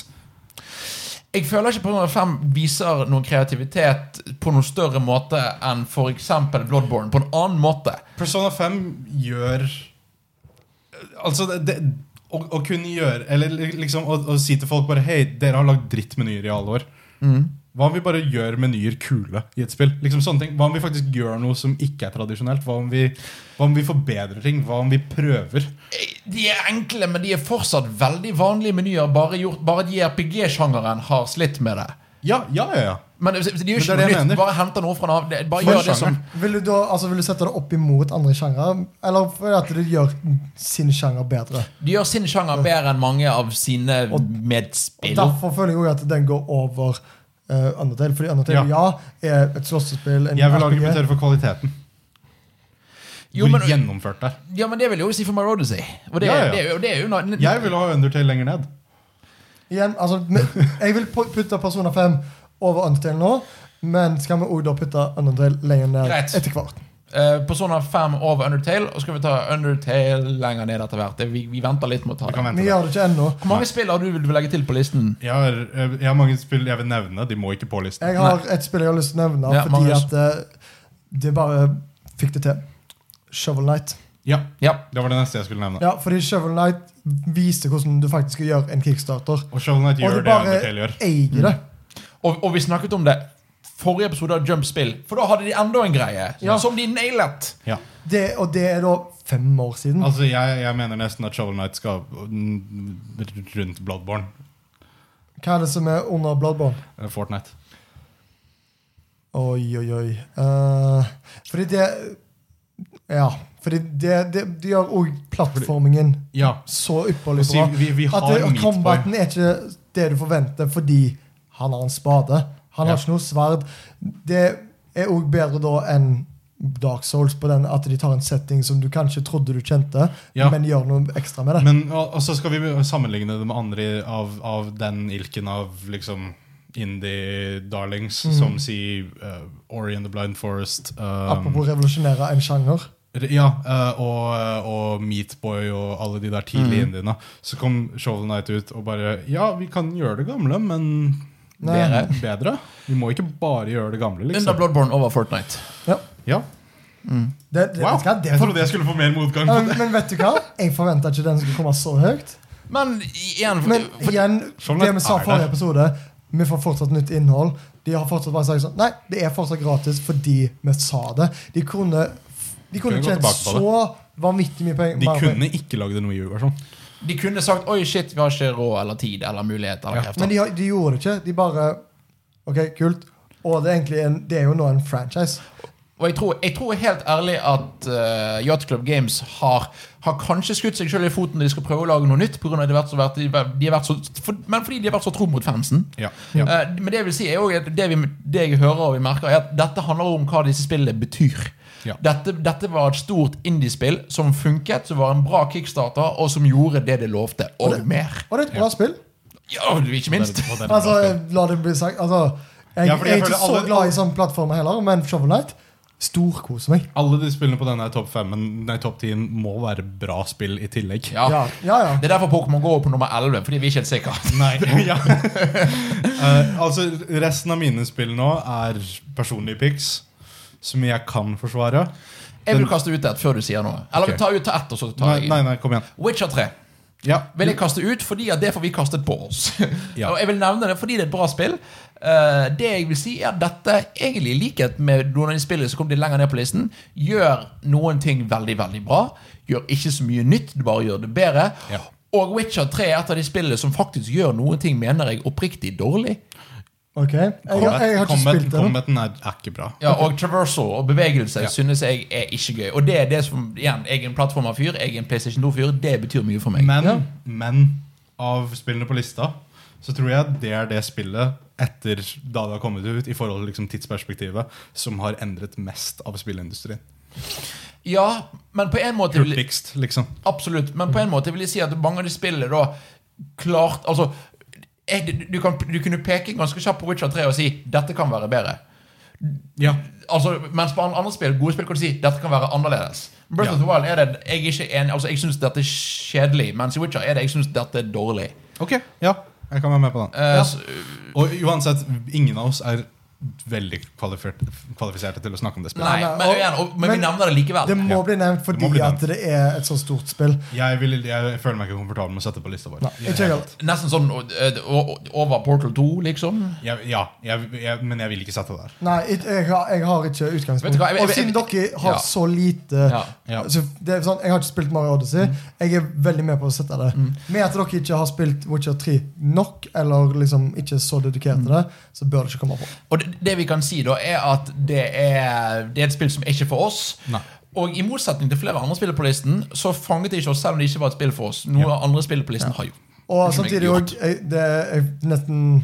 Speaker 1: Jeg føler ikke Persona 5 viser noen kreativitet på noen større måte enn f.eks. Bloodborne. På en annen måte.
Speaker 3: Persona 5 gjør Altså, det, det å, å kunne gjøre Eller liksom å, å si til folk bare Hei, dere har lagd drittmenyer i alle år. Hva om vi bare gjør menyer kule i et spill? Liksom sånne ting. Hva om vi faktisk gjør noe som ikke er tradisjonelt? Hva om vi, hva om vi forbedrer ting? Hva om vi prøver?
Speaker 1: De er enkle, men de er fortsatt veldig vanlige menyer. Bare, gjort, bare at JRPG-sjangeren har slitt med det.
Speaker 3: Ja, ja, ja. ja.
Speaker 1: Men det, det er jo
Speaker 3: Men det
Speaker 1: ikke noe
Speaker 3: er det jeg
Speaker 1: nytt.
Speaker 3: mener.
Speaker 1: Bare henter noe fra en annen. det- Bare
Speaker 3: For
Speaker 1: gjør det som
Speaker 3: sjangeren.
Speaker 2: Vil du, da, altså, vil du sette det opp imot andre sjangere? Eller fordi at du gjør sin sjanger bedre?
Speaker 1: De gjør sin sjanger bedre enn mange av sine
Speaker 2: Og
Speaker 1: medspill.
Speaker 2: Derfor føler jeg også at den går over eh, Undertale. Fordi Undertale, ja, er et slåssespill. en
Speaker 3: Jeg vil
Speaker 2: RPG.
Speaker 3: argumentere for kvaliteten.
Speaker 1: Jo,
Speaker 3: Hvor
Speaker 1: men-
Speaker 3: gjennomført det er.
Speaker 1: Ja, men det vil jeg jo si for My Odyssey. Og det,
Speaker 3: Ja, ja.
Speaker 1: det, er jo- det er jo noe-
Speaker 3: Jeg vil ha Undertale lenger ned.
Speaker 2: Igjen, altså, men- jeg vil pu- putte Persona 5 over Undertale nå, men skal vi også da putte Undertale lenger ned
Speaker 1: Greit.
Speaker 2: etter hvert?
Speaker 1: Eh, Persona 5 over Undertale, og så skal vi ta Undertale lenger ned etter hvert. Det- Vi, vi venter litt med å ta
Speaker 3: Vi kan
Speaker 1: det.
Speaker 3: vente
Speaker 2: Vi
Speaker 3: det.
Speaker 2: gjør det ikke ennå.
Speaker 1: Hvor mange spill har du vil legge til på listen?
Speaker 3: Jeg har, eh, jeg har mange spill jeg vil nevne. De må ikke på listen.
Speaker 2: Jeg har et spill jeg har lyst til å nevne,
Speaker 1: Ja,
Speaker 2: fordi
Speaker 1: Magnus.
Speaker 2: at eh, det bare fikk det til. Shovel Knight.
Speaker 3: Ja,
Speaker 1: Ja.
Speaker 3: Det var det neste jeg skulle nevne.
Speaker 2: Ja, fordi Shovel Knight viste hvordan du faktisk skal gjøre en kickstarter.
Speaker 3: Og Shovel Knight
Speaker 2: Og
Speaker 3: gjør
Speaker 2: du
Speaker 3: det,
Speaker 2: bare
Speaker 3: Undertale gjør.
Speaker 2: eier det.
Speaker 1: Mm. Og, og vi snakket om det forrige episode av Jump Spill, for da hadde de enda en greie
Speaker 2: Ja.
Speaker 1: som de nailet.
Speaker 3: Ja.
Speaker 2: det. Og det er da fem år siden.
Speaker 3: Altså, jeg, jeg mener nesten at Shovel Knight skal mm, rundt Bloodborne.
Speaker 2: Hva er det som er under Bloodborne?
Speaker 3: eh, Fortnite.
Speaker 2: Oi, oi, oi. Eh, fordi det Ja. Fordi det, det, det gjør òg plattformingen
Speaker 3: Ja.
Speaker 2: så ypperlig
Speaker 3: Og si,
Speaker 2: bra.
Speaker 3: vi, vi
Speaker 2: At
Speaker 3: har
Speaker 2: det,
Speaker 3: Meat Boy.
Speaker 2: combaten er ikke det du forventer fordi han har en spade. Han
Speaker 3: Ja.
Speaker 2: har ikke noe sverd. Det er òg bedre da enn Dark Souls på den at de tar en setting som du kanskje trodde du kjente,
Speaker 3: Ja.
Speaker 2: men gjør noe ekstra med det.
Speaker 3: Men, og, og så skal vi sammenligne det med andre av, av den ilken av liksom indie-darlings,
Speaker 2: Mhm.
Speaker 3: som si eh, Ori and the Blind Forest. eh,
Speaker 2: Apropos revolusjonere en sjanger.
Speaker 3: Ja, eh, og, og Meatboy og alle de der
Speaker 2: Mm.
Speaker 3: tidlige indiene. Så kom Shovel Knight ut og bare Ja, vi kan gjøre det gamle, men
Speaker 1: Bedre.
Speaker 3: bedre. Vi må ikke bare gjøre det gamle,
Speaker 1: Under
Speaker 3: liksom.
Speaker 1: Bloodborne over Fortnite.
Speaker 2: Ja.
Speaker 3: Ja.
Speaker 2: Det, det,
Speaker 3: Wow.
Speaker 2: vet du hva? det
Speaker 3: Jeg trodde jeg skulle få mer motgang.
Speaker 2: Ja, men vet du hva? Jeg forventa ikke den skulle komme så høyt.
Speaker 1: Men igjen for-
Speaker 2: Men
Speaker 1: for-
Speaker 2: igjen,
Speaker 3: Sånn
Speaker 2: det
Speaker 3: er
Speaker 2: vi sa
Speaker 3: det.
Speaker 2: forrige episode, vi får fortsatt nytt innhold. De har fortsatt bare sagt sånn Nei, det er fortsatt gratis fordi vi sa det. De kunne De kunne
Speaker 3: Kunne gå
Speaker 2: tjent
Speaker 3: tilbake på det.
Speaker 2: så vanvittig mye penger.
Speaker 3: De
Speaker 2: mer penger.
Speaker 3: kunne ikke lagd en WiiU-versjon.
Speaker 1: De kunne sagt 'oi, shit, vi har ikke råd eller tid eller mulighet eller
Speaker 3: Ja.
Speaker 1: krefter'.
Speaker 2: Men de, har- de gjorde det ikke. De bare OK, kult. Og det er, egentlig en, det er jo nå en franchise.
Speaker 1: Og jeg tror, jeg tror helt ærlig at eh, Yacht Club Games har, har kanskje skutt seg selv i foten når de skal prøve å lage noe nytt, på grunn av at de har vært så, vært, de har vært så, for, men fordi de har vært så tro mot fansen.
Speaker 3: Ja.
Speaker 1: Eh, men det jeg vil si er jo at det, vi, det jeg hører og vi merker, er at dette handler om hva disse spillene betyr.
Speaker 3: Ja.
Speaker 1: Dette, dette var et stort indiespill som funket, som var en bra kickstarter, og som gjorde det det lovte, og mer.
Speaker 2: Og det er et bra spill.
Speaker 1: Ja, ikke minst.
Speaker 3: Og den- og den-
Speaker 2: Altså, la det bli sagt. Altså, jeg,
Speaker 3: Ja,
Speaker 2: jeg,
Speaker 3: fordi jeg
Speaker 2: er ikke
Speaker 3: føler
Speaker 2: så
Speaker 3: alle-
Speaker 2: glad i sånne plattformer heller, men Shovel Knight storkoser meg.
Speaker 3: Alle de spillene på denne topp femmen- nei, topp 10 må være bra spill i tillegg.
Speaker 1: Ja.
Speaker 2: Ja, ja, ja.
Speaker 1: Det er derfor Pokémon går på nummer 11, fordi vi er ikke helt sikre.
Speaker 3: Nei, ja. Eh, altså, resten av mine spill nå er personlige pics, som jeg kan forsvare.
Speaker 1: Jeg vil kaste ut et før du sier noe. Eller
Speaker 3: Ok.
Speaker 1: ta ut ett, og så tar
Speaker 3: Nei,
Speaker 1: jeg
Speaker 3: nei,
Speaker 1: inn.
Speaker 3: nei, kom igjen.
Speaker 1: Witcher 3
Speaker 3: Ja.
Speaker 1: vil jeg kaste ut fordi at det får vi kastet på oss.
Speaker 3: Ja.
Speaker 1: og jeg vil nevne det fordi det er et bra spill. Eh, det jeg vil si er at dette, egentlig i likhet med noen av de spillene som kom litt lenger ned på listen, gjør noen ting veldig, veldig bra. Gjør ikke så mye nytt, det bare gjør det bedre.
Speaker 3: Ja.
Speaker 1: Og Witcher 3 er et av de spillene som faktisk gjør noen ting, mener jeg, oppriktig dårlig.
Speaker 2: Ok, jeg, jeg,
Speaker 3: Combat,
Speaker 2: jeg har ikke
Speaker 3: combat,
Speaker 2: spilt det. ennå.
Speaker 3: combaten er, er ikke bra.
Speaker 1: Ja, og traversal og bevegelse
Speaker 3: Ja.
Speaker 1: synes jeg er ikke gøy. Og det er det som, igjen, jeg er en plattformerfyr, jeg er en PlayStation 2-fyr, det betyr mye for meg.
Speaker 3: Men, men av spillene på lista så tror jeg det er det spillet etter da det har kommet ut, i forhold til liksom tidsperspektivet, som har endret mest av spillindustrien.
Speaker 1: Ja, men på en måte vil,
Speaker 3: Hurtigst, liksom.
Speaker 1: Absolutt, men på en måte vil jeg si at mange av de spillene da klart Altså, er det- du, kan, du kunne peke ganske kjapt på Witcher 3 og si 'dette kan være bedre'.
Speaker 3: Ja.
Speaker 1: Altså, mens på andre spill, gode spill kan du si 'dette kan være annerledes'. Breath of the Wild er det jeg er ikke enig Altså, jeg syns dette er kjedelig, mens i Witcher er det jeg syns dette er dårlig.
Speaker 3: Ok, ja. Jeg kan være med på den.
Speaker 1: Eh,
Speaker 3: Ja.
Speaker 1: så-
Speaker 3: Og uansett, ingen av oss er veldig kvalifert, kvalifiserte til å snakke om det spillet.
Speaker 1: nei,
Speaker 2: Nei,
Speaker 1: men,
Speaker 2: og-
Speaker 1: igjen, og, men,
Speaker 2: men-
Speaker 1: vi nevner det likevel.
Speaker 2: Det må
Speaker 3: Ja.
Speaker 2: bli
Speaker 3: Det må
Speaker 2: nevnt fordi
Speaker 3: bli
Speaker 2: at det er et så stort spill.
Speaker 3: Jeg, vil, jeg føler meg ikke komfortabel med å sette på lista vår.
Speaker 2: Nei, ikke jeg heller.
Speaker 1: Nesten sånn eh, o- over Portal 2,
Speaker 2: Mm.
Speaker 1: liksom.
Speaker 3: Jeg, ja, jeg, jeg, men jeg vil ikke sette det der.
Speaker 2: Nei, jeg, jeg, har, jeg har ikke
Speaker 1: Vet du
Speaker 2: utgangspunkt.
Speaker 1: hva, jeg-
Speaker 2: Og
Speaker 1: jeg-
Speaker 2: siden dere har
Speaker 1: Ja.
Speaker 2: så lite
Speaker 1: Ja,
Speaker 3: ja. Mm.
Speaker 2: Så det er sånn, Jeg har ikke spilt Mario Odyssey. Jeg er veldig med på å sette det. Med at dere ikke har spilt Witcher 3 nok, eller liksom ikke så dedikert
Speaker 3: Mm.
Speaker 2: til det, så bør det ikke komme på.
Speaker 1: Og det, det vi kan si da, er at det er, det er et spill som er ikke for oss.
Speaker 3: Nei.
Speaker 1: Og i motsetning til flere andre spill på listen, så fanget det ikke oss selv om det ikke var et spill for oss. Noe andre spill på listen har gjort.
Speaker 2: Og
Speaker 1: Som jeg
Speaker 2: samtidig
Speaker 1: gjort.
Speaker 2: òg Det er nesten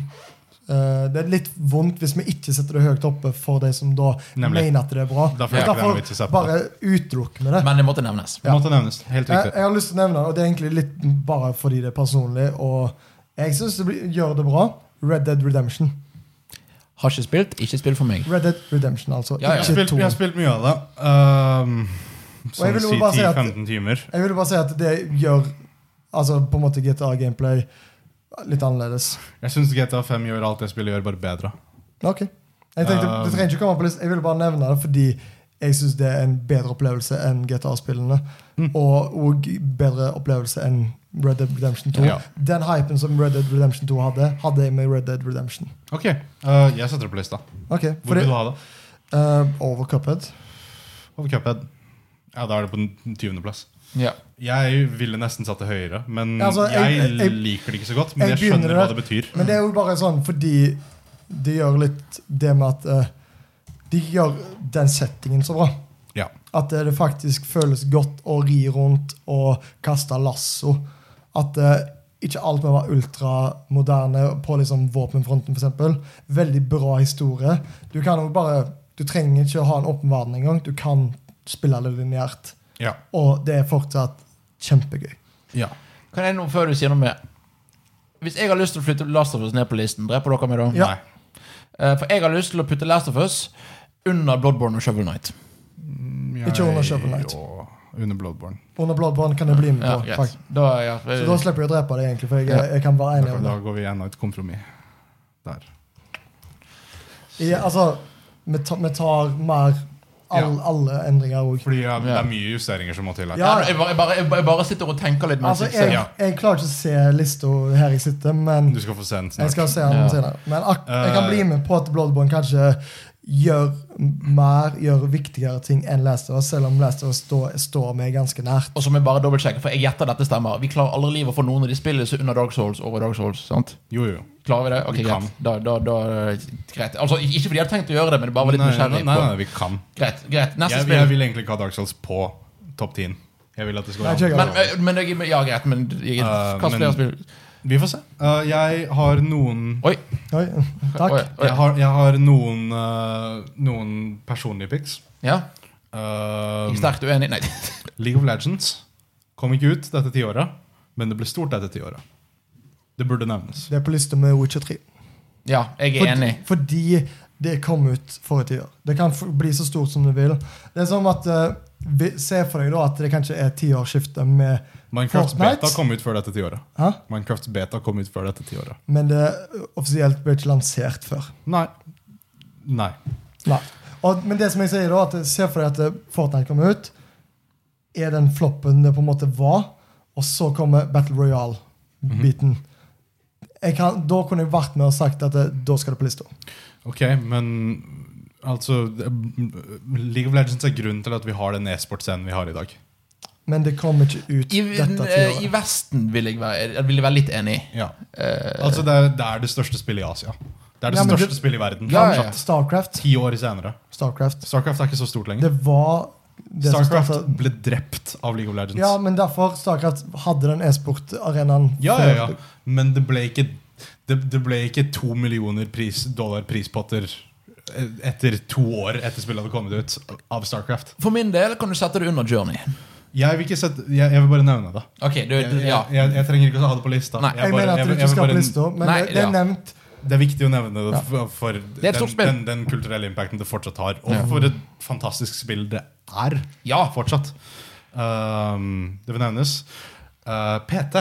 Speaker 2: eh, Det er litt vondt hvis vi ikke setter det høyt oppe for de som da
Speaker 3: Nemlig.
Speaker 2: mener at det er bra.
Speaker 3: Da får jeg ikke den vitsen å sette på.
Speaker 2: bare utelukk med det.
Speaker 1: Men det måtte nevnes.
Speaker 3: Det måtte nevnes. Helt
Speaker 2: Jeg,
Speaker 3: riktig.
Speaker 2: jeg har lyst til å nevne, og det er egentlig litt bare fordi det er personlig, og jeg syns det blir, gjør det bra. Red Dead Redemption.
Speaker 1: Har ikke spilt, ikke spill for meg.
Speaker 2: Red Dead Redemption, altså.
Speaker 1: Ja, ja.
Speaker 3: Jeg har
Speaker 2: Ikke
Speaker 3: spilt,
Speaker 2: to.
Speaker 3: jeg har spilt mye av det. Ehm,
Speaker 2: jeg
Speaker 3: sånn
Speaker 2: vil jo
Speaker 3: si
Speaker 2: bare si at-
Speaker 3: 10-15 timer.
Speaker 2: Jeg ville bare si at det gjør Altså på en måte GTA-gameplay litt annerledes.
Speaker 3: Jeg syns GTA5 gjør alt det spillet gjør, bare bedre.
Speaker 2: Ok. Jeg tenkte,
Speaker 3: Um,
Speaker 2: det trenger ikke komme på list. Jeg ville bare nevne det fordi jeg syns det er en bedre opplevelse enn GTA-spillene.
Speaker 3: Mm.
Speaker 2: Og, og bedre opplevelse enn Red Dead Redemption 2.
Speaker 3: Ja.
Speaker 2: Den hypen som Red Dead Redemption 2 hadde, hadde jeg med Red Dead Redemption.
Speaker 3: Ok, eh, Jeg setter det på lista.
Speaker 2: Ok,
Speaker 3: Hvor
Speaker 2: fordi,
Speaker 3: vil du ha det?
Speaker 2: eh, Over Cuphead.
Speaker 3: Over Cuphead. Ja, da er det på den 20. plass.
Speaker 1: Ja.
Speaker 3: Jeg ville nesten satt det høyere, men
Speaker 2: Ja, altså, jeg-
Speaker 3: jeg,
Speaker 2: jeg-
Speaker 3: liker det ikke så godt. Men
Speaker 2: jeg
Speaker 3: jeg, skjønner
Speaker 2: begynner
Speaker 3: hva
Speaker 2: det.
Speaker 3: det betyr.
Speaker 2: Men det er jo bare sånn fordi de gjør litt det med at eh, De gjør den settingen så bra.
Speaker 3: Ja.
Speaker 2: At eh, det faktisk føles godt å ri rundt og kaste lasso. At eh, ikke alt må være ultramoderne på liksom våpenfronten, f.eks. Veldig bra historie. Du kan jo bare Du trenger ikke å ha en åpen verden engang. Du kan spille det lineært.
Speaker 3: Ja.
Speaker 2: Og det er fortsatt kjempegøy.
Speaker 3: ja.
Speaker 1: Kan jeg nå, før du sier noe mer Hvis jeg har lyst til å flytte Last of Us ned på listen, dreper dere meg da?
Speaker 2: Ja.
Speaker 3: Nei.
Speaker 1: Eh, For jeg har lyst til å putte Last of Us under Bloodborne og Shovel Knight.
Speaker 2: Ikke under Shovel Knight.
Speaker 3: og Under Bloodborne.
Speaker 2: Under Bloodborne kan det bli med
Speaker 1: Ja,
Speaker 2: på.
Speaker 1: greit.
Speaker 2: faktisk.
Speaker 1: Da, ja. Eh,
Speaker 2: Så da slipper jeg å drepe deg, egentlig. For jeg, jeg kan være enig
Speaker 3: Da,
Speaker 2: om
Speaker 3: da
Speaker 2: det.
Speaker 3: går vi gjennom et kompromiss der.
Speaker 2: Ja, altså, vi, ta, vi tar mer all, alle endringer òg.
Speaker 3: Fordi ja, det er mye justeringer som må til her.
Speaker 1: ja,
Speaker 2: Ja.
Speaker 1: jeg, bare, jeg, bare, jeg bare sitter og tenker litt mens
Speaker 2: Altså,
Speaker 1: jeg ser.
Speaker 2: jeg, jeg klarer ikke å se lista her jeg sitter, men
Speaker 3: Du skal få se den
Speaker 2: jeg
Speaker 3: snart.
Speaker 2: skal se den
Speaker 1: Ja. Eh.
Speaker 2: senere. Men ak jeg kan bli med på at Bloodborne kanskje gjør mer, gjør viktigere ting enn Last of Us, selv om Last of Us står, står meg ganske nært.
Speaker 1: Og så må jeg bare dobbeltsjekke, for jeg gjetter dette stemmer. Vi klarer aldri livet for noen av de spillene som er under Dark Souls over Dark Souls. sant?
Speaker 3: Jo, jo.
Speaker 1: Klarer vi det? Ok,
Speaker 3: Vi kan.
Speaker 1: greit. Da, da, da, greit. Altså, ikke fordi jeg hadde tenkt å gjøre det, men det bare var litt
Speaker 3: nei, nei,
Speaker 1: nysgjerrig.
Speaker 3: nei,
Speaker 1: på-
Speaker 3: nei, vi kan.
Speaker 1: Greit, greit. Neste
Speaker 3: Jeg, jeg
Speaker 1: spill.
Speaker 3: vil egentlig ikke ha Dark Souls på topp 10. Jeg vil at det skal
Speaker 2: Nei,
Speaker 3: være
Speaker 2: ikke jeg.
Speaker 1: Men, ø, men, jeg- men, ja, greit, men jeg,
Speaker 3: Eh,
Speaker 1: hva
Speaker 3: men-
Speaker 1: flere spill?
Speaker 3: Vi får se. Eh, jeg har noen
Speaker 1: Oi,
Speaker 2: Oi, takk.
Speaker 1: oi, oi.
Speaker 3: Jeg har, jeg har noen, eh, noen personlige pics.
Speaker 1: Ja,
Speaker 3: Eh,
Speaker 1: jeg er sterkt uenig. Nei.
Speaker 3: League of Legends kom ikke ut dette tiåret, men det ble stort dette tiåret. Det burde nevnes.
Speaker 2: Det er på lista med Witcher 3.
Speaker 1: Ja, jeg er
Speaker 2: Fordi,
Speaker 1: enig.
Speaker 2: fordi det kom ut forrige tiår. Det kan f- bli så stort som du vil. Det er som at eh, vi, Se for deg da at det kanskje er tiårsskifte med
Speaker 3: Minecrafts
Speaker 2: Fortnite?
Speaker 3: beta kom ut før dette tiåret.
Speaker 2: Hæ?
Speaker 3: Minecrafts beta kom ut før dette tiåret.
Speaker 2: Men det offisielt ble ikke lansert før.
Speaker 3: Nei. Nei.
Speaker 2: Nei. Og, men det som jeg sier da, at se for deg at eh, Fortnite kommer ut, er den floppen det på en måte var, og så kommer Battle
Speaker 1: Mhm.
Speaker 2: Royale-biten. Jeg kan, da kunne jeg vært med og sagt at eh, da skal det på lista.
Speaker 3: Ok, men altså det- League of Legends er grunnen til at vi har den e-sportscenen vi har i dag.
Speaker 2: Men det kommer ikke ut
Speaker 1: I,
Speaker 2: dette
Speaker 1: eh, I
Speaker 2: tiåret.
Speaker 1: Vesten vil jeg være, jeg vil være litt enig.
Speaker 3: Ja.
Speaker 1: Eh,
Speaker 3: Altså, det er, det er det største spillet i Asia. Det er det
Speaker 2: Ja, men
Speaker 3: største
Speaker 2: det-
Speaker 3: spillet i verden.
Speaker 1: Ja, ja, ja.
Speaker 3: fortsatt.
Speaker 2: Starcraft.
Speaker 3: Ti år senere.
Speaker 2: Starcraft.
Speaker 3: Starcraft er ikke så stort lenger.
Speaker 2: Det var det som
Speaker 3: Starcraft
Speaker 2: startet-
Speaker 3: ble drept av League of Legends.
Speaker 2: Ja, men derfor Starcraft hadde den e-sportarenaen.
Speaker 3: ja,
Speaker 2: før.
Speaker 3: ja, ja. Men det ble ikke det, det ble ikke to millioner pris, dollar prispotter eh, etter to år etter spillet hadde kommet ut av Starcraft.
Speaker 1: for min del kan du sette det under Journey.
Speaker 3: Jeg vil, ikke sette, jeg, jeg vil bare nevne det.
Speaker 1: Ok, du,
Speaker 3: Jeg, jeg,
Speaker 1: ja.
Speaker 3: jeg, jeg trenger ikke å ha det på lista.
Speaker 1: Nei.
Speaker 2: Jeg, mener at
Speaker 3: vil-
Speaker 2: det
Speaker 3: vil
Speaker 2: ikke skal
Speaker 3: bare-
Speaker 2: på lista, men
Speaker 1: Nei,
Speaker 2: det, det
Speaker 1: ja.
Speaker 2: er nevnt.
Speaker 3: Det er viktig å nevne det
Speaker 2: Ja.
Speaker 3: for, for
Speaker 1: er et
Speaker 3: den,
Speaker 1: stort spill.
Speaker 3: den, den kulturelle impacten det fortsatt har. Og
Speaker 1: Ja.
Speaker 3: for et fantastisk spill det er
Speaker 1: Ja.
Speaker 3: fortsatt. Um, det vil nevnes. Uh, PT.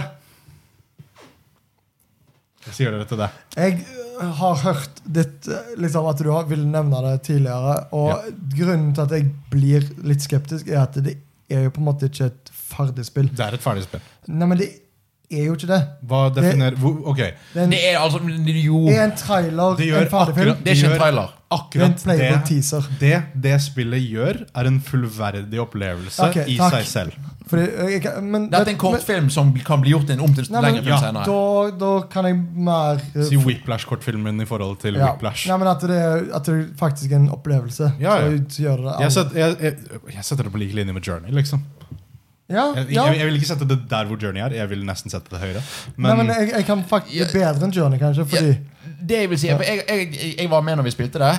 Speaker 3: Jeg sier dere til det.
Speaker 2: Jeg øh, har hørt ditt, øh, liksom, at du har, ville nevne det tidligere. Og grunnen til at jeg blir litt skeptisk, er at det er jo på en måte ikke et ferdig spill.
Speaker 3: Det er et ferdig spill.
Speaker 2: Nei, men det er jo ikke det.
Speaker 3: Hva definerer hvor, Ok,
Speaker 2: Det er en,
Speaker 1: Det er altså Jo,
Speaker 2: er en trailer,
Speaker 3: Oh. Det gjør
Speaker 2: en ferdig film.
Speaker 3: akkurat-
Speaker 1: det er ikke
Speaker 3: gjør-
Speaker 1: en trailer.
Speaker 2: Det er en
Speaker 3: akkurat det,
Speaker 2: playable teaser.
Speaker 3: det det spillet gjør, er en fullverdig opplevelse
Speaker 2: Ok,
Speaker 3: i
Speaker 2: takk.
Speaker 3: seg selv.
Speaker 2: Fordi, øh, jeg, men,
Speaker 1: Dette er en
Speaker 2: men-
Speaker 1: kortfilm som kan bli gjort til en om til en
Speaker 2: Nei, men-
Speaker 1: lengre film
Speaker 3: Ja,
Speaker 1: senere.
Speaker 2: Da, da kan jeg mer øh,
Speaker 3: Si Whiplash-kortfilmen i forhold til
Speaker 2: ja.
Speaker 3: Whiplash.
Speaker 2: Nei, men at det, er, at det faktisk er en opplevelse.
Speaker 3: Ja, ja.
Speaker 2: Så, så gjør det det
Speaker 3: Jeg,
Speaker 2: alle.
Speaker 3: set, jeg, jeg, jeg setter det på lik linje med Journey. liksom
Speaker 2: Ja,
Speaker 3: Jeg,
Speaker 2: ja.
Speaker 3: jeg, jeg vil ikke sette det der hvor Journey er. Jeg vil nesten sette det høyere.
Speaker 2: Nei,
Speaker 3: Men,
Speaker 2: men jeg, jeg kan
Speaker 1: Ja.
Speaker 2: faktisk bedre enn Journey, kanskje. Fordi
Speaker 1: Det jeg vil si, for jeg, jeg, jeg var med når vi spilte det.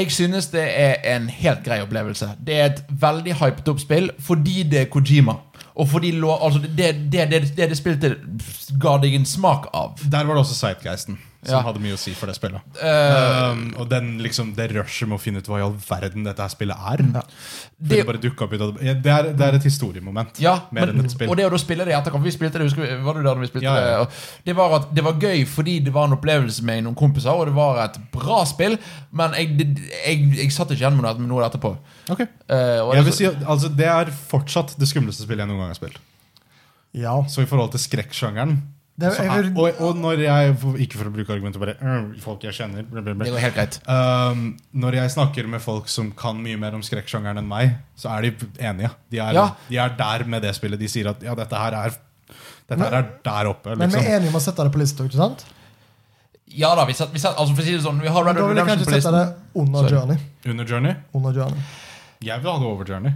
Speaker 1: Jeg synes det er en helt grei opplevelse. Det er et veldig hyped opp spill fordi det er Kojima. Og fordi lå, altså det, det, det, det, det det spilte ga deg en smak av.
Speaker 3: der var det også Sightgeisten som
Speaker 1: Ja.
Speaker 3: hadde mye å si for det spillet.
Speaker 1: Eh,
Speaker 3: Um, og den, liksom, det rushet med å finne ut hva i all verden dette her spillet er. For
Speaker 1: det,
Speaker 3: Det, bare dukket opp ut av det. Ja, det, er, det er et historiemoment.
Speaker 1: ja,
Speaker 3: mer
Speaker 1: men,
Speaker 3: enn et spill.
Speaker 1: og det å da spille det i etterkant Vi spilte det, husker vi, var du der når vi spilte
Speaker 3: Ja, ja,
Speaker 1: det?
Speaker 3: ja.
Speaker 1: Og det var, at, det var gøy fordi det var en opplevelse med noen kompiser, og det var et bra spill, men jeg, det- jeg, jeg satt ikke igjen med noe- med noe etterpå.
Speaker 3: Ok.
Speaker 1: Eh, og
Speaker 3: Jeg
Speaker 1: det-
Speaker 3: vil si, at, altså, det er fortsatt det skumleste spillet jeg noen gang har spilt.
Speaker 2: Ja.
Speaker 3: Så i forhold til skrekksjangeren
Speaker 2: Det,
Speaker 3: så
Speaker 2: jeg,
Speaker 3: er-
Speaker 2: vil-
Speaker 3: og, og når jeg, Ikke for å bruke argumentet bare «Øh, Folk jeg kjenner bla, bla, bla.
Speaker 1: det går helt greit.
Speaker 3: Um, når jeg snakker med folk som kan mye mer om skrekksjangeren enn meg, så er de enige. De er,
Speaker 1: Ja.
Speaker 3: de er der med det spillet. De sier at ja, dette her er, dette
Speaker 2: Men-
Speaker 3: her er der oppe.
Speaker 2: Men vi
Speaker 3: Liksom.
Speaker 2: er enige om å sette det på lista, ikke sant?
Speaker 1: Ja da, vi satt, vi satt altså for å si det sånn Vi har
Speaker 2: Men
Speaker 1: Red
Speaker 2: da
Speaker 1: Dead
Speaker 2: vil jeg
Speaker 1: Redemption
Speaker 2: kanskje
Speaker 1: på
Speaker 2: sette
Speaker 1: listen.
Speaker 2: det under
Speaker 1: Sorry.
Speaker 2: Journey.
Speaker 3: Under Journey?
Speaker 2: Under Journey.
Speaker 3: Jeg vil ha det over Journey.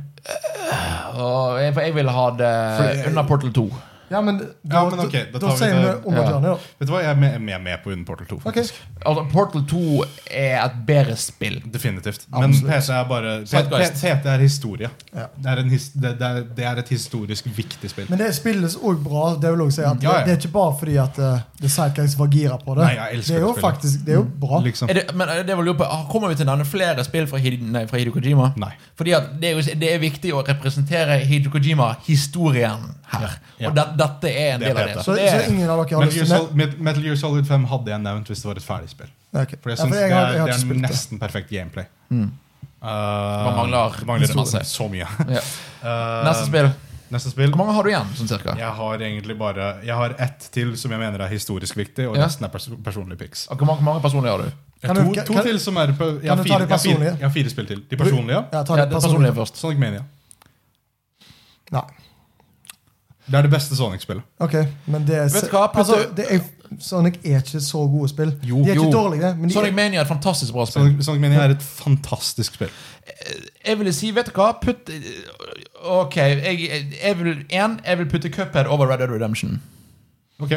Speaker 1: Og jeg, for jeg ville ha det
Speaker 3: For-
Speaker 1: under Portal 2.
Speaker 2: Ja, men da,
Speaker 3: Ja, men ok, da
Speaker 2: da,
Speaker 3: tar vi
Speaker 2: sier vi
Speaker 3: det-
Speaker 2: under
Speaker 1: Ja.
Speaker 2: Journey, da.
Speaker 3: Vet du hva, Jeg er med, jeg er med på Under Portal 2.
Speaker 2: Ok.
Speaker 3: faktisk.
Speaker 1: Altså, Portal 2 er et bedre spill.
Speaker 3: Definitivt. Men
Speaker 2: Absolutt.
Speaker 3: PT er bare P-
Speaker 1: Zeitgeist.
Speaker 3: P- PT er historie.
Speaker 2: Ja.
Speaker 3: Det, er en his, det, det, er, det er et historisk viktig spill.
Speaker 2: Men det spilles òg bra. Det vil jeg også si at
Speaker 3: Ja, ja.
Speaker 2: Det, det er ikke bare fordi at uh, The Sideguys var gira på det.
Speaker 3: Nei, jeg elsker
Speaker 2: det er jo
Speaker 3: det spillet.
Speaker 2: faktisk Det er jo bra.
Speaker 3: liksom.
Speaker 1: Er det, men er det vel jo på, ah, Kommer vi til å nevne flere spill fra Hideo, nei, fra Hideo Kojima?
Speaker 3: Nei.
Speaker 1: Fordi at det er, jo, det er viktig å representere Hideo Kojima-historien her.
Speaker 3: Ja.
Speaker 1: Og det, dette er en
Speaker 3: Det er
Speaker 1: del av
Speaker 3: PT.
Speaker 1: det.
Speaker 2: Så,
Speaker 1: det
Speaker 2: så
Speaker 1: er,
Speaker 2: ingen av dere
Speaker 3: Metal
Speaker 2: har lyst
Speaker 3: Gear,
Speaker 2: til det?
Speaker 3: Solid, Met- Metal Gear Solid 5 hadde jeg nevnt hvis det var et ferdig spill.
Speaker 2: Ok.
Speaker 3: For jeg
Speaker 2: Ja,
Speaker 3: synes
Speaker 2: for jeg har- jeg har
Speaker 3: det,
Speaker 2: ikke
Speaker 3: er, det
Speaker 2: spilt
Speaker 3: er
Speaker 2: det. Mm.
Speaker 3: nesten perfekt gameplay. Uh,
Speaker 1: mangler
Speaker 3: det mangler
Speaker 1: masse.
Speaker 3: så mye.
Speaker 1: ja.
Speaker 3: Uh,
Speaker 1: Neste spill.
Speaker 3: Neste spill.
Speaker 1: Hvor mange har du igjen, sånn cirka?
Speaker 3: Jeg har egentlig bare Jeg har ett til som jeg mener er historisk viktig, og
Speaker 1: Ja.
Speaker 3: resten er pers personlige picks.
Speaker 1: Og Hvor mange, hvor mange personlige har du?
Speaker 3: Jeg
Speaker 2: Kan
Speaker 3: har to,
Speaker 2: du- kan-
Speaker 3: to
Speaker 2: kan-
Speaker 3: til som er på, jeg,
Speaker 2: du
Speaker 3: har
Speaker 2: ta
Speaker 3: fire,
Speaker 2: de
Speaker 3: jeg, har fire,
Speaker 2: personlige?
Speaker 3: jeg har fire spill til. De personlige.
Speaker 2: Ja, ta
Speaker 1: Ja,
Speaker 2: det
Speaker 1: det personlige
Speaker 2: personlig.
Speaker 1: først.
Speaker 3: Sonic Mania.
Speaker 2: Nei.
Speaker 3: Det er det beste Sonic-spillet.
Speaker 2: Ok, men det er
Speaker 1: Vet du hva, putt
Speaker 2: altså,
Speaker 1: det-
Speaker 2: det er, Sonic er ikke så gode spill.
Speaker 3: Jo,
Speaker 2: de er ikke
Speaker 1: jo.
Speaker 2: dårlige, men de
Speaker 1: Sonic
Speaker 2: er,
Speaker 1: Mania er et fantastisk bra spill.
Speaker 3: Sonic, Sonic Mania er et fantastisk spill.
Speaker 1: Jeg ville si, vet du hva Putt Ok, jeg, jeg vil En, jeg vil putte Cuphead over Red Dead Redemption
Speaker 3: Ok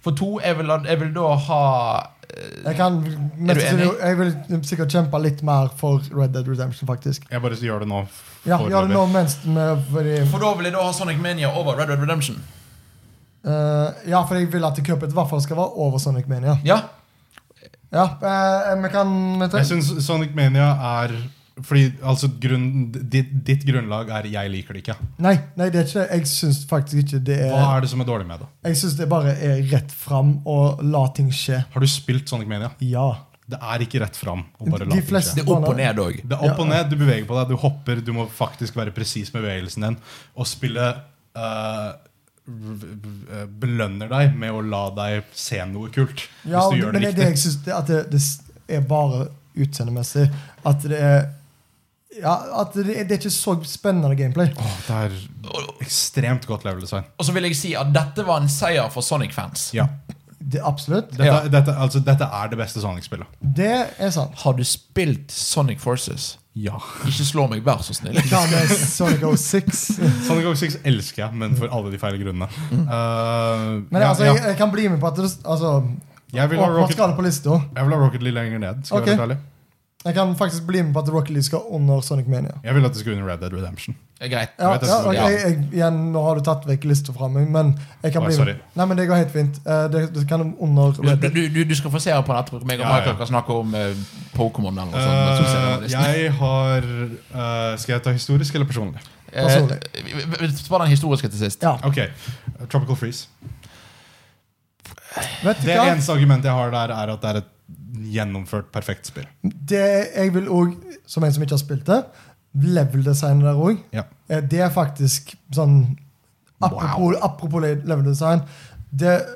Speaker 1: For to, jeg vil, jeg vil da ha eh,
Speaker 2: jeg, kan,
Speaker 1: Er du enig?
Speaker 2: jeg vil sikkert kjempe litt mer for Red Dead Redemption, faktisk.
Speaker 3: Jeg bare gjør det nå.
Speaker 2: Ja,
Speaker 3: foreløpig.
Speaker 2: gjør det nå mens med, fordi,
Speaker 1: For da vil jeg da ha Sonic Mania over Red Dead Redemption
Speaker 2: eh, Ja, for jeg vil at Cuphead i hvert fall skal være over Sonic Mania.
Speaker 1: Ja,
Speaker 2: Ja, eh, vi kan vet du-
Speaker 3: Jeg syns Sonic Mania er Fordi altså, grunnen- ditt, ditt grunnlag er 'jeg liker det ikke'.
Speaker 2: nei, nei, det er ikke det. Jeg syns faktisk ikke det
Speaker 3: Hva
Speaker 2: er
Speaker 3: er det som er dårlig med det?
Speaker 2: Jeg syns det bare er rett fram og la ting skje.
Speaker 3: Har du spilt Sonic Mania?
Speaker 2: Ja.
Speaker 3: Det er ikke rett fram. å bare
Speaker 2: De
Speaker 3: late det
Speaker 2: fleste-
Speaker 1: Det er opp og ned òg.
Speaker 3: skje. Det er opp og ned, du beveger på deg, du hopper, du må faktisk være presis med bevegelsen din. Og spillet eh, v- v- eh, belønner deg med å la deg se noe kult.
Speaker 2: Ja,
Speaker 3: hvis du
Speaker 2: men
Speaker 3: gjør det
Speaker 2: det, er det
Speaker 3: riktig.
Speaker 2: jeg synes, det, at det, det s- er bare utseendemessig. At det er ja, at det, det er ikke så spennende gameplay.
Speaker 3: Åh, det er ekstremt godt level design.
Speaker 1: Og så vil jeg si at dette var en seier for Sonic-fans.
Speaker 3: Ja.
Speaker 2: Det, absolutt.
Speaker 3: Dette,
Speaker 1: Ja.
Speaker 3: dette, altså, dette er det beste Sonic-spillet.
Speaker 2: Det er sant.
Speaker 1: Har du spilt Sonic Forces?
Speaker 3: Ja.
Speaker 1: Ikke slå meg, vær så snill.
Speaker 2: Hva med Sonic 06?
Speaker 3: Sonic Rock 6 elsker jeg, men for alle de feile grunnene. Eh,
Speaker 2: Mm. Men
Speaker 3: ja,
Speaker 2: altså,
Speaker 3: ja.
Speaker 2: jeg, jeg kan bli med på at det, altså,
Speaker 3: Jeg vil ha
Speaker 2: Man
Speaker 3: Rocket
Speaker 2: skal det på lista.
Speaker 3: Jeg vil ha Rocket League lenger ned. skal
Speaker 2: Ok.
Speaker 3: Jeg være helt ærlig.
Speaker 2: Jeg kan faktisk bli med på at Rocket League skal under Sonic Mania.
Speaker 3: Jeg vil at det skal under Red Dead Redemption.
Speaker 1: Det er greit.
Speaker 2: Ja,
Speaker 3: Jeg vet
Speaker 2: ja,
Speaker 3: at det-
Speaker 2: ok,
Speaker 1: ja.
Speaker 2: jeg, igjen, nå har du tatt vekk lista fra meg, men jeg kan
Speaker 3: Oi,
Speaker 2: bli
Speaker 3: sorry.
Speaker 2: med. Nei, men Det går helt fint. Eh, Det, det kan under Red
Speaker 1: Du,
Speaker 2: Dead.
Speaker 1: du, du, du skal få se her på nettet. Meg og
Speaker 3: Ja, ja.
Speaker 1: Michael kan snakke om eh, Pokémon eller noe sånt.
Speaker 3: Eh,
Speaker 1: mens du sånn, ser den listen.
Speaker 3: jeg har eh, Skal jeg ta historisk eller personlig?
Speaker 2: personlig.
Speaker 1: Eh, vi- vi- vi- Spar den historiske til sist.
Speaker 2: Ja,
Speaker 3: Ok, Tropical Freeze.
Speaker 2: vet du
Speaker 3: Det
Speaker 2: hva?
Speaker 3: eneste argumentet jeg har der, er at det er et gjennomført, perfekt spill.
Speaker 2: Det jeg vil òg, som en som ikke har spilt det, level-designet der òg.
Speaker 3: Ja.
Speaker 2: Eh, Det er faktisk sånn Apropos, apropos level design. Det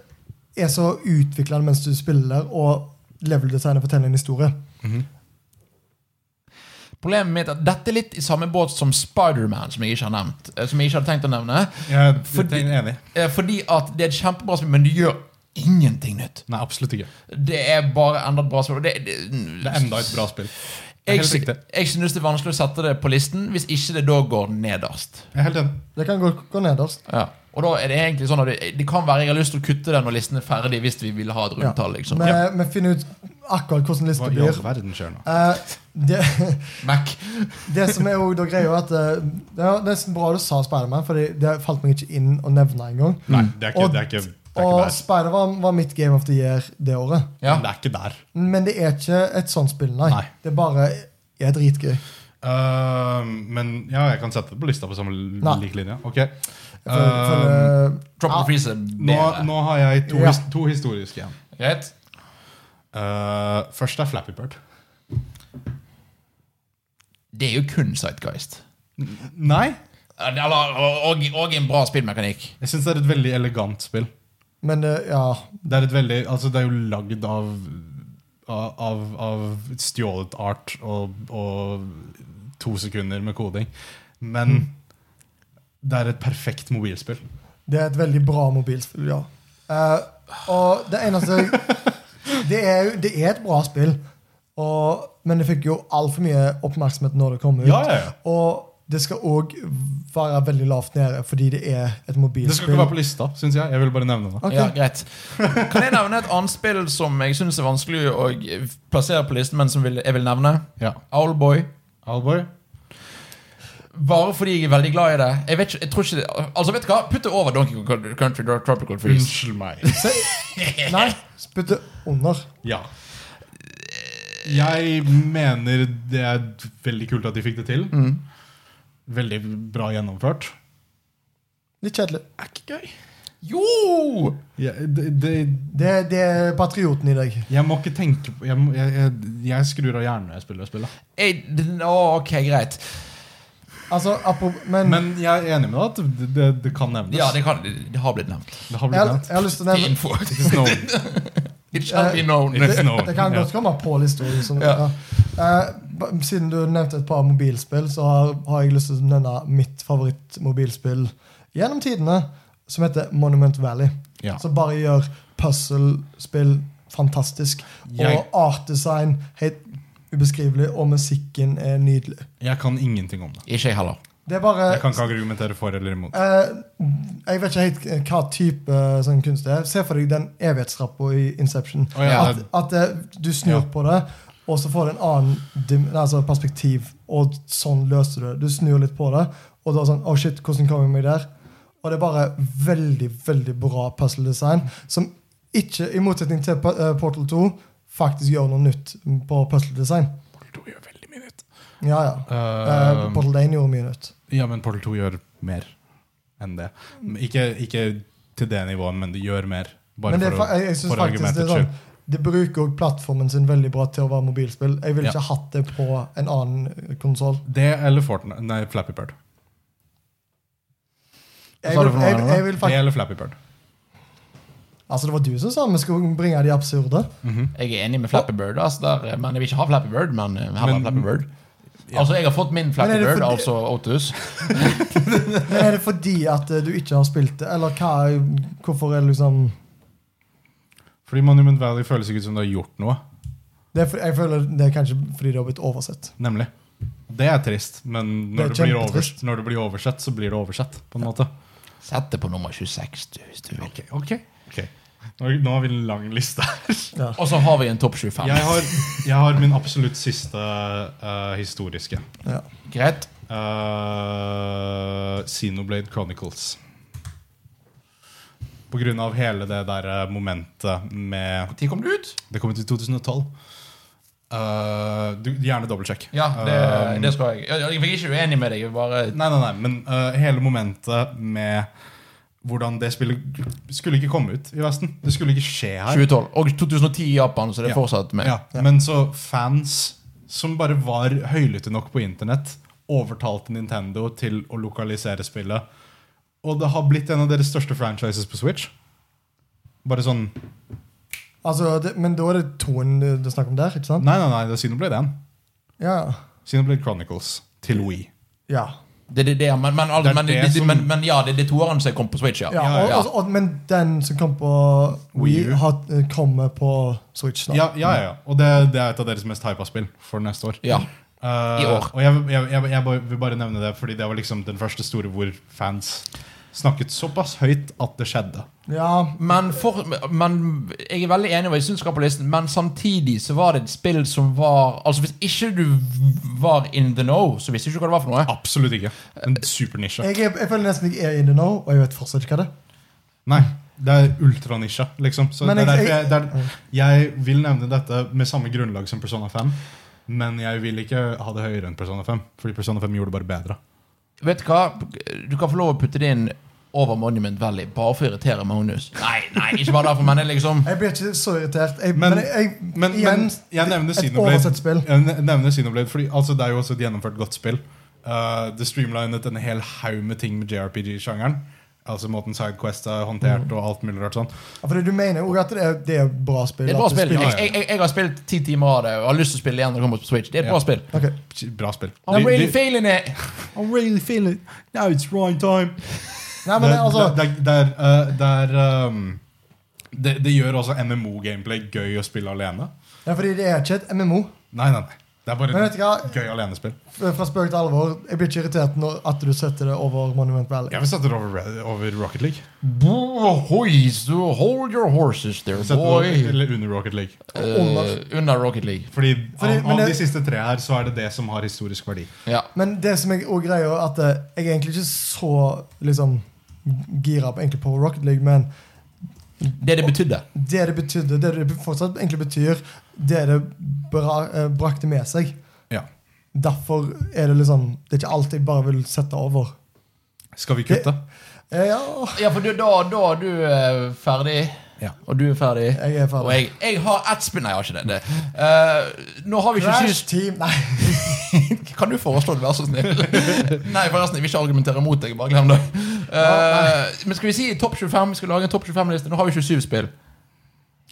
Speaker 2: er så utviklende mens du spiller, og level designet forteller en historie.
Speaker 1: Problemet mitt er at dette er litt i samme båt som Spiderman, som jeg ikke har nevnt. eh, Som jeg ikke hadde tenkt å nevne.
Speaker 3: Jeg er
Speaker 1: Fordi-
Speaker 3: enig.
Speaker 1: Eh, Fordi at det er et kjempebra spill, men det gjør ingenting nytt.
Speaker 3: Nei, absolutt ikke.
Speaker 1: Det er bare enda et bra spill. og Det, det,
Speaker 3: Det er enda et bra spill. Det er
Speaker 1: jeg,
Speaker 3: helt
Speaker 1: sy-
Speaker 3: riktig.
Speaker 1: jeg synes det er vanskelig å sette det på listen hvis ikke det da går nederst.
Speaker 3: Jeg er helt enig.
Speaker 2: Det kan gå, gå nederst.
Speaker 1: Og da er det egentlig sånn at det, det kan være jeg har lyst til å kutte den når listen er ferdig, hvis vi vil ha et
Speaker 2: Ja.
Speaker 1: rundtall. liksom.
Speaker 2: Vi vi finner ut akkurat hvordan lista
Speaker 3: Hva i all
Speaker 2: blir.
Speaker 3: verden skjer nå?
Speaker 2: Eh, det,
Speaker 1: Mac.
Speaker 2: det som er jo da greia, er at eh, det er nesten bra du sa Spiderman, for det falt meg ikke inn å nevne engang.
Speaker 3: Nei, det er ikke,
Speaker 2: Og-
Speaker 3: det er ikke, det er
Speaker 2: Og
Speaker 3: ikke der.
Speaker 2: Spider var, var mitt Game of the Year det året.
Speaker 1: Ja.
Speaker 3: Men Det er ikke der.
Speaker 2: Men det er ikke et sånt spill, nei.
Speaker 3: Nei.
Speaker 2: Det er bare er dritgøy.
Speaker 3: Eh, men ja, jeg kan sette det på lista på samme
Speaker 2: Nei.
Speaker 3: lik linje. Ok.
Speaker 2: For, for,
Speaker 3: Eh,
Speaker 2: eh,
Speaker 1: Tropical
Speaker 2: Ja.
Speaker 1: Freeze er
Speaker 3: nå,
Speaker 1: bedre.
Speaker 3: nå har jeg to,
Speaker 2: Ja.
Speaker 3: his to historiske igjen.
Speaker 1: Greit?
Speaker 3: Eh, først er Flappy Bird.
Speaker 1: Det er jo kun Sightguist.
Speaker 3: Nei.
Speaker 1: Eller, og, og en bra spillmekanikk.
Speaker 3: Jeg syns det er et veldig elegant spill.
Speaker 2: men eh, ja
Speaker 3: Det er, et veldig, altså det er jo lagd av, av, av stjålet art og, og to sekunder med koding. Men det er et perfekt mobilspill.
Speaker 2: Det er et veldig bra mobilspill, ja. Eh, og det eneste det, er, jo- det er et bra spill, og, men det fikk jo altfor mye oppmerksomhet når det kom ut.
Speaker 3: Ja, ja, ja.
Speaker 2: Og det skal òg være veldig lavt nede, fordi det er et
Speaker 3: Det skal ikke være
Speaker 2: mobilspill.
Speaker 3: på lista, syns jeg. Jeg vil bare nevne det.
Speaker 2: Ok.
Speaker 1: Ja, greit. Kan jeg nevne et annet spill som jeg syns er vanskelig å plassere på listen, men som vil- jeg vil nevne?
Speaker 3: Ja.
Speaker 1: Owlboy.
Speaker 3: Alboy?
Speaker 1: Bare fordi jeg er veldig glad i det. Jeg vet ikke, jeg tror ikke det Altså, vet du hva? Putt det over Donkey Kong Country Tropical Freeze.
Speaker 3: Unnskyld meg.
Speaker 2: Nei, spytte under.
Speaker 3: Ja. Jeg mener det er veldig kult at de fikk det til. Veldig bra gjennomført.
Speaker 2: Litt kjedelig.
Speaker 3: Er ikke gøy.
Speaker 2: Mm.
Speaker 1: Jo!
Speaker 3: Jeg, det, det,
Speaker 2: Det, det er patrioten i deg.
Speaker 3: jeg må ikke tenke på Jeg, må- jeg, jeg, jeg skrur av hjernen når jeg spiller det spillet.
Speaker 1: Jeg, den- å, ok, greit.
Speaker 2: Altså, apro men,
Speaker 3: Men jeg er enig med deg at det, det, det kan nevnes.
Speaker 1: Ja, det, kan, det har blitt nevnt.
Speaker 3: Det har
Speaker 2: jeg,
Speaker 3: blitt
Speaker 2: har-
Speaker 3: nevnt.
Speaker 2: jeg har lyst til å
Speaker 1: Det er
Speaker 2: nevne
Speaker 1: info.
Speaker 3: It is known.
Speaker 1: It shall be known.
Speaker 2: Eh,
Speaker 3: It is known.
Speaker 2: Det kan
Speaker 3: Ja.
Speaker 2: godt komme på lista. Liksom.
Speaker 1: Ja.
Speaker 2: Ja. Eh, ba- siden du nevnte et par mobilspill, så har, har jeg lyst til å nevne mitt favorittmobilspill gjennom tidene, som heter Monument Valley.
Speaker 3: Ja.
Speaker 2: Som bare gjør puzzle-spill fantastisk.
Speaker 3: Jeg-
Speaker 2: Og artdesign helt ubeskrivelig, og musikken er nydelig.
Speaker 3: Jeg kan ingenting om det.
Speaker 1: Ikke jeg heller.
Speaker 2: Det er bare
Speaker 3: Jeg kan ikke argumentere for eller imot.
Speaker 2: Eh, jeg vet ikke helt hva type eh, sånn kunst det er. Se for deg den evighetstrappa i Inception.
Speaker 3: Å, ja.
Speaker 2: At, at eh, du snur
Speaker 3: Ja.
Speaker 2: på det, og så får du en annen dim, altså perspektiv, og sånn løser du det. Du snur litt på det, og da er det sånn Å, shit, hvordan kom jeg meg der? Og det er bare veldig, veldig bra puzzle design, som ikke, i motsetning til P- eh, Portal 2, faktisk gjør noe nytt på puzzle design.
Speaker 3: Portal 2 gjør veldig mye nytt.
Speaker 2: Ja, ja. Eh, Portal 1 gjorde mye nytt.
Speaker 3: ja, men Portal 2 gjør mer enn det. Men Ikke, ikke til det nivået, men det gjør mer. Bare
Speaker 2: Men det, er
Speaker 3: for,
Speaker 2: fa-
Speaker 3: å-
Speaker 2: jeg, jeg synes
Speaker 3: for
Speaker 2: faktisk det
Speaker 3: argumentets
Speaker 2: er sånn
Speaker 3: skyld.
Speaker 2: det bruker òg plattformen sin veldig bra til å være mobilspill. Jeg ville
Speaker 3: Ja.
Speaker 2: ikke hatt det på en annen eh, konsoll.
Speaker 3: Det eller Fortnite. Nei, Flappy Bird.
Speaker 1: Hva
Speaker 2: Jeg,
Speaker 1: sa du for
Speaker 2: vil-
Speaker 1: noe,
Speaker 2: jeg,
Speaker 1: Arne?
Speaker 2: jeg vil
Speaker 3: Det
Speaker 2: faktisk
Speaker 3: eller Flappy Bird.
Speaker 2: Altså, det var du som sa vi skulle bringe de absurde.
Speaker 1: Jeg er enig med Flappy Bird. Altså der, men jeg vil ikke ha Flappy Bird, men eh, her var
Speaker 3: Men-
Speaker 1: Flappy Bird. Altså, jeg har fått min Flappy
Speaker 2: Men er det
Speaker 1: Bird,
Speaker 2: fordi-
Speaker 1: altså Otus.
Speaker 2: Men er det fordi at eh, du ikke har spilt det, eller hva er, hvorfor er det liksom
Speaker 3: Fordi Monument Valley føles ikke ut som du har gjort noe.
Speaker 2: det er, for- Jeg føler det er kanskje fordi det har blitt oversett.
Speaker 3: Nemlig. Det er trist, men
Speaker 2: Det
Speaker 3: når
Speaker 2: er
Speaker 3: det, blir overs
Speaker 2: kjempetrist.
Speaker 3: når det blir oversett, så blir det oversett. på en måte.
Speaker 1: Sett det på nummer 26, du, hvis du vil.
Speaker 3: Ok, ok. Nå, nå har vi en lang liste her.
Speaker 1: Og så har vi en topp 25.
Speaker 3: Jeg har, jeg har min absolutt siste eh, historiske.
Speaker 2: Ja.
Speaker 1: Greit.
Speaker 3: Eh, Xenoblade Chronicles. På grunn av hele det der eh, momentet med
Speaker 1: Når kom det ut?
Speaker 3: Det kom ut i 2012. Eh, du, gjerne dobbeltsjekk.
Speaker 1: Ja, det,
Speaker 3: Eh,
Speaker 1: det skal jeg. Jeg, jeg fikk ikke uenig med deg. jeg Bare
Speaker 3: Nei, nei, nei, men eh, hele momentet med hvordan det spillet skulle ikke komme ut i Vesten. Det skulle ikke skje her.
Speaker 1: 2012. Og 2010 i Japan, så det er
Speaker 3: Ja.
Speaker 1: fortsatt med.
Speaker 3: Ja, men så fans som bare var høylytte nok på internett, overtalte Nintendo til å lokalisere spillet. Og det har blitt en av deres største franchises på Switch. Bare sånn
Speaker 2: Altså, det, men da er det toen du, du snakker om der, ikke sant?
Speaker 3: Nei, nei, nei, det er Xenoblade 1.
Speaker 2: Ja.
Speaker 3: Xenoblade Chronicles til Wii.
Speaker 2: ja.
Speaker 1: Det, det, det, men, men,
Speaker 3: Det er
Speaker 1: men,
Speaker 3: det
Speaker 1: men,
Speaker 3: som-
Speaker 1: men, men ja, det, det er toeren som kom på Switch, ja.
Speaker 2: ja,
Speaker 3: ja,
Speaker 2: og,
Speaker 1: ja.
Speaker 2: Og, og, men den som kom på
Speaker 3: Wii U.
Speaker 2: Wii, har eh, kommet på Switch nå.
Speaker 3: Ja, ja, ja, ja. Og det, det er et av deres mest hypa spill for neste år.
Speaker 1: Ja.
Speaker 3: Eh,
Speaker 1: I år.
Speaker 3: Og jeg, jeg, jeg, jeg bare- vil bare nevne det, fordi det var liksom den første store hvor fans snakket såpass høyt at det skjedde.
Speaker 2: Ja,
Speaker 1: Men, for, men jeg er veldig enig i hva jeg syns skal på listen, men samtidig så var det et spill som var Altså, hvis ikke du var in the know, så visste du ikke hva det var for noe.
Speaker 3: Absolutt ikke. En supernisje.
Speaker 2: jeg, er- jeg føler nesten jeg er in the know, og jeg vet fortsatt ikke hva det er.
Speaker 3: Nei, det er ultranisje, liksom. Så
Speaker 2: Men
Speaker 3: det er
Speaker 2: jeg-
Speaker 3: derfor jeg, det er, jeg vil nevne dette med samme grunnlag som Persona 5, men jeg vil ikke ha det høyere enn Persona 5, fordi Persona 5 gjorde det bare bedre.
Speaker 1: Vet du hva? Du kan få lov å putte det inn over Monument Valley, bare for å irritere Magnus. Nei, nei, ikke bare derfor, men det er liksom
Speaker 2: Jeg blir ikke så irritert. Jeg,
Speaker 3: Men-
Speaker 2: men, jeg,
Speaker 3: Men,
Speaker 2: igjen,
Speaker 3: men jeg nevner
Speaker 2: et
Speaker 3: Xenoblade,
Speaker 2: oversett spill.
Speaker 3: Jeg ne- nevner Xenoblade fordi altså, det er jo også et gjennomført godt spill. Uh, det streamlinet en hel haug med ting med JRPG-sjangeren. Altså måten Sidequest er håndtert
Speaker 2: Mm.
Speaker 3: og alt mulig rart sånn.
Speaker 2: Ja, fordi du mener jo at det er, det er et bra spill.
Speaker 1: Det er et bra
Speaker 2: at du
Speaker 1: spill.
Speaker 2: spiller-
Speaker 1: Jeg, jeg, jeg, jeg har spilt ti timer av det og har lyst til å spille igjen når det kommer på Switch. Det er et
Speaker 3: Ja.
Speaker 1: bra spill.
Speaker 2: Ok.
Speaker 3: Bra spill.
Speaker 1: I'm
Speaker 3: De- de-
Speaker 1: really feeling it.
Speaker 3: I'm really feeling it. Now it's right time.
Speaker 2: Nei,
Speaker 3: Det
Speaker 2: men
Speaker 3: er-
Speaker 2: altså,
Speaker 3: Eh, det er- det er, uh, det er, um, det- det gjør også MMO-gameplay gøy å spille alene.
Speaker 2: ja, fordi det er ikke et MMO.
Speaker 3: Nei, nei, nei. Det er
Speaker 2: Men
Speaker 3: bare
Speaker 2: vet du hva?
Speaker 3: gøy alenespill.
Speaker 2: Fra spøk til alvor, jeg blir ikke irritert når at du setter det over Monument Valley.
Speaker 3: Jeg vil sette det over, Red- over Rocket League.
Speaker 1: Boy, so hold your horses there,
Speaker 3: Sette det over,
Speaker 1: boy.
Speaker 3: eller under Rocket League.
Speaker 2: Under.
Speaker 1: Eh, under Rocket League.
Speaker 3: Fordi,
Speaker 2: Fordi-
Speaker 3: av,
Speaker 2: men
Speaker 3: av
Speaker 2: det-
Speaker 3: de siste tre her, så er det det som har historisk verdi.
Speaker 1: Ja.
Speaker 2: Men det som jeg også greier, er at eh, jeg er egentlig ikke så liksom, gira på, egentlig på Rocket League, men
Speaker 1: Det det betydde.
Speaker 2: det det betydde, det det fortsatt egentlig betyr, det det bra, eh, brakte med seg.
Speaker 3: Ja.
Speaker 2: Derfor er det liksom Det er ikke alt jeg bare vil sette over.
Speaker 3: Skal vi kutte?
Speaker 2: Eh, Ja,
Speaker 1: Ja, for du, da, da er du eh, ferdig.
Speaker 3: Ja.
Speaker 1: Og du er ferdig.
Speaker 2: jeg er
Speaker 1: Og
Speaker 2: ferdig.
Speaker 1: jeg, jeg har ett spill Nei, jeg har ikke det. det. Eh, nå har vi ikke
Speaker 2: Crash
Speaker 1: syns...
Speaker 2: Team! Nei.
Speaker 1: Kan du foreslå det, vær så snill? nei, forresten, jeg vil ikke argumentere mot deg. Bare glem det. Eh, men skal vi si topp 25? Vi skal lage en topp 25-liste. Nå har vi 27 spill.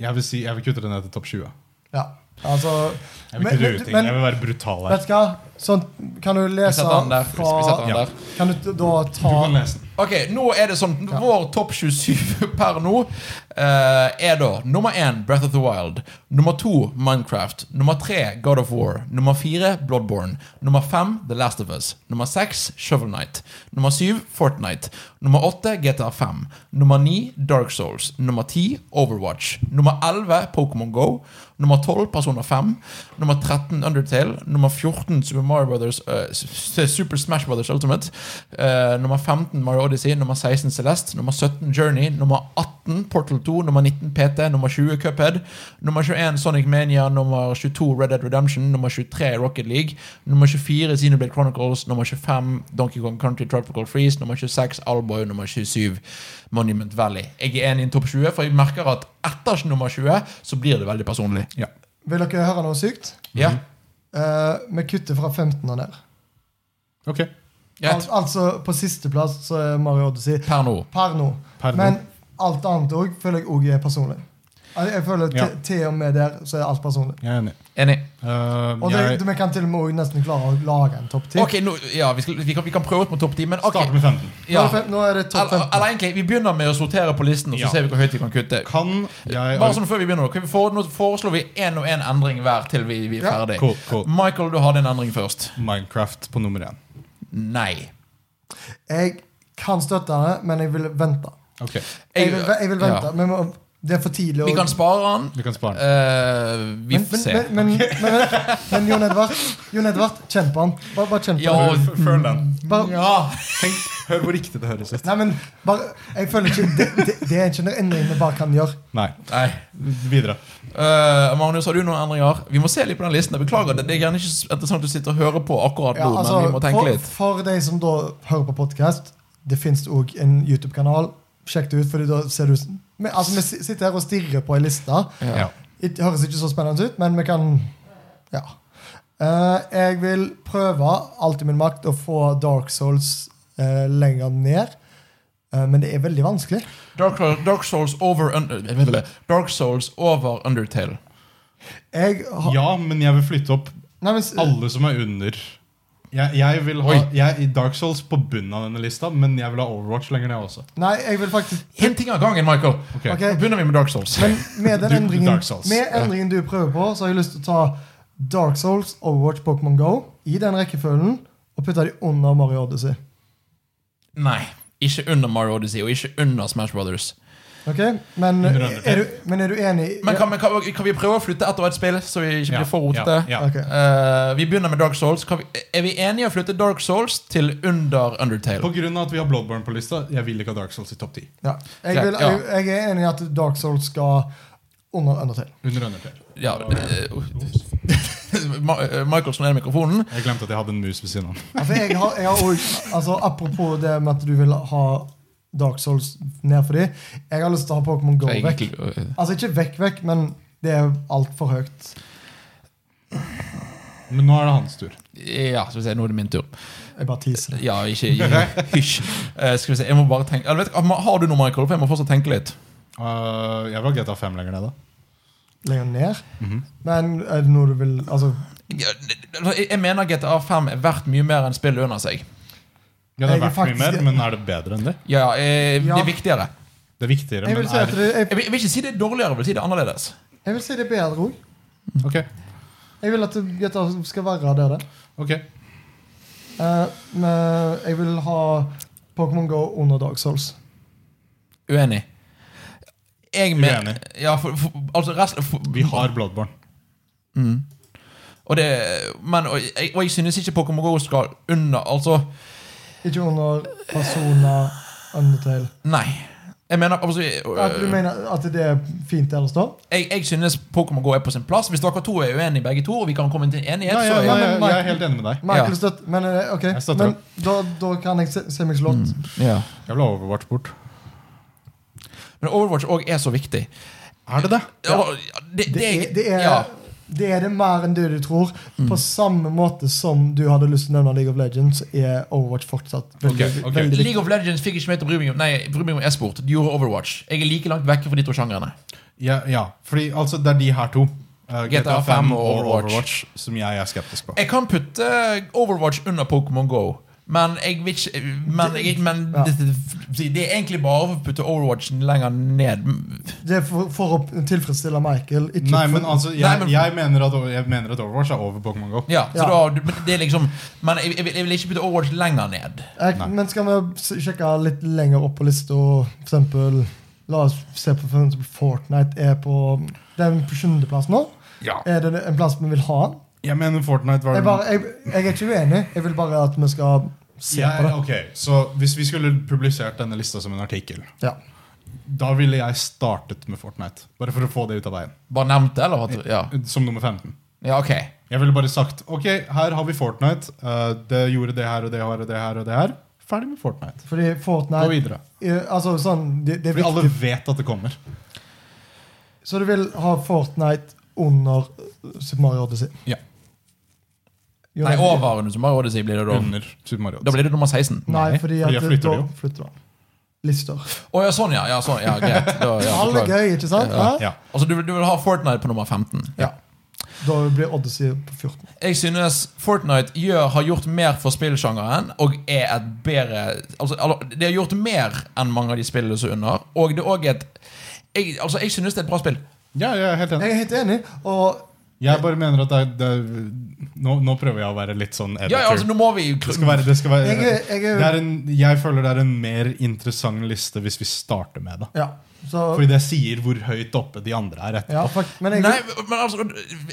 Speaker 3: Jeg vil, si, jeg vil kutte det ned til topp 20.
Speaker 2: Ja, altså
Speaker 3: Jeg vil
Speaker 2: Men-
Speaker 3: ikke
Speaker 2: men-
Speaker 3: rue ting.
Speaker 2: men-
Speaker 3: jeg vil være brutal her.
Speaker 2: Vet du hva? Sånn, kan du
Speaker 1: Vi
Speaker 2: lese
Speaker 1: setter den der. Vi setter
Speaker 2: fra
Speaker 1: den
Speaker 3: Ja.
Speaker 1: der.
Speaker 2: Kan du da
Speaker 3: Du
Speaker 2: ta
Speaker 3: kan lese den.
Speaker 1: Ok, nå er det sånn Vår topp 27 per nå eh, er da nummer 1 Breath of the Wild, nummer 2 Minecraft, nummer 3 God of War, nummer 4 Bloodborne, nummer 5 The Last of Us, nummer 6 Shovel Knight, nummer 7 Fortnite, nummer 8 GTA 5, nummer 9 Dark Souls, nummer 10 Overwatch, nummer 11 Pokémon Go, nummer 12 Persona Persona 5. Nummer 13 Undertale. Nummer 14 Super Mario Brothers eh, S- S- Super Smash Brothers Ultimate. Eh, nummer 15 Mario Odyssey. Nummer 16 Celeste. Nummer 17 Journey. Nummer 18 Portal 2. Nummer 19 PT. Nummer 20 Cuphead. Nummer 21 Sonic Mania. Nummer 22 Red Dead Redemption. Nummer 23 Rocket League. Nummer 24 Xenoblade Chronicles. Nummer 25 Donkey Kong Country Tropical Freeze. Nummer 26 Alboy. Nummer 27 Monument Valley. Jeg er enig i en topp 20, for jeg merker at etter nummer 20 så blir det veldig personlig.
Speaker 2: Vil dere høre noe sykt?
Speaker 1: Ja,
Speaker 2: Eh, vi kutter fra 15 og ned.
Speaker 3: Ok.
Speaker 1: greit.
Speaker 2: Al altså på sisteplass så er Mario Odyssey
Speaker 1: Per nå.
Speaker 2: per nå.
Speaker 3: Per nå.
Speaker 2: Men alt annet òg føler jeg òg er personlig. Altså, Jeg jeg føler
Speaker 3: Ja.
Speaker 2: til- Til og med der så er alt personlig.
Speaker 3: Jeg er enig.
Speaker 1: Enig.
Speaker 3: Uh,
Speaker 2: Og det,
Speaker 3: jeg
Speaker 2: Vi kan til og med også nesten klare å lage en topp ti.
Speaker 1: Ok, nå, ja, vi, skal, vi, kan, vi kan prøve ut mot topp 10, men ok.
Speaker 3: starter med 15.
Speaker 1: Ja.
Speaker 2: Nå er det fem- Nå er det topp
Speaker 1: Eller,
Speaker 2: 15.
Speaker 1: eller egentlig, vi begynner med å sortere på listen, og så
Speaker 3: Ja.
Speaker 1: ser vi hvor høyt vi kan kutte.
Speaker 3: Kan jeg
Speaker 1: Bare sånn før vi begynner Nå, vi får- Nå foreslår vi én og én endring hver til vi, vi er
Speaker 2: Ja.
Speaker 1: ferdig.
Speaker 3: Cool, cool.
Speaker 1: Michael, du hadde en endring først.
Speaker 3: Minecraft på nummer én.
Speaker 1: Nei.
Speaker 2: Jeg kan støtte det, men jeg vil vente.
Speaker 3: Ok,
Speaker 2: Jeg vil, jeg vil vente,
Speaker 1: Ja.
Speaker 2: men må- Det er for tidlig. å-
Speaker 1: Vi kan spare den.
Speaker 3: Du kan spare den.
Speaker 1: Eh, vi
Speaker 2: men,
Speaker 1: får
Speaker 2: men,
Speaker 1: se.
Speaker 2: men, men, men, men, men Jon Edvard, Jon Edvard kjenn på han. Bare, bare kjenn på
Speaker 1: Ja.
Speaker 2: han.
Speaker 1: og-
Speaker 3: F- Føl den.
Speaker 2: Bare,
Speaker 1: Ja.
Speaker 3: Tenk, hør hvor riktig det høres ut.
Speaker 2: Nei, men bare, jeg føler ikke Det, det, det er ikke en endring vi bare kan gjøre.
Speaker 3: Nei.
Speaker 1: Nei.
Speaker 3: Videre.
Speaker 1: Eh, Magnus, har du noen endringer? Vi må se litt på den listen. Jeg Beklager, det det er gjerne ikke så interessant å sitte og høre på akkurat nå,
Speaker 2: Ja, altså,
Speaker 1: men vi må tenke
Speaker 2: for,
Speaker 1: litt.
Speaker 2: for de som da hører på podkast, det fins òg en YouTube-kanal. Sjekk det ut, fordi da ser du men, altså, Vi si- sitter her og stirrer på ei liste.
Speaker 1: Ja.
Speaker 3: Ja.
Speaker 2: Det høres ikke så spennende ut, men vi kan Ja. Eh, jeg vil prøve alt i min makt å få Dark Souls eh, lenger ned. Eh, men det er veldig vanskelig.
Speaker 1: Dark, Dark Souls over under, jeg vet ikke, Dark Souls over Undertale.
Speaker 2: Jeg har
Speaker 3: ja, men jeg vil flytte opp
Speaker 2: Nei, men, s-
Speaker 3: alle som er under. Jeg, jeg vil ha
Speaker 1: Oi.
Speaker 3: jeg, er i Dark Souls på bunnen av denne lista, men jeg vil ha Overwatch lenger ned også.
Speaker 2: nei, jeg vil faktisk
Speaker 1: Én ting av gangen, Michael.
Speaker 3: Ok.
Speaker 2: Ok.
Speaker 1: Nå begynner vi med Dark Souls.
Speaker 2: Men med den
Speaker 3: Du-
Speaker 2: endringen,
Speaker 3: Dark Souls.
Speaker 2: med endringen du prøver på, så har jeg lyst til å ta Dark Souls, Overwatch, Pokémon Go i den rekkefølgen og putte de under Mario Odyssey.
Speaker 1: Nei. Ikke under Mario Odyssey og ikke under Smash Brothers.
Speaker 2: Ok? Men,
Speaker 3: Under Undertale.
Speaker 2: er du, men er du enig? i-
Speaker 1: Men kan, men kan, kan vi prøve å flytte ett og ett spill, så vi ikke
Speaker 3: Ja,
Speaker 1: blir for rotete?
Speaker 3: ja, ja.
Speaker 2: Ok.
Speaker 1: Eh, vi begynner med Dark Souls. Kan vi, er vi enige å flytte Dark Souls til under Undertale?
Speaker 3: På grunn av at vi har Bloodborne på lista, jeg vil ikke ha Dark Souls i topp 10.
Speaker 2: Ja. Jeg,
Speaker 1: Greit,
Speaker 2: vil,
Speaker 1: ja.
Speaker 2: jeg, jeg er enig i at Dark Souls skal under Undertale.
Speaker 3: Under Undertale.
Speaker 1: Ja, eh, Ma- eh, Michael slår ned mikrofonen.
Speaker 3: Jeg glemte at jeg hadde en mus ved siden av.
Speaker 2: Altså, jeg har, jeg har også, altså, apropos det med at du vil ha Dark Souls ned for dem. Jeg har lyst til å ha Pokémon Go
Speaker 1: Jeg-
Speaker 2: vekk. Altså ikke vekk, vekk, men det er altfor høyt.
Speaker 3: Men nå er det hans tur.
Speaker 1: Ja, skal vi se, nå er det min tur.
Speaker 2: Jeg bare teaser. det.
Speaker 1: Ja, ikke ikke- Hysj. Eh, skal vi se, jeg må bare tenke Eller vet, du, Har du noe, Michael? For jeg må fortsatt tenke litt.
Speaker 3: Uh, jeg vil ha GTA 5 lenger ned, da.
Speaker 2: Lenger ned. Men er det noe du vil Altså
Speaker 1: Jeg, Altså, jeg mener GTA 5 er verdt mye mer enn spillet under seg.
Speaker 3: Ja, det
Speaker 2: Jeg
Speaker 3: er verdt
Speaker 2: er
Speaker 3: mye
Speaker 2: faktisk-
Speaker 3: mer, men er det bedre enn det?
Speaker 1: Ja, eh, Det
Speaker 2: Ja.
Speaker 1: er viktigere.
Speaker 3: Det er viktigere,
Speaker 2: Jeg
Speaker 3: men
Speaker 2: vil si, at
Speaker 3: er
Speaker 2: det, jeg,
Speaker 1: Jeg vil, jeg vil ikke si det er dårligere, jeg vil si det er annerledes.
Speaker 2: jeg vil si det er bedre òg.
Speaker 3: Ok,
Speaker 2: Jeg vil at det- GTA skal være der det.
Speaker 3: ok.
Speaker 2: Eh, men jeg vil ha Pokémon Go under Dark Souls.
Speaker 1: Uenig. Jeg men-
Speaker 3: Uenig.
Speaker 1: Ja, for, for, altså resten for,
Speaker 3: Vi har Bloodborne.
Speaker 1: Og det Men og jeg, og jeg synes ikke Pokémon Go skal under Altså,
Speaker 2: Ikke under Persona Undertale.
Speaker 1: nei. Jeg mener altså,
Speaker 2: At du
Speaker 1: jeg,
Speaker 2: mener at det er fint ellers, da?
Speaker 1: jeg synes Pokémon Go er på sin plass. Hvis dere to er uenige, begge to, og vi kan komme til enighet,
Speaker 3: Nei,
Speaker 1: så
Speaker 3: jeg,
Speaker 1: er-
Speaker 2: ja.
Speaker 3: jeg,
Speaker 2: men
Speaker 3: jeg, jeg er
Speaker 2: Mike-
Speaker 3: helt enig med deg.
Speaker 2: Michael
Speaker 1: Ja.
Speaker 2: støtter Men eh, ok,
Speaker 3: Jeg støtter Mm.
Speaker 2: men da, da kan jeg se, se meg slått.
Speaker 1: ja.
Speaker 3: Jeg vil ha Overwatch bort.
Speaker 1: Men Overwatch òg er så viktig.
Speaker 3: Er det det?
Speaker 1: Ja. Det, det,
Speaker 2: Det, er, det, er,
Speaker 1: ja.
Speaker 2: det er det mer enn det du tror.
Speaker 3: Mm.
Speaker 2: På samme måte som du hadde lyst til å nevne League of Legends, er Overwatch fortsatt veldig,
Speaker 3: Ok, ok.
Speaker 2: veldig viktig.
Speaker 1: League of Legends fikk ikke meg til å bry meg om Nei, bry meg om e-sport. Du gjorde Overwatch. Jeg er like langt vekke fra de to sjangrene.
Speaker 3: Ja, ja. fordi altså, det er de her to. eh,
Speaker 1: GTA 5 og Overwatch.
Speaker 3: som jeg er skeptisk på.
Speaker 1: Jeg kan putte eh, Overwatch under Pokémon Go. Men jeg vil ikke Men, jeg, men
Speaker 2: Ja.
Speaker 1: det, det er egentlig bare å putte Overwatchen lenger ned.
Speaker 2: Det er for, for å tilfredsstille Michael. Ikke
Speaker 3: Nei,
Speaker 2: for-
Speaker 3: men altså, jeg,
Speaker 1: Nei, men-
Speaker 3: jeg, mener at, jeg mener at Overwatch er over Pokémon GO.
Speaker 1: Ja, så
Speaker 2: Ja.
Speaker 1: Da, men det er liksom Men jeg, jeg, vil, jeg vil ikke putte Overwatch lenger ned.
Speaker 2: Jeg,
Speaker 3: Nei.
Speaker 2: Eh, men skal vi s- sjekke litt lenger opp på lista? For eksempel, la oss se på for eksempel Fortnite er på den på sjuendeplass nå.
Speaker 3: Ja.
Speaker 2: Er det en plass vi vil ha den?
Speaker 3: Jeg mener Fortnite var
Speaker 2: Jeg, bare, jeg, jeg er ikke uenig. Jeg vil bare at vi skal se
Speaker 3: Ja,
Speaker 2: på det.
Speaker 3: ok, Så hvis vi skulle publisert denne lista som en artikkel,
Speaker 2: Ja.
Speaker 3: da ville jeg startet med Fortnite. Bare for å få det ut av veien.
Speaker 1: Bare nevnt det, eller? hva tror du? Ja.
Speaker 3: Som nummer 15.
Speaker 1: ja, ok.
Speaker 3: Jeg ville bare sagt ok, her har vi Fortnite. eh, det gjorde det her og det her og det her. og det her Ferdig med Fortnite.
Speaker 2: Fordi
Speaker 3: Gå
Speaker 2: Fortnite
Speaker 3: videre.
Speaker 2: eh, altså, sånn, det, det er
Speaker 3: Fordi alle
Speaker 2: viktig.
Speaker 3: vet at det kommer.
Speaker 2: Så du vil ha Fortnite under eh, Super Mario Odyssey?
Speaker 3: Ja.
Speaker 1: Nei,
Speaker 2: Jonas-
Speaker 1: over under Super Mario Odyssey blir det da.
Speaker 3: Under Super Mario.
Speaker 1: Da blir det nummer 16.
Speaker 2: Nei, fordi at
Speaker 3: fordi jeg flytter
Speaker 2: da
Speaker 3: det jo.
Speaker 2: flytter du den. Lister.
Speaker 1: Å ja, sånn, ja. ja, sånn, ja greit. Da, ja,
Speaker 2: Alle
Speaker 1: beklager.
Speaker 2: gøy, ikke sant?
Speaker 1: Ja.
Speaker 2: Ja.
Speaker 3: Ja.
Speaker 1: altså, du, vil- du vil ha Fortnite på nummer 15?
Speaker 2: Ja. Da blir Odyssey på 14.
Speaker 1: Jeg synes Fortnite gjør, har gjort mer for spillsjangeren og er et bedre altså, al- Det har gjort mer enn mange av de spillene som er under. Og det er også et jeg, altså, jeg synes det er et bra spill.
Speaker 3: ja, jeg er helt enig.
Speaker 2: Jeg er helt enig. Og
Speaker 3: Jeg bare mener at det er, det er nå, nå prøver jeg å være litt sånn editor.
Speaker 1: Ja, ja, altså, nå må vi
Speaker 3: det skal være, det skal være
Speaker 2: Jeg er- jeg er-
Speaker 3: det er en, jeg føler det er en mer interessant liste hvis vi starter med det.
Speaker 2: ja, så
Speaker 3: Fordi det sier hvor høyt oppe de andre er. Etter.
Speaker 2: ja, fuck, Men jeg,
Speaker 1: Nei, men altså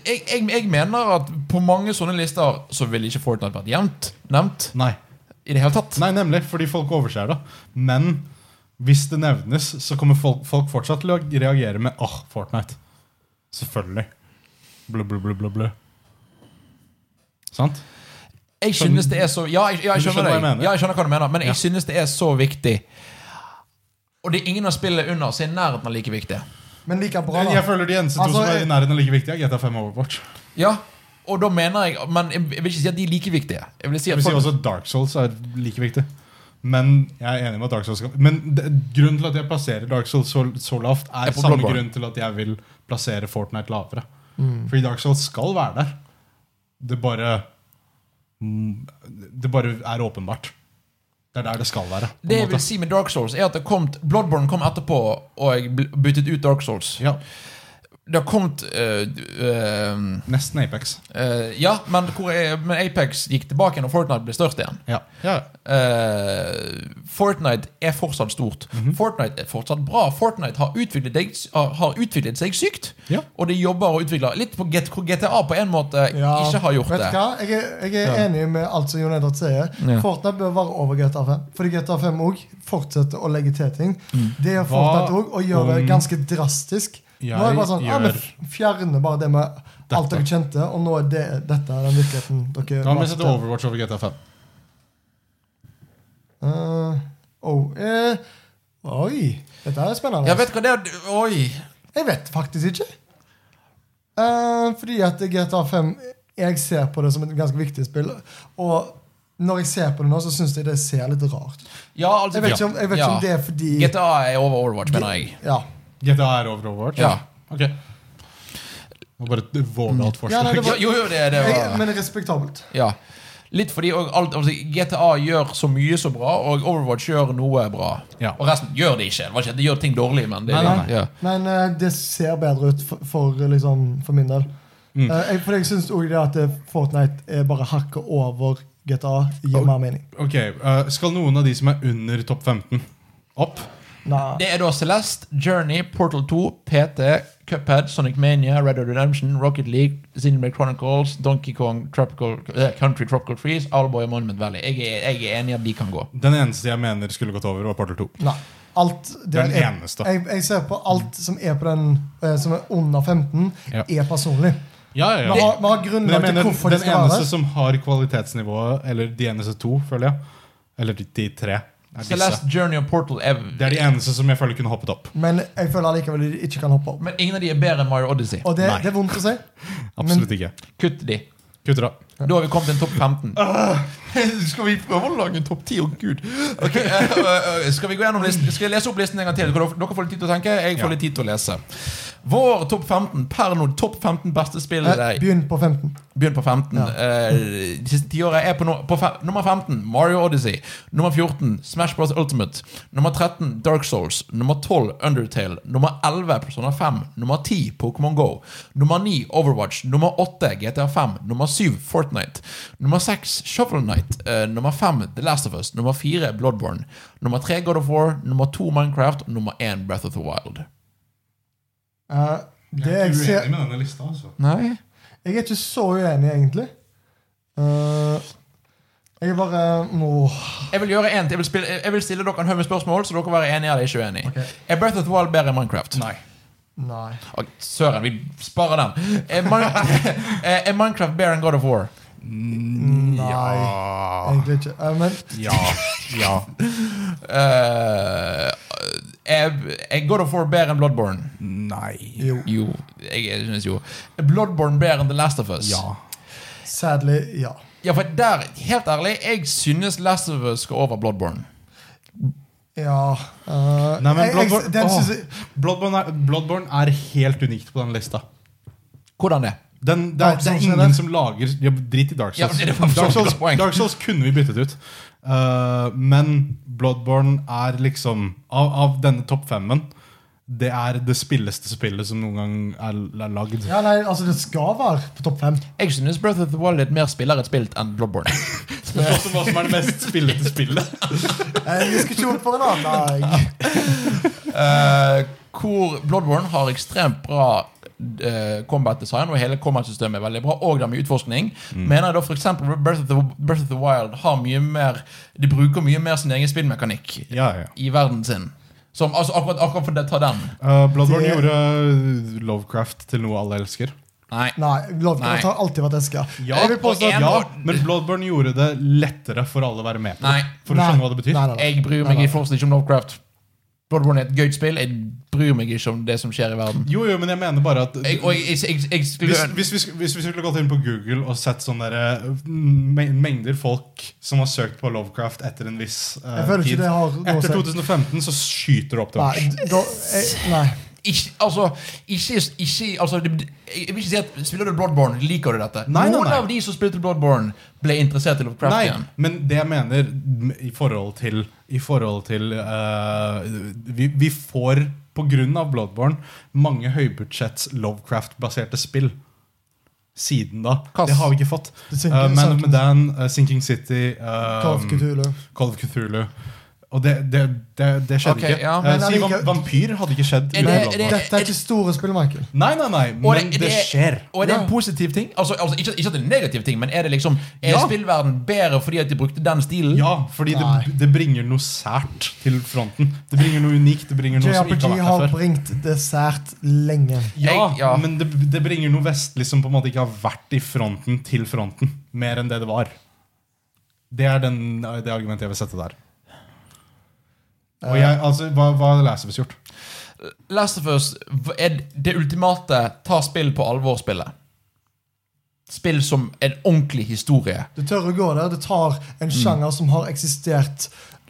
Speaker 1: jeg, jeg, jeg mener at på mange sånne lister så ville ikke Fortnite vært jevnt nevnt
Speaker 3: Nei.
Speaker 1: i det hele tatt.
Speaker 3: Nei, nemlig, fordi folk overser det. Men hvis det nevnes, så kommer folk, folk fortsatt til å reagere med åh, Fortnite. Selvfølgelig. Blø, blø, blø, blø, blø. Sant?
Speaker 1: Jeg synes det er så Ja, jeg, ja, jeg
Speaker 3: Du skjønner
Speaker 1: skjønner,
Speaker 3: hva jeg
Speaker 1: deg.
Speaker 3: mener.
Speaker 1: Ja, jeg skjønner hva du mener, men
Speaker 3: Ja.
Speaker 1: jeg synes det er så viktig. Og det er ingen av spillene under som er i nærheten av like viktig.
Speaker 2: men like bra,
Speaker 3: Jeg,
Speaker 2: da.
Speaker 3: jeg føler de eneste to
Speaker 2: Altså,
Speaker 3: som er
Speaker 2: jeg-
Speaker 3: i nærheten av like viktige, er GTA 5 og Overwatch.
Speaker 1: Ja, og da mener jeg Men jeg vil ikke si at de er like viktige. Jeg vil si at
Speaker 3: Jeg vil si
Speaker 1: folk,
Speaker 3: også at Dark Souls er like viktig. Men jeg er enig med at Dark Souls skal Men det, grunnen til at jeg plasserer Dark Souls så, så lavt, er
Speaker 1: Er på
Speaker 3: samme
Speaker 1: Bloodborne.
Speaker 3: grunn til at jeg vil plassere Fortnite lavere. Fordi Dark Souls skal være der. Det bare mm, Det bare er åpenbart. Det er der det skal være. på en
Speaker 1: det jeg
Speaker 3: måte.
Speaker 1: vil si med Dark Souls, er at det kom, Bloodborne kom etterpå og bl- byttet ut Dark Souls.
Speaker 3: Ja,
Speaker 1: Det har kommet øh, øh,
Speaker 3: Nesten Apex.
Speaker 1: øh, Ja, men, hvor er, men Apex gikk tilbake igjen, og Fortnite ble størst igjen.
Speaker 3: Ja. Ja.
Speaker 1: Eh, Fortnite er fortsatt stort.
Speaker 3: Mhm.
Speaker 1: Fortnite er fortsatt bra. Fortnite har utviklet, deg, har utviklet seg sykt.
Speaker 3: Ja.
Speaker 1: Og de jobber og utvikler litt på Get- hvor GTA på en måte
Speaker 2: Ja,
Speaker 1: ikke har gjort
Speaker 2: vet
Speaker 1: det.
Speaker 2: du Hva? Jeg er, jeg er
Speaker 3: Ja.
Speaker 2: enig med alt som Jon Edvard sier.
Speaker 1: Ja.
Speaker 2: Fortnite bør være over GTA5. Fordi GTA5 også fortsetter å legge til ting.
Speaker 1: Mm.
Speaker 2: Det gjør Fortnite òg, og gjør det
Speaker 3: om
Speaker 2: ganske drastisk. Nå er det bare sånn,
Speaker 3: jeg
Speaker 2: ja, men
Speaker 3: gjør
Speaker 2: f- Fjerne bare det med
Speaker 3: Dette.
Speaker 2: alt dere kjente, og nå er det, dette er den virkeligheten dere
Speaker 3: Da må vi
Speaker 2: vokste
Speaker 3: sette Overwatch over GTA 5.
Speaker 2: Eh, oh, eh, oi, dette er spennende.
Speaker 1: Jeg vet hva det er Oi!
Speaker 2: Jeg vet faktisk ikke. Eh, fordi at GTA 5 Jeg ser på det som et ganske viktig spill. Og når jeg ser på det nå, så syns jeg det ser litt rart ut.
Speaker 1: Ja, altså,
Speaker 2: Jeg vet
Speaker 1: ja.
Speaker 2: ikke om, jeg vet
Speaker 1: ja.
Speaker 2: ikke om det er fordi
Speaker 1: GTA er over Overwatch, mener jeg.
Speaker 2: Ja,
Speaker 3: GTA er over Overwatch?
Speaker 1: Ja.
Speaker 3: Ok. Nå bare et vågalt
Speaker 2: Ja,
Speaker 3: forslag.
Speaker 2: nei, det var-
Speaker 1: Jo, jo, det, det
Speaker 2: jeg,
Speaker 1: var
Speaker 2: men respektabelt.
Speaker 1: ja. Litt fordi og alt, altså, GTA gjør så mye så bra, og Overwatch gjør noe bra.
Speaker 3: Ja.
Speaker 1: Og resten gjør det ikke. Det, var ikke. det gjør ting dårlig, men det,
Speaker 3: Nei, nei, nei.
Speaker 1: Ja.
Speaker 2: Men eh, det ser bedre ut for, for, liksom, for min del.
Speaker 3: Mm.
Speaker 2: Eh, jeg, for jeg syns òg det at eh, Fortnite er bare hakket over GTA, gir
Speaker 3: Og-
Speaker 2: mer mening.
Speaker 3: Ok, eh, Skal noen av de som er under topp 15, opp?
Speaker 2: Nei.
Speaker 1: Det er da Celeste, Journey, Portal 2, PT, Cuphead, Sonic Mania, Red Dead Redemption, Rocket League, Xenoblade Chronicles, Donkey Kong, Tropical, eh, Country Tropical Freeze, Alboy og Monument Valley. Jeg er, jeg er enig i at de kan gå.
Speaker 3: Den eneste jeg mener skulle gått over, var Portal 2.
Speaker 2: Nei. Alt det
Speaker 3: Den
Speaker 2: er-
Speaker 3: eneste.
Speaker 2: Jeg, jeg ser på alt som er på den eh, som er under 15,
Speaker 3: Ja.
Speaker 2: er personlig.
Speaker 3: Ja,
Speaker 2: Vi har, vi har
Speaker 3: Men jeg
Speaker 2: grunnlag til
Speaker 3: mener
Speaker 2: hvorfor
Speaker 3: den
Speaker 2: det skal være
Speaker 3: eneste
Speaker 2: det.
Speaker 3: som har kvalitetsnivået, eller de eneste to, føler jeg, eller de, de tre, er disse.
Speaker 1: Celeste, Journey og Portal er,
Speaker 3: Det er de eneste som jeg føler kunne hoppet opp.
Speaker 2: Men jeg føler allikevel de ikke kan hoppe opp.
Speaker 1: Men ingen av de er bedre enn Mario Odyssey.
Speaker 2: Og det,
Speaker 3: Nei.
Speaker 2: det er vondt å si.
Speaker 3: Absolutt ikke.
Speaker 1: Kutt de.
Speaker 3: Kutter av.
Speaker 1: Da har vi kommet til en topp 15. skal vi prøve å lage en topp 10? Å, gud. Ok, eh, eh, skal vi gå gjennom listen? Skal jeg lese opp listen en gang til? Dere dere får litt tid til å tenke, jeg
Speaker 3: Ja.
Speaker 1: får litt tid til å lese. Vår topp 15 per nå topp 15 beste spill
Speaker 2: Eh, Begynn på 15.
Speaker 1: Begynn på 15.
Speaker 2: Ja.
Speaker 1: Eh, de siste tiåra er på, no på fe nummer 15 Mario Odyssey. Nummer 14 Smash Bros. Ultimate. Nummer 13 Dark Souls. Nummer 12 Undertale. Nummer 11 Persona 5. Nummer 10 Pokémon Go. Nummer 9 Overwatch. Nummer 8 GTA 5. Nummer 7 Fortnite. Nummer 6 Shovel Knight. Eh, nummer 5 The Last of Us. Nummer 4 Bloodborne. Nummer 3 God of War. Nummer 2 Minecraft. Nummer 1 Breath of the Wild.
Speaker 2: Eh,
Speaker 4: Jeg
Speaker 2: Det
Speaker 4: er
Speaker 2: jeg
Speaker 4: ikke
Speaker 2: ser-
Speaker 4: uenig med denne lista, altså.
Speaker 1: Nei?
Speaker 2: Jeg er ikke så uenig, egentlig. Eh, jeg er bare åh.
Speaker 1: Jeg vil gjøre en, jeg vil, spille, jeg vil stille dere en haug med spørsmål, så dere være enige eller ikke uenige. Er Breath of the Wild bedre enn Minecraft?
Speaker 3: Nei.
Speaker 2: Nei.
Speaker 1: Å, Søren, vi sparer den. Er, Min Eh, er Minecraft bedre enn God of War?
Speaker 2: Nei.
Speaker 3: Ja.
Speaker 2: Egentlig ikke. Eh, men
Speaker 3: Ah, Ja. ja.
Speaker 1: Eh, er, er God of War bedre enn Bloodborne?
Speaker 3: Nei.
Speaker 2: jo.
Speaker 1: Jo. Jeg synes jo. Er Bloodborne bedre enn The Last of Us?
Speaker 3: Ja.
Speaker 2: Sadly, ja.
Speaker 1: Ja, for der, helt ærlig, jeg synes Last of Us skal over Bloodborne.
Speaker 2: Ja eh,
Speaker 3: Nei, men
Speaker 2: jeg- jeg-
Speaker 3: Bloodborne,
Speaker 2: den
Speaker 3: åh.
Speaker 2: synes jeg,
Speaker 3: Bloodborne, er, Bloodborne er helt unikt på den lista.
Speaker 1: Hvordan det?
Speaker 3: Den, det, er, det
Speaker 2: Dark
Speaker 3: er
Speaker 2: Souls,
Speaker 3: ingen
Speaker 2: eller?
Speaker 3: som lager ja, Drit i Dark
Speaker 1: Ja,
Speaker 3: Souls.
Speaker 1: men det var for så
Speaker 3: Dark,
Speaker 1: vidt
Speaker 3: Souls
Speaker 1: et poeng.
Speaker 3: Dark Souls kunne vi byttet ut. Eh, men Bloodborne er liksom Av, av denne topp femmen det er det spilleste spillet som noen gang er, er lagd.
Speaker 2: ja, nei, altså, det skal være på topp fem.
Speaker 1: Jeg synes Breath of the Wild er et mer spilleret spilt enn Bloodborne.
Speaker 3: Spørs også hva som er det mest spillete spillet.
Speaker 2: En diskusjon for en annen dag.
Speaker 1: Eh, hvor Bloodborne har ekstremt bra eh, combat design, og hele combat-systemet er veldig bra, og det er mye utforskning. Mener jeg da f.eks. Breath, of the- Breath of the Wild har mye mer De bruker mye mer sin egen spillmekanikk
Speaker 3: Ja, ja.
Speaker 1: i verden sin. Som, altså akkurat, akkurat for det, ta den.
Speaker 3: Eh, Bloodborne
Speaker 2: Det-
Speaker 3: gjorde eh, Lovecraft til noe alle elsker.
Speaker 1: Nei.
Speaker 2: Nei, Lovecraft
Speaker 1: Nei.
Speaker 2: har alltid vært elska.
Speaker 3: Ja,
Speaker 2: jeg vil
Speaker 1: på
Speaker 2: påstå
Speaker 1: en
Speaker 2: at
Speaker 3: ja,
Speaker 1: måte-
Speaker 3: men Bloodborne gjorde det lettere for alle å være med på.
Speaker 1: Nei.
Speaker 3: For å
Speaker 2: Nei.
Speaker 3: skjønne hva det betyr.
Speaker 2: Nei, nei, nei.
Speaker 1: Jeg bryr
Speaker 2: Nei,
Speaker 1: meg
Speaker 2: nei.
Speaker 1: i forholdsvis ikke om Lovecraft. Bloodborne er et gøyt spill. Jeg bryr meg ikke om det som skjer i verden.
Speaker 3: Jo, jo, men jeg mener bare at
Speaker 1: Jeg, og jeg, jeg, jeg, jeg skulle
Speaker 3: hvis, hvis, vi sk- hvis vi skulle gått inn på Google og sett sånne der, eh, me- mengder folk som har søkt på Lovecraft etter en viss eh,
Speaker 2: Jeg føler ikke
Speaker 3: tid
Speaker 2: det har noe å si.
Speaker 3: Etter 2015 så skyter det opp til
Speaker 2: Nei,
Speaker 3: oss.
Speaker 2: da, jeg, nei.
Speaker 1: ikke, altså, ikke, ikke altså, det, Jeg vil ikke si at spiller du Bloodborne, liker du dette.
Speaker 3: Nei, nei,
Speaker 1: Noen
Speaker 3: nei.
Speaker 1: av de som spilte Bloodborne, ble interessert i Lovecraft
Speaker 3: Nei,
Speaker 1: igjen.
Speaker 3: men det jeg mener m- i forhold til, i forhold til eh, vi, vi får, på grunn av Bloodborne, mange høybudsjetts Lovecraft-baserte spill. Siden da.
Speaker 1: Kass.
Speaker 3: Det har vi ikke fått.
Speaker 2: The
Speaker 3: Eh,
Speaker 2: Sinking
Speaker 3: Man of
Speaker 2: Sun.
Speaker 3: Medan, eh, Sinking City eh,
Speaker 2: Call of Cthulhu.
Speaker 3: Call of Cthulhu. Og det, det, det, det skjedde
Speaker 1: Ok,
Speaker 3: ikke.
Speaker 1: ja,
Speaker 3: Eh,
Speaker 2: men
Speaker 3: si vam-
Speaker 2: allikevel-
Speaker 3: vampyr hadde ikke
Speaker 1: Er
Speaker 3: skjedd. uten
Speaker 1: det- er
Speaker 3: Bloodborne.
Speaker 1: det-
Speaker 2: Dette er ikke store spill, Michael.
Speaker 3: Nei, nei, nei,
Speaker 1: Og
Speaker 3: men det, skjer.
Speaker 1: Og er det en
Speaker 2: Ja.
Speaker 1: positiv ting? Altså, altså, ikke, ikke at det er en negativ ting, men er det liksom Er
Speaker 3: Ja.
Speaker 1: spillverden bedre fordi at de brukte den stilen?
Speaker 3: Ja, fordi det,
Speaker 2: Nei.
Speaker 3: det bringer noe sært til fronten. Det bringer noe unikt. Det bringer noe som
Speaker 2: JRPG
Speaker 3: ikke har vært
Speaker 2: har
Speaker 3: der før.
Speaker 2: bringt dessert lenge.
Speaker 3: Ja,
Speaker 1: Jeg- ja.
Speaker 3: men det, det bringer noe vestlig som på en måte ikke har vært i fronten til fronten. Mer enn det det var. Det er den, eh, det argumentet jeg vil sette der. Og
Speaker 1: Eh.
Speaker 3: jeg, altså, Hva, hva har Lasevus gjort?
Speaker 1: Last of Us er det ultimate ta spill på alvor-spillet. Spill som en ordentlig historie.
Speaker 2: Du tør å gå der. Det tar en sjanger som har eksistert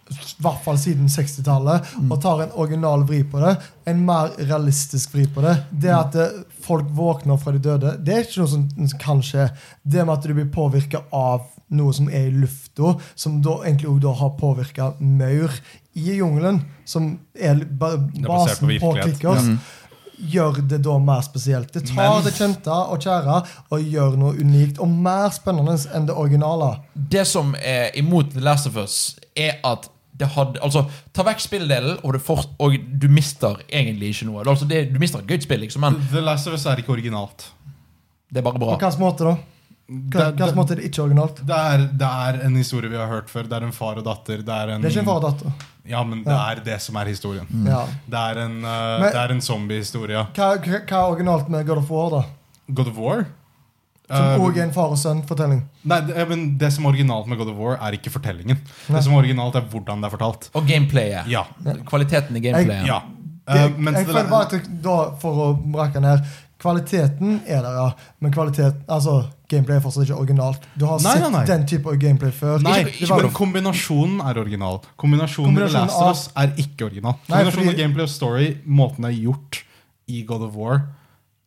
Speaker 2: i hvert fall siden 60-tallet,
Speaker 3: Mm.
Speaker 2: og tar en original vri på det. En mer realistisk vri på det. Det
Speaker 3: Mm.
Speaker 2: at eh, folk våkner fra de døde, det er ikke noe som kan skje. Det med at du blir påvirka av noe som er i lufta, som da egentlig også da har påvirka maur i jungelen, som er ba
Speaker 3: er basert på
Speaker 2: basen på,
Speaker 3: virkelighet. Mm.
Speaker 2: Kickers. Gjør det da mer spesielt. Det tar
Speaker 3: Men-
Speaker 2: det kjente og kjære og gjør noe unikt og mer spennende enn det originale.
Speaker 1: Det som er imot The Last of Us, er at det hadde, altså, Ta vekk spilldelen, og, det fort, og du mister egentlig ikke noe. Altså, det, du mister et gøyt spill, liksom, men
Speaker 3: The Last of Us er ikke originalt.
Speaker 1: det er bare
Speaker 2: På
Speaker 1: bra.
Speaker 2: hvilken måte, da? Hva-
Speaker 3: Det,
Speaker 2: Hvilken
Speaker 3: det,
Speaker 2: måte er det ikke originalt?
Speaker 3: det, er, det er en historie vi har hørt før. Det er en far og datter. Det er en,
Speaker 2: Det er ikke en far og datter.
Speaker 3: Ja, men det er det som er historien.
Speaker 2: Ja.
Speaker 3: Det er en, uh,
Speaker 2: Men-
Speaker 3: det er en zombiehistorie.
Speaker 2: Hva, hva hva er originalt med God of War, da?
Speaker 3: God of War?
Speaker 2: Som
Speaker 3: Eh,
Speaker 2: òg er en far og sønn-fortelling.
Speaker 3: Nei, det, men det som er originalt med God of War, er ikke fortellingen.
Speaker 2: Nei.
Speaker 3: Det som er originalt, er hvordan det er fortalt.
Speaker 1: Og gameplayet.
Speaker 3: Ja.
Speaker 1: Kvaliteten i gameplayet.
Speaker 3: ja. Eh,
Speaker 2: Jeg,
Speaker 3: mens
Speaker 2: jeg
Speaker 3: det-
Speaker 2: føler bare at da, for å brake ned Kvaliteten er der, ja. Men kvalitet, altså, gameplay er fortsatt ikke originalt. Du har
Speaker 3: Nei,
Speaker 2: sett
Speaker 3: nei, nei.
Speaker 2: den type av gameplay før.
Speaker 3: Nei,
Speaker 1: Ikke- ikke
Speaker 2: det var,
Speaker 3: men kombinasjonen er original. Kombinasjonen med The Last
Speaker 2: Kombinasjonen
Speaker 3: of Us er ikke original.
Speaker 2: Nei,
Speaker 3: Kombinasjonen av
Speaker 2: fordi-
Speaker 3: gameplay og story, måten det er gjort i God of War,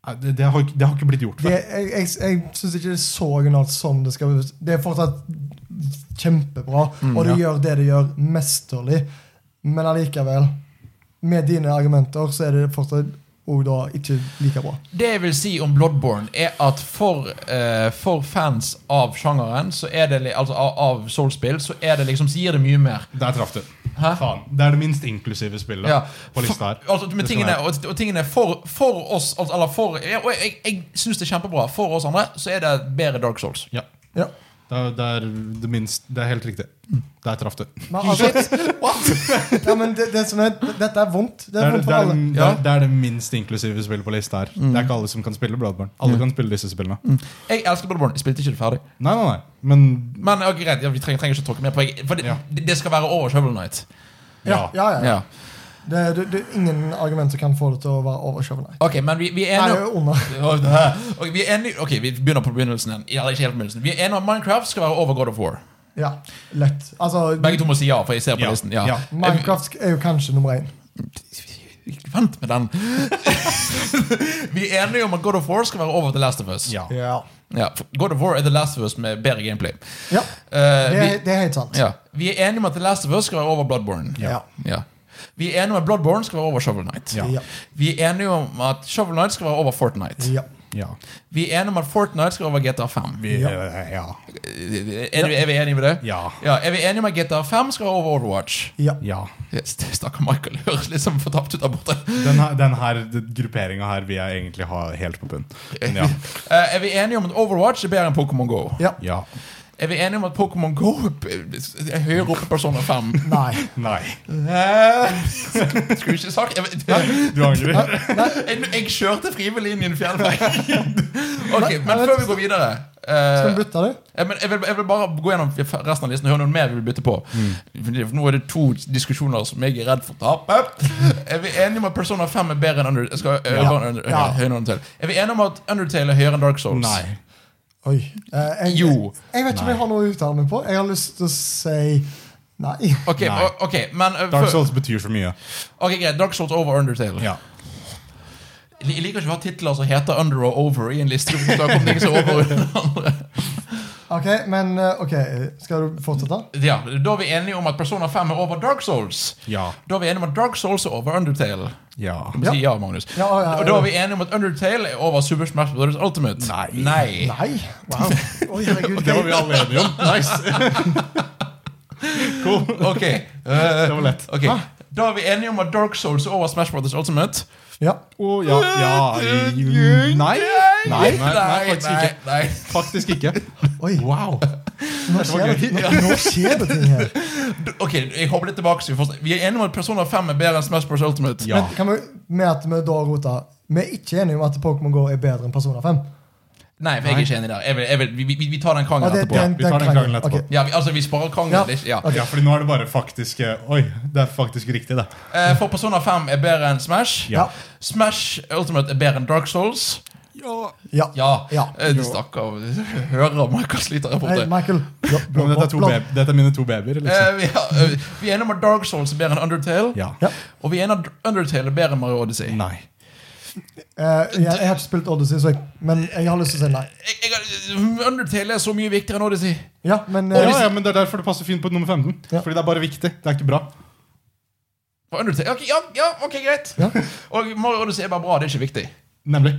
Speaker 3: eh, det, det, har, ikke- det har ikke blitt gjort
Speaker 2: det,
Speaker 3: før.
Speaker 2: jeg jeg, jeg syns ikke det er så originalt som det skal være. Det er fortsatt kjempebra, og det gjør det det gjør, mesterlig. Men allikevel, med dine argumenter, så er det fortsatt og da ikke like bra.
Speaker 1: Det jeg vil si om Bloodborne, er at for, eh, for fans av sjangeren, så er det, li- altså av, av Soul-spill, så er det liksom, så gir det mye mer.
Speaker 3: Der traff du.
Speaker 1: Hæ?
Speaker 3: Faen. Det er det minst inklusive spillet
Speaker 1: Ja.
Speaker 3: på lista her.
Speaker 1: For, altså, men
Speaker 3: Det skal
Speaker 1: tingene,
Speaker 3: være.
Speaker 1: og, og tingene for, for oss altså, Eller for ja, Og jeg, jeg syns det er kjempebra. For oss andre så er det bedre Dark Souls.
Speaker 3: Ja.
Speaker 2: Ja.
Speaker 3: Det er, det er det minst Det er helt riktig. Der traff du. Det
Speaker 2: Men altså, ja, men det, det som er, dette er vondt. Det er
Speaker 3: er det, det,
Speaker 2: vondt for
Speaker 3: er,
Speaker 2: alle.
Speaker 3: det,
Speaker 1: Ja.
Speaker 3: er, det er det minst inklusive spillet på lista her. Det er ikke alle som kan spille Bloodborne. Alle
Speaker 1: Mm.
Speaker 3: kan spille disse spillene.
Speaker 1: Jeg elsker Bloodborne. Jeg spilte ikke det ferdig.
Speaker 3: Nei, nei, nei. Men
Speaker 1: Men ok, greit, ja, vi trenger, trenger ikke å tråkke mer på jeg- For det,
Speaker 3: Ja.
Speaker 1: det- det skal være over Shovel Night.
Speaker 3: ja.
Speaker 2: Ja, ja, ja.
Speaker 1: Ja.
Speaker 2: Det, det, det er ingen argument som kan få det til å være over Shovel Knight.
Speaker 1: Ok, men vi, vi er
Speaker 2: Nei,
Speaker 1: enige om-
Speaker 2: under.
Speaker 1: Ok, vi er enige Ok, vi begynner på begynnelsen igjen. Ja, Eller ikke helt på begynnelsen. Vi er enige om at Minecraft skal være over God of War.
Speaker 2: Ja, lett.
Speaker 1: Begge
Speaker 2: Altså,
Speaker 1: to må si ja, for jeg ser på
Speaker 3: Ja,
Speaker 1: listen. Ja.
Speaker 3: ja.
Speaker 2: Minecraft er jo kanskje nummer én.
Speaker 1: Ikke Vent med den. vi er enige om at God of War skal være over The Last of Us.
Speaker 3: ja.
Speaker 2: Ja.
Speaker 1: Ja, for God of War er The Last of Us med bedre gameplay.
Speaker 2: ja.
Speaker 1: Eh,
Speaker 2: Det,
Speaker 1: vi,
Speaker 2: er, det er helt sant.
Speaker 1: ja. vi er enige om at The Last of Us skal være over Bloodborne.
Speaker 2: Ja.
Speaker 1: Ja. Vi er enige om at Bloodborne skal være over Shovel Knight.
Speaker 3: Ja.
Speaker 2: Ja.
Speaker 1: Vi er enige om at Shovel Knight skal være over Fortnite.
Speaker 2: Ja.
Speaker 3: ja.
Speaker 1: Vi er enige om at Fortnite skal over GTA 5.
Speaker 3: Vi,
Speaker 2: Ja.
Speaker 3: eh, ja.
Speaker 1: Er, vi- er vi enige med det?
Speaker 3: Ja.
Speaker 1: Ah. ja. Er vi enige om at GTA 5 skal over Overwatch?
Speaker 2: ja.
Speaker 3: ja.
Speaker 1: Yes, det Stakkar Michael høres litt som fortapt ut der borte.
Speaker 3: Den her, den her grupperinga her vil jeg egentlig ha helt på bunn. Men ja.
Speaker 1: Eh, er vi enige om at Overwatch er bedre enn Pokémon Go?
Speaker 2: ja.
Speaker 3: ja.
Speaker 1: Er vi enige om at Pokémon Go er høyere oppe enn Persona 5?
Speaker 2: Nei.
Speaker 3: Nei.
Speaker 1: Eh, Skulle ikke sagt jeg, vet-
Speaker 3: Du angrer?
Speaker 1: jeg, jeg kjørte frivillig inn i en fjellvegg. Ok, Men før vi går videre
Speaker 2: Skal vi
Speaker 1: eh,
Speaker 2: bytte det?
Speaker 1: eh, men jeg, vil, jeg vil bare gå gjennom resten av listen og høre noe mer vi vil bytte på.
Speaker 3: Mm.
Speaker 1: Fordi Nå er det to diskusjoner som jeg er redd for å tape. Er vi enige om at Persona 5 er bedre enn Undertale? Jeg skal,
Speaker 2: Ja.
Speaker 1: over Under,
Speaker 2: Ja.
Speaker 1: høyere enn Undertale. Er vi enige om at Undertale er høyere enn Dark Souls?
Speaker 3: Nei.
Speaker 2: Oi. Eh, jeg,
Speaker 1: Jo.
Speaker 2: Jeg vet ikke om jeg har noe å uttale meg på. Jeg har lyst til å si nei.
Speaker 1: Ok,
Speaker 3: Nei.
Speaker 1: o- ok, men eh,
Speaker 3: Dark
Speaker 1: før-
Speaker 3: Souls betyr så mye.
Speaker 1: ok, greit, Dark Souls over Undertale.
Speaker 3: Ja.
Speaker 1: Jeg liker ikke å ha titler som heter Under og Over i en liste. for Da kommer det ingen som er over og under den andre.
Speaker 2: Ok, men eh, ok, skal du fortsette?
Speaker 1: Ja, Da er vi enige om at Persona 5 er over Dark Souls.
Speaker 3: Ja.
Speaker 1: Da er vi enige om at Dark Souls er over Undertale.
Speaker 3: Ja.
Speaker 1: Du må si ja, Magnus.
Speaker 2: Ja, ja, ja, ja.
Speaker 1: Og da er vi enige om at Undertale er over Super Smash Bros. Ultimate.
Speaker 3: Nei.
Speaker 2: Nei? Wow. Oi, herregud.
Speaker 3: Det var vi alle enige om. Nice. Cool.
Speaker 1: Ok, eh,
Speaker 3: Det var lett.
Speaker 1: ok. Da er vi enige om at Dark Souls er over Smash Bros. Ultimate.
Speaker 2: Ja.
Speaker 3: Å, ja, ja i- Nei. Nei, nei, nei, faktisk
Speaker 1: nei,
Speaker 3: ikke.
Speaker 1: nei.
Speaker 3: Faktisk ikke.
Speaker 2: Oi,
Speaker 3: Wow.
Speaker 2: nå skjer det, nå, nå skjer det ting her.
Speaker 1: Ok, jeg hopper litt tilbake. Så vi, får, vi er enige om at Persona 5 er bedre enn Smash Bros. Ultimate.
Speaker 3: Ja.
Speaker 2: Men kan vi, med at vi da roter Vi er ikke enige om at Pokémon GO er bedre enn Persona 5.
Speaker 1: Nei, for jeg er ikke enig der. Jeg vil, jeg vil, vi, vi, vi tar den
Speaker 2: Ja,
Speaker 1: krangelen
Speaker 2: det-
Speaker 1: etterpå.
Speaker 3: vi tar den krangelen
Speaker 2: Ok.
Speaker 3: etterpå.
Speaker 1: Ja, vi, altså, vi sparer
Speaker 2: Ja.
Speaker 1: krangelen litt. Ja.
Speaker 2: Ok.
Speaker 3: Ja, fordi nå er det bare faktisk eh, Oi, det er faktisk riktig, det.
Speaker 1: Eh, For Persona 5 er bedre enn Smash.
Speaker 2: Ja.
Speaker 1: Smash Ultimate er bedre enn Dark Souls.
Speaker 2: Ja.
Speaker 1: Ja.
Speaker 2: Ja.
Speaker 1: Eh, Stakkar. Hører Michael sliter der
Speaker 2: Hei,
Speaker 1: borte.
Speaker 2: Michael. Ja, blå,
Speaker 3: Men dette, er to
Speaker 2: blå, blå.
Speaker 3: baby, dette er mine to babyer, liksom.
Speaker 1: Eh, vi, har- eh, vi er enige om at Dark Souls er bedre enn Undertale.
Speaker 3: Ja.
Speaker 2: Ja.
Speaker 1: Og vi er enige om at Undertale er bedre enn Mario Odyssey.
Speaker 3: Nei.
Speaker 2: Eh, jeg, jeg har ikke spilt Odyssey, så jeg, men jeg har lyst til å si nei.
Speaker 1: Jeg, jeg, har- Undertale er så mye viktigere enn Odyssey.
Speaker 2: Ja, men eh,
Speaker 3: Ja, ja, men Det er derfor det passer fint på nummer 15.
Speaker 2: Ja.
Speaker 3: Fordi det er bare viktig. Det er ikke bra.
Speaker 1: For Undertale, ok, ja, ja, ok, greit.
Speaker 2: Ja.
Speaker 1: Og Mario Odyssey er bare bra. Det er ikke viktig.
Speaker 3: Nemlig.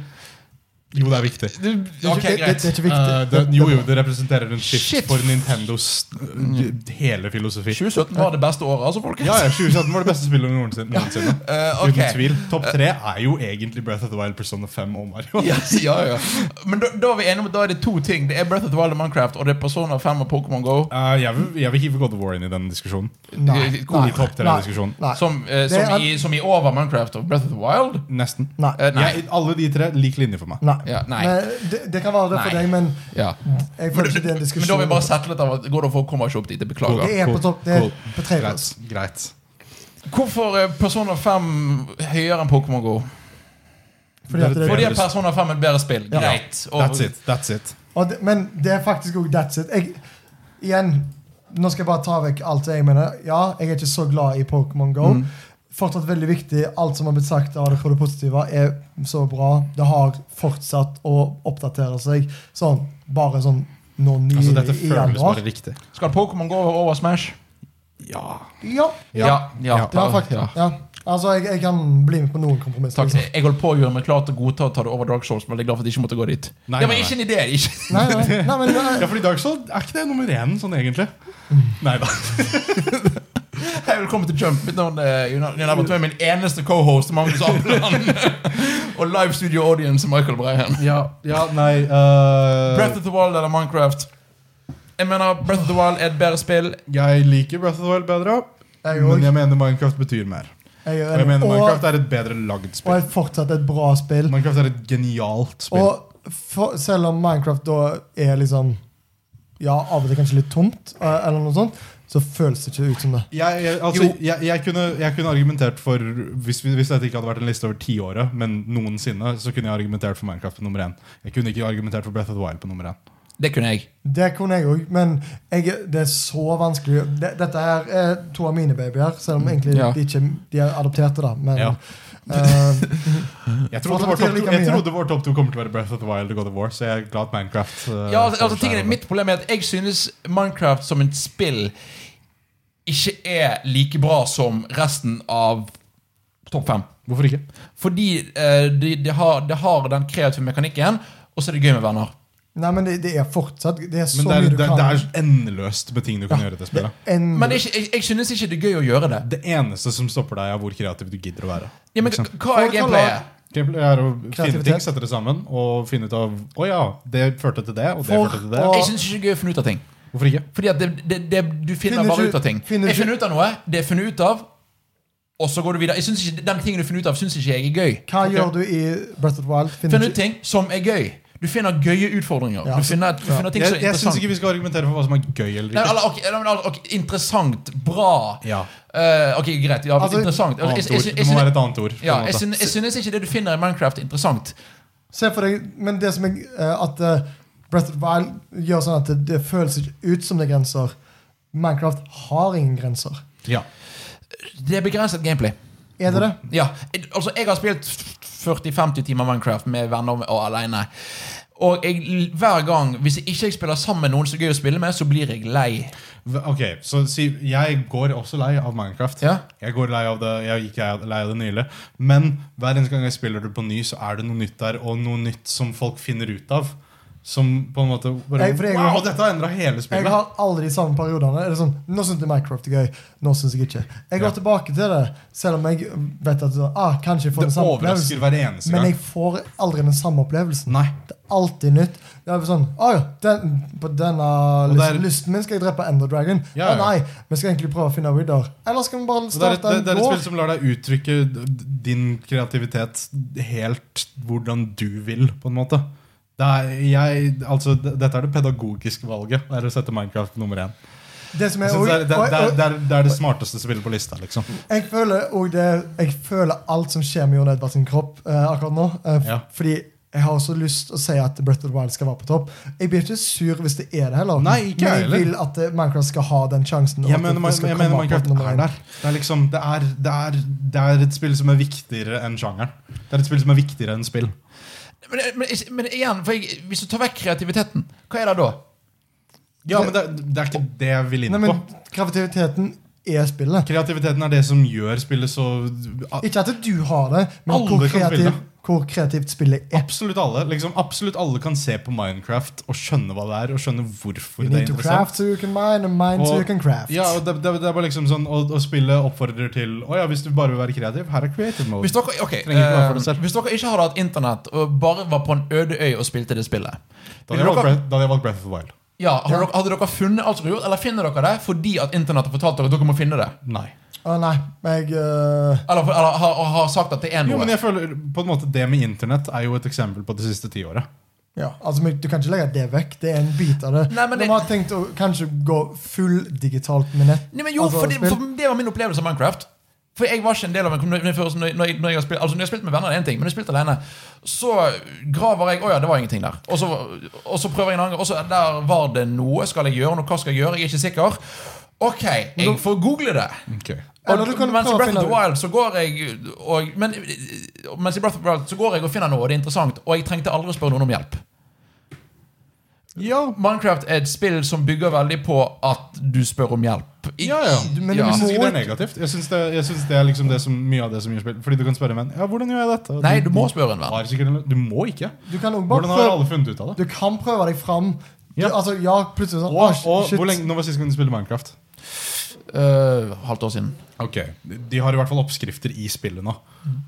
Speaker 3: Jo, det er viktig.
Speaker 2: det, er
Speaker 1: Ok,
Speaker 2: ikke, det, det
Speaker 1: greit.
Speaker 2: er ikke viktig.
Speaker 3: Eh, det, jo, jo, det representerer en skift
Speaker 1: Shit.
Speaker 3: for Nintendos eh, hele filosofi.
Speaker 1: 2017 var det beste året, altså, folkens.
Speaker 3: Ja, ja, 2017 var det beste spillet noensinne. noensinne.
Speaker 1: Eh, ok.
Speaker 3: Uten tvil. Topp tre er jo egentlig Breath of the Wild, Persona 5 og Mario.
Speaker 1: Ja, ja, ja. Men da, da er vi enige om at da er det to ting. Det er Breath of the Wild og Minecraft, og det er Persona 5 og Pokémon Go.
Speaker 3: Eh, jeg, vil, jeg vil hive God of War inn i den diskusjonen.
Speaker 2: Nei,
Speaker 1: god
Speaker 2: nei,
Speaker 3: i topp til den
Speaker 2: nei,
Speaker 3: diskusjonen.
Speaker 2: Nei.
Speaker 1: Som, eh, som,
Speaker 2: Det er-
Speaker 1: i, som i over Minecraft og Breath of the Wild?
Speaker 3: Nesten.
Speaker 2: Nei.
Speaker 1: Eh, nei.
Speaker 3: Jeg, alle de tre lik linje for meg.
Speaker 2: nei.
Speaker 1: Ja, nei.
Speaker 2: Men det, det kan være det for
Speaker 1: Nei.
Speaker 2: deg, men
Speaker 1: Ja.
Speaker 2: jeg
Speaker 1: Men,
Speaker 2: føler ikke det er en
Speaker 1: men
Speaker 2: diskusjon.
Speaker 1: da vil jeg bare sette litt av at Går det for å komme ikke opp dit? Jeg
Speaker 2: Det
Speaker 1: Beklager.
Speaker 2: er på
Speaker 3: Cool,
Speaker 2: topp. Det er
Speaker 3: cool.
Speaker 2: på tredje.
Speaker 3: Greit. Greit.
Speaker 1: Hvorfor er Persona 5 høyere enn Pokémon Go?
Speaker 2: Fordi at det
Speaker 1: Fordi
Speaker 3: Bedre
Speaker 1: at Persona 5 er et bedre spill.
Speaker 2: Ja.
Speaker 1: Greit. Og-
Speaker 3: That's it. That's it.
Speaker 2: Og det, men det er faktisk òg that's it. Jeg, igjen, nå skal jeg bare ta vekk alt det jeg mener. Ja, jeg er ikke så glad i Pokémon GO.
Speaker 1: Mm.
Speaker 2: Fortsatt veldig viktig. Alt som har blitt sagt av det på det positive, er så bra. Det har fortsatt å oppdatere seg. Sånn, bare sånn nå nylig
Speaker 3: Altså, dette
Speaker 2: i
Speaker 3: føles
Speaker 2: januar.
Speaker 3: bare riktig.
Speaker 1: Skal Pokémon Go over Smash?
Speaker 3: Ja.
Speaker 2: Ja,
Speaker 1: Ja. ja,
Speaker 3: Ja,
Speaker 2: det har faktisk
Speaker 1: ja.
Speaker 2: ja. Altså, jeg, jeg kan bli med på noen kompromisser.
Speaker 1: Takk.
Speaker 2: liksom.
Speaker 1: Jeg holdt på å gjøre meg klar til å godta å ta det over Dark Souls, men jeg er glad for at jeg ikke måtte gå dit.
Speaker 3: Nei,
Speaker 1: det var
Speaker 3: nei,
Speaker 1: ikke en idé. Ikke.
Speaker 2: Nei, nei, nei, men
Speaker 3: Ja,
Speaker 2: jeg,
Speaker 3: fordi Dark Souls er ikke det nummer én sånn egentlig. Nei da.
Speaker 1: Hei, velkommen til Jump. Mitt navn eh, er Jon Jon Herbert. Du er min eneste cohost, Magnus Apeland. og live studio audience, Michael Breiheim.
Speaker 3: Ja, nei
Speaker 1: Breath of the Wild eller Minecraft? Jeg mener, Breath of the Wild er et bedre spill.
Speaker 3: Jeg liker Breath of the Wild bedre,
Speaker 2: jeg,
Speaker 3: men
Speaker 2: også-
Speaker 3: jeg mener Minecraft betyr mer.
Speaker 2: jeg,
Speaker 3: Og jeg
Speaker 2: er
Speaker 3: mener
Speaker 2: enig. og,
Speaker 3: Minecraft er et bedre lagd
Speaker 2: og
Speaker 3: spill.
Speaker 2: er fortsatt et bra spill.
Speaker 3: Minecraft er et genialt spill.
Speaker 2: Og for, selv om Minecraft da er liksom Ja, av og til kanskje litt tomt, eh, eller noe sånt, så føles det ikke ut som det.
Speaker 3: Jeg, jeg, altså,
Speaker 1: Jo.
Speaker 3: jeg, jeg, kunne, jeg kunne argumentert for hvis, vi- hvis dette ikke hadde vært en liste over tiåret, men noensinne, så kunne jeg argumentert for Minecraft på nummer én. Jeg kunne ikke argumentert for Breath of the Wild på nummer én.
Speaker 1: Det kunne jeg.
Speaker 2: Det kunne jeg òg, men jeg, det er så vanskelig. Det, dette her er to av mine babyer, selv om egentlig
Speaker 1: Ja.
Speaker 2: de ikke de er adopterte, da. Men
Speaker 3: Ja.
Speaker 2: eh,
Speaker 3: Jeg trodde,
Speaker 2: Altså,
Speaker 3: vår
Speaker 2: betyr
Speaker 3: topp,
Speaker 2: det like
Speaker 3: jeg
Speaker 2: mye?
Speaker 3: trodde vår topp to kommer til å være Breath of the Wild og God of War, så jeg er glad at Minecraft eh,
Speaker 1: Ja, altså,
Speaker 3: står
Speaker 1: altså,
Speaker 2: sånn
Speaker 3: seg
Speaker 1: tingen er,
Speaker 3: over.
Speaker 1: mitt problem er at jeg synes Minecraft som et spill ikke er like bra som resten av topp fem.
Speaker 3: Hvorfor ikke?
Speaker 1: Fordi eh, det de har, de har den kreative mekanikken, og så er det gøy med venner.
Speaker 2: Nei, men det, det er fortsatt Det er så
Speaker 3: Men det er,
Speaker 2: mye du
Speaker 3: det, er-
Speaker 2: kan.
Speaker 3: det er endeløst med ting du kan gjøre i det spillet.
Speaker 2: en,
Speaker 1: Men det er ikke, jeg, jeg synes ikke det er gøy å gjøre det.
Speaker 3: Det eneste som stopper deg, er hvor kreativ du gidder å være.
Speaker 1: Ja, men,
Speaker 3: Ikke sant?
Speaker 1: hva er
Speaker 2: Folk har
Speaker 1: gameplayet?
Speaker 3: Gameplay er å finne
Speaker 2: Kreativitet.
Speaker 3: ting, sette det sammen og finne ut av Å ja, det førte til det, og det
Speaker 2: For-
Speaker 3: førte til det.
Speaker 2: og-
Speaker 1: Jeg synes ikke det er gøy å finne ut av ting.
Speaker 3: Hvorfor ikke?
Speaker 1: Fordi at det, det, det, du finner
Speaker 2: Finner
Speaker 1: bare
Speaker 2: ikke-
Speaker 1: ut av ting.
Speaker 2: finner
Speaker 1: jeg
Speaker 2: ikke-
Speaker 1: finner ut av noe, det er funnet ut av, og så går du videre. Jeg synes ikke, Den tingen du finner ut av, syns ikke jeg er gøy.
Speaker 2: Hva gjør du i Breath of the Wild? Finner
Speaker 1: Finner ut
Speaker 2: ikke-
Speaker 1: ting som er gøy. Du finner gøye utfordringer.
Speaker 2: Ja.
Speaker 1: Du finner, du finner ting som
Speaker 3: Jeg,
Speaker 1: er
Speaker 3: jeg syns
Speaker 1: interessant.
Speaker 3: ikke vi skal argumentere for hva som er gøy eller
Speaker 1: Nei,
Speaker 3: ikke.
Speaker 1: eller, ok, eller, eller, ok, interessant, bra
Speaker 3: Ja,
Speaker 1: Eh, Ok, greit. Ja,
Speaker 2: Altså,
Speaker 1: interessant. Jeg, jeg,
Speaker 3: annet
Speaker 1: jeg,
Speaker 3: ord.
Speaker 1: jeg,
Speaker 3: Det må være et annet ord. på en
Speaker 1: ja,
Speaker 3: måte.
Speaker 1: jeg, synes, jeg synes ikke det du finner i Minecraft, er interessant.
Speaker 2: Se for deg Men det som jeg eh, At eh, Breath of the Wild gjør sånn at det, det føles ikke ut som det er grenser. Minecraft har ingen grenser.
Speaker 3: ja.
Speaker 1: Det er begrenset gameplay.
Speaker 2: Er det det?
Speaker 1: Ja, altså Jeg har spilt 40-50 timer Minecraft med venner og- og alene. Og jeg, hver gang, hvis jeg ikke spiller sammen med noen som er gøy å spille med, så blir jeg lei.
Speaker 3: V- Ok, så si, Jeg går også lei av Minecraft.
Speaker 1: Ja.
Speaker 3: Jeg går lei av det, jeg gikk lei av- lei av det nylig. Men hver eneste gang jeg spiller det på ny, så er det noe nytt der, og noe nytt som folk finner ut av. Som på en måte bare,
Speaker 2: Jeg- for jeg-
Speaker 3: Wow, dette har endra hele
Speaker 2: Jeg
Speaker 3: spillet!
Speaker 2: har alle de samme periodene. Er det sånn, nå syns jeg Minecraft er gøy. Nå syns jeg ikke. Jeg går
Speaker 3: Ja.
Speaker 2: tilbake til det, selv om jeg vet at ah, kanskje jeg
Speaker 3: Det
Speaker 2: får den samme
Speaker 3: overrasker
Speaker 2: opplevelsen.
Speaker 3: hver eneste
Speaker 2: Men
Speaker 3: gang.
Speaker 2: jeg får aldri den samme opplevelsen.
Speaker 3: Nei.
Speaker 2: Det er alltid nytt. Det er sånn, «Å ja, den, På denne
Speaker 3: Og det er-
Speaker 2: lysten, lysten min skal jeg drepe Ender Dragon. Å
Speaker 3: Ja, ja.
Speaker 2: nei, vi skal egentlig prøve å finne Widder. Eller skal vi bare
Speaker 3: Så det, er et,
Speaker 2: starte
Speaker 3: det, det er
Speaker 2: en
Speaker 3: et
Speaker 2: gård?
Speaker 3: spill som lar deg uttrykke d- din kreativitet helt hvordan du vil, på en måte. Det er, jeg, altså, d- dette er det pedagogiske valget. Det er å sette Minecraft på nummer én.
Speaker 2: Det som
Speaker 3: Jeg
Speaker 2: er
Speaker 3: synes Det er,
Speaker 2: også-
Speaker 3: det,
Speaker 2: og-
Speaker 3: er- det, er,
Speaker 2: og-
Speaker 3: det, er, det er det smarteste spillet på lista. liksom
Speaker 2: Jeg føler også det Jeg føler alt som skjer med Jon Edvard sin kropp eh, akkurat nå. eh, f-
Speaker 3: Ja.
Speaker 2: Fordi jeg har også lyst å si at Breath of the Wild skal være på topp. Jeg blir ikke sur hvis det er det heller.
Speaker 3: Nei, ikke jeg
Speaker 2: Men jeg
Speaker 3: heller.
Speaker 2: vil at eh, Minecraft skal ha den sjansen. og
Speaker 3: Jeg
Speaker 2: at
Speaker 3: mener,
Speaker 2: det
Speaker 3: man-
Speaker 2: skal
Speaker 3: jeg
Speaker 2: komme
Speaker 3: mener
Speaker 2: opp på
Speaker 3: Minecraft
Speaker 2: nummer
Speaker 3: er
Speaker 2: én.
Speaker 3: der. Det er, liksom, det, er, det, er, det er et spill som er viktigere enn sjangeren. Det er et spill som er viktigere enn spill.
Speaker 1: Men, men, men igjen, for jeg, hvis du tar vekk kreativiteten, hva er det da?
Speaker 3: Ja, men det, det er ikke det jeg vil inn
Speaker 2: Nei,
Speaker 3: på.
Speaker 2: men kreativiteten er spillet.
Speaker 3: Kreativiteten er det som gjør spillet så
Speaker 2: Ikke at du har det, men
Speaker 3: Alle
Speaker 2: hvor,
Speaker 3: kan spille.
Speaker 2: kreativ, hvor kreativt spillet er.
Speaker 3: Absolutt alle liksom, Absolutt alle kan se på Minecraft og skjønne hva det er, og skjønne hvorfor
Speaker 2: You
Speaker 3: det
Speaker 2: need
Speaker 3: er
Speaker 2: to
Speaker 3: interessant.
Speaker 2: craft so you can mine, and mine so
Speaker 3: Og-
Speaker 2: you can craft.
Speaker 3: Ja, og det, det, det er bare liksom sånn Og, og spillet oppfordrer til Å ja, hvis du bare vil være kreativ, her er creative mode.
Speaker 1: Hvis dere, ok,
Speaker 3: Trenger ikke være for det
Speaker 1: eh,
Speaker 3: selv.
Speaker 1: hvis dere ikke hadde hatt internett og bare var på en øde øy og spilte det spillet
Speaker 3: Da hadde jeg
Speaker 1: Vil dere-
Speaker 3: valgt Breath- da hadde jeg valgt Breath of the Wild.
Speaker 1: ja, hadde, dere, hadde dere funnet alt dere gjorde, eller finner dere det fordi at internett har fortalt dere at dere må finne det?
Speaker 3: Nei.
Speaker 2: Å nei, jeg eh,
Speaker 1: Eller, eller har, har sagt at det er
Speaker 3: Jo,
Speaker 1: noe?
Speaker 3: men jeg føler på en måte Det med internett er jo et eksempel på det siste tiåret.
Speaker 2: Ja, altså men Du kan ikke legge det vekk. Det er en bit av det.
Speaker 1: Nei, men
Speaker 2: De
Speaker 1: det-
Speaker 2: har tenkt å kanskje gå full digitalt med nett.
Speaker 1: Nei, men jo,
Speaker 2: altså,
Speaker 1: for det,
Speaker 2: spill.
Speaker 1: for det var min opplevelse av Minecraft. For jeg var ikke en del av en kommune før, så når, jeg- når, jeg, når, jeg har spilt, altså når jeg har spilt med venner, er det én ting, men når jeg spilte alene, så graver jeg Å ja, det var ingenting der. Og så, og så prøver jeg en annen gang. Og så der var det noe. Skal jeg gjøre noe? Hva skal jeg gjøre? Jeg er ikke sikker. Ok, jeg får google det.
Speaker 2: Eller
Speaker 1: Og,
Speaker 2: du kan
Speaker 1: mens i
Speaker 2: prøve å
Speaker 1: Breath of
Speaker 2: finne
Speaker 1: the
Speaker 2: det.
Speaker 1: Wild så går jeg og, men, mens i Breath of the Wild så går jeg og finner noe, og det er interessant, og jeg trengte aldri å spørre noen om hjelp.
Speaker 3: Ja,
Speaker 1: Minecraft er et spill som bygger veldig på at du spør om hjelp. I-
Speaker 3: Ja, ja.
Speaker 2: Du- men
Speaker 1: Ja.
Speaker 3: Jeg syns
Speaker 2: må
Speaker 3: ikke det er
Speaker 2: ikke-
Speaker 3: negativt. Jeg syns det, jeg synes det er liksom det som, mye av det som gjør spill. Fordi du kan spørre en venn ja, hvordan gjør jeg dette. Og
Speaker 1: Nei, du må spørre en venn.
Speaker 3: har sikkert en lø- Du må ikke.
Speaker 2: Du kan også bare
Speaker 3: Hvordan har
Speaker 2: prøve,
Speaker 3: alle funnet ut av det?
Speaker 2: du kan prøve deg fram. Du,
Speaker 3: Ja.
Speaker 2: altså, ja, plutselig sånn
Speaker 3: Og,
Speaker 2: ah, shit,
Speaker 3: og
Speaker 2: shit.
Speaker 3: hvor lenge, Nå var sist gang du spilte Minecraft?
Speaker 1: Eh, halvt år siden.
Speaker 3: Ok, De har i hvert fall oppskrifter i spillet nå.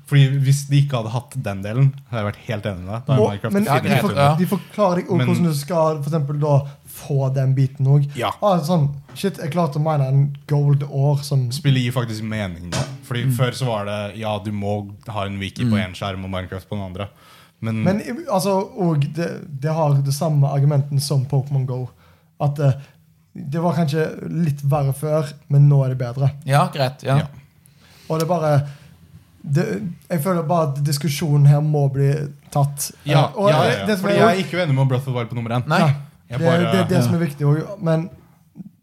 Speaker 3: Fordi Hvis de ikke hadde hatt den delen, hadde jeg vært helt enig med deg. Da er
Speaker 2: Og-
Speaker 3: Minecraft
Speaker 2: men
Speaker 1: Ja,
Speaker 2: de,
Speaker 3: definitivt
Speaker 1: greit,
Speaker 2: for,
Speaker 3: under.
Speaker 1: ja.
Speaker 2: de forklarer deg også
Speaker 3: Men-
Speaker 2: hvordan du skal for eksempel, da, få den biten òg.
Speaker 3: Ja.
Speaker 2: Ah, sånn, shit, jeg klarte å mine en gold år som
Speaker 3: Spillet gir faktisk mening nå. Fordi
Speaker 2: Mm.
Speaker 3: Før så var det ja, du må ha en wiki på én skjerm og Minecraft på den andre. Men,
Speaker 2: Men i- altså, og det, det har det samme argumenten som Pokémon Go. At eh, det var kanskje litt verre før, men nå er det bedre.
Speaker 1: Ja, greit. Ja.
Speaker 3: Ja.
Speaker 2: Og det er bare det, Jeg føler bare at diskusjonen her må bli tatt. Eh,
Speaker 3: ja,
Speaker 2: og,
Speaker 3: ja,
Speaker 2: det-
Speaker 3: ja,
Speaker 2: Det,
Speaker 3: ja.
Speaker 2: som
Speaker 3: Fordi
Speaker 2: er,
Speaker 3: jeg er ikke uenig med Breath of the Wild på nummer én.
Speaker 1: Nei.
Speaker 2: Nei.
Speaker 3: Jeg
Speaker 2: det,
Speaker 3: bare-
Speaker 2: det er det som er viktig òg, men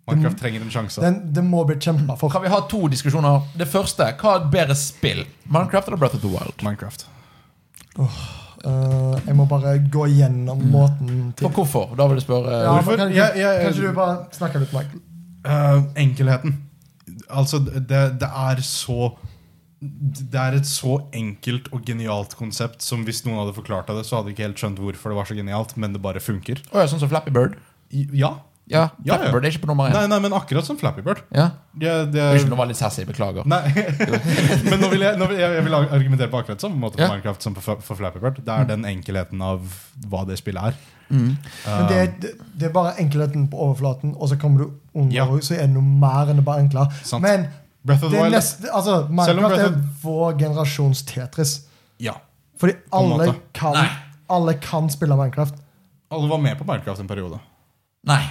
Speaker 3: Minecraft trenger en sjanse.
Speaker 2: den, det må bli kjempa for.
Speaker 1: Kan vi ha to diskusjoner? Det første, hva er et bedre spill? Minecraft eller Breath of the Wild?
Speaker 3: Minecraft.
Speaker 2: Eh, jeg må bare gå gjennom måten til
Speaker 1: Og hvorfor? Da vil jeg spørre
Speaker 2: ja,
Speaker 3: Mm. Hvorfor?
Speaker 2: men kan,
Speaker 3: Jeg- jeg-
Speaker 2: Kanskje du bare snakker litt, Michael?
Speaker 3: Eh, enkelheten. Altså, det, det er så Det er et så enkelt og genialt konsept som hvis noen hadde forklart deg det, så hadde jeg ikke helt skjønt hvorfor det var så genialt, men det bare funker.
Speaker 1: Å ja, sånn som Flappy Bird?
Speaker 3: I- Ja.
Speaker 1: Ja,
Speaker 3: Ja,
Speaker 1: Flappy
Speaker 3: ja.
Speaker 1: Bird er ikke på nummer
Speaker 3: Nei,
Speaker 1: én.
Speaker 3: nei, men akkurat som Flappy Bird.
Speaker 1: Ja.
Speaker 3: Det, det,
Speaker 1: Unnskyld, nå var jeg litt sassy. Beklager.
Speaker 3: nei. men nå vil jeg, nå vil jeg, jeg vil argumentere på akkurat samme måte for
Speaker 1: Ja.
Speaker 3: Minecraft som for, for Flappy Bird. Det er den enkelheten av hva det spillet er.
Speaker 2: Men det, er- det, det er bare enkelheten på overflaten, og så kommer du under,
Speaker 3: Um, Ja.
Speaker 2: og så er det noe mer enn det bare enkle.
Speaker 3: Sant.
Speaker 2: Men
Speaker 3: Breath of
Speaker 2: det
Speaker 3: the
Speaker 2: er
Speaker 3: Wild
Speaker 2: nest, altså,
Speaker 3: Selv om
Speaker 2: Minecraft
Speaker 3: Breath
Speaker 2: er vår generasjons Tetris.
Speaker 3: Ja.
Speaker 2: Fordi
Speaker 3: en
Speaker 2: alle
Speaker 3: måte.
Speaker 2: kan,
Speaker 1: Nei.
Speaker 2: alle kan spille Minecraft.
Speaker 3: Alle var med på Minecraft en periode.
Speaker 1: Nei.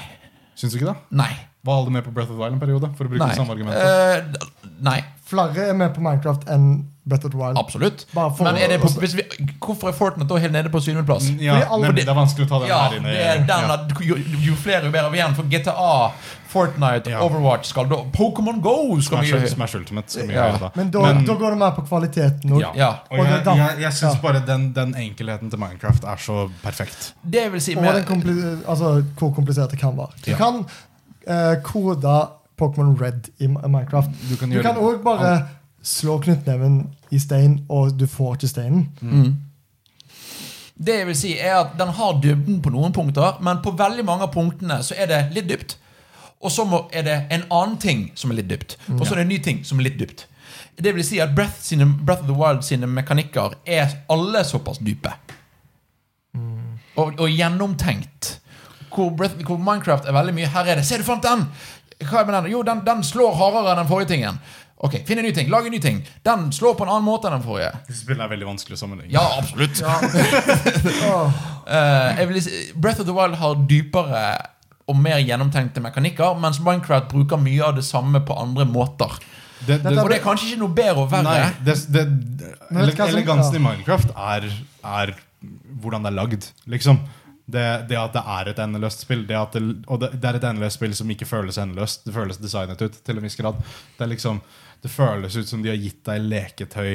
Speaker 3: Syns du ikke det?
Speaker 1: Nei.
Speaker 3: Var alle med på Breath of the Wild en periode? For å bruke
Speaker 1: Nei.
Speaker 3: det samme argumentet.
Speaker 1: Eh, nei.
Speaker 2: Flere er med på Minecraft enn Breath of the Wild.
Speaker 1: Absolutt.
Speaker 2: Bare for-
Speaker 1: Men er det på, hvis vi, hvorfor er Fortnite da helt nede på syvendeplass?
Speaker 3: Ja,
Speaker 2: Fordi alle-
Speaker 3: nemlig, det er vanskelig å ta den
Speaker 1: Ja,
Speaker 3: her inn Mm, i
Speaker 1: det er den
Speaker 3: ja.
Speaker 1: at jo, jo flere, jo bedre. Og igjen, for GTA, Fortnite,
Speaker 3: Ja.
Speaker 1: Overwatch skal da Pokémon Go skal
Speaker 3: Smash,
Speaker 1: mye
Speaker 3: Smash Ultimate. Som
Speaker 1: Ja.
Speaker 3: gjør det.
Speaker 2: Men da, da går det mer på kvaliteten òg.
Speaker 3: ja.
Speaker 1: Ja.
Speaker 3: Og jeg,
Speaker 2: Og det-
Speaker 3: jeg, jeg syns
Speaker 2: ja.
Speaker 3: bare den, den enkelheten til Minecraft er så perfekt.
Speaker 1: Det vil si
Speaker 2: Og
Speaker 1: mer
Speaker 2: den kompli- altså, hvor komplisert det kan være. Du
Speaker 3: Ja.
Speaker 2: kan eh, kode Pokémon Red i Ma- Minecraft.
Speaker 3: Du kan
Speaker 2: Du
Speaker 3: gjøre-
Speaker 2: kan òg bare slå knyttneven i stein, og du får ikke steinen.
Speaker 1: Det jeg vil si er at Den har dybden på noen punkter, men på veldig mange av punktene så er det litt dypt. Og så må- er det en annen ting som er litt dypt, og så er det en ny ting som er litt dypt. Det vil si at Breath, sine, Breath of the Wild sine mekanikker er alle såpass dype. Og, og gjennomtenkt. Hvor, Breath, hvor Minecraft er veldig mye Her er det. Se, du fant den! Hva er med den? Jo, den, den slår hardere enn den forrige tingen. Ok, Finn en ny ting. Lag en ny ting. Den slår på en annen måte enn den forrige.
Speaker 3: Spillet er veldig vanskelig å sammenligne.
Speaker 1: Ja, absolutt. Eh, jeg vil si, Breath of the Wild har dypere og mer gjennomtenkte mekanikker, mens Minecraft bruker mye av det samme på andre måter.
Speaker 3: Det, det,
Speaker 2: Dette
Speaker 1: Og det er kanskje ikke noe bedre og verre.
Speaker 3: nei, det, det,
Speaker 2: Men vet du hva som-
Speaker 3: elegansen
Speaker 2: ja.
Speaker 3: i Minecraft er, er hvordan det er lagd, liksom. Det, det at det er et endeløst spill, det at det, og det, det er et endeløst spill som ikke føles endeløst. Det føles designet ut til en viss grad. Det, er liksom, det føles ut som de har gitt deg leketøy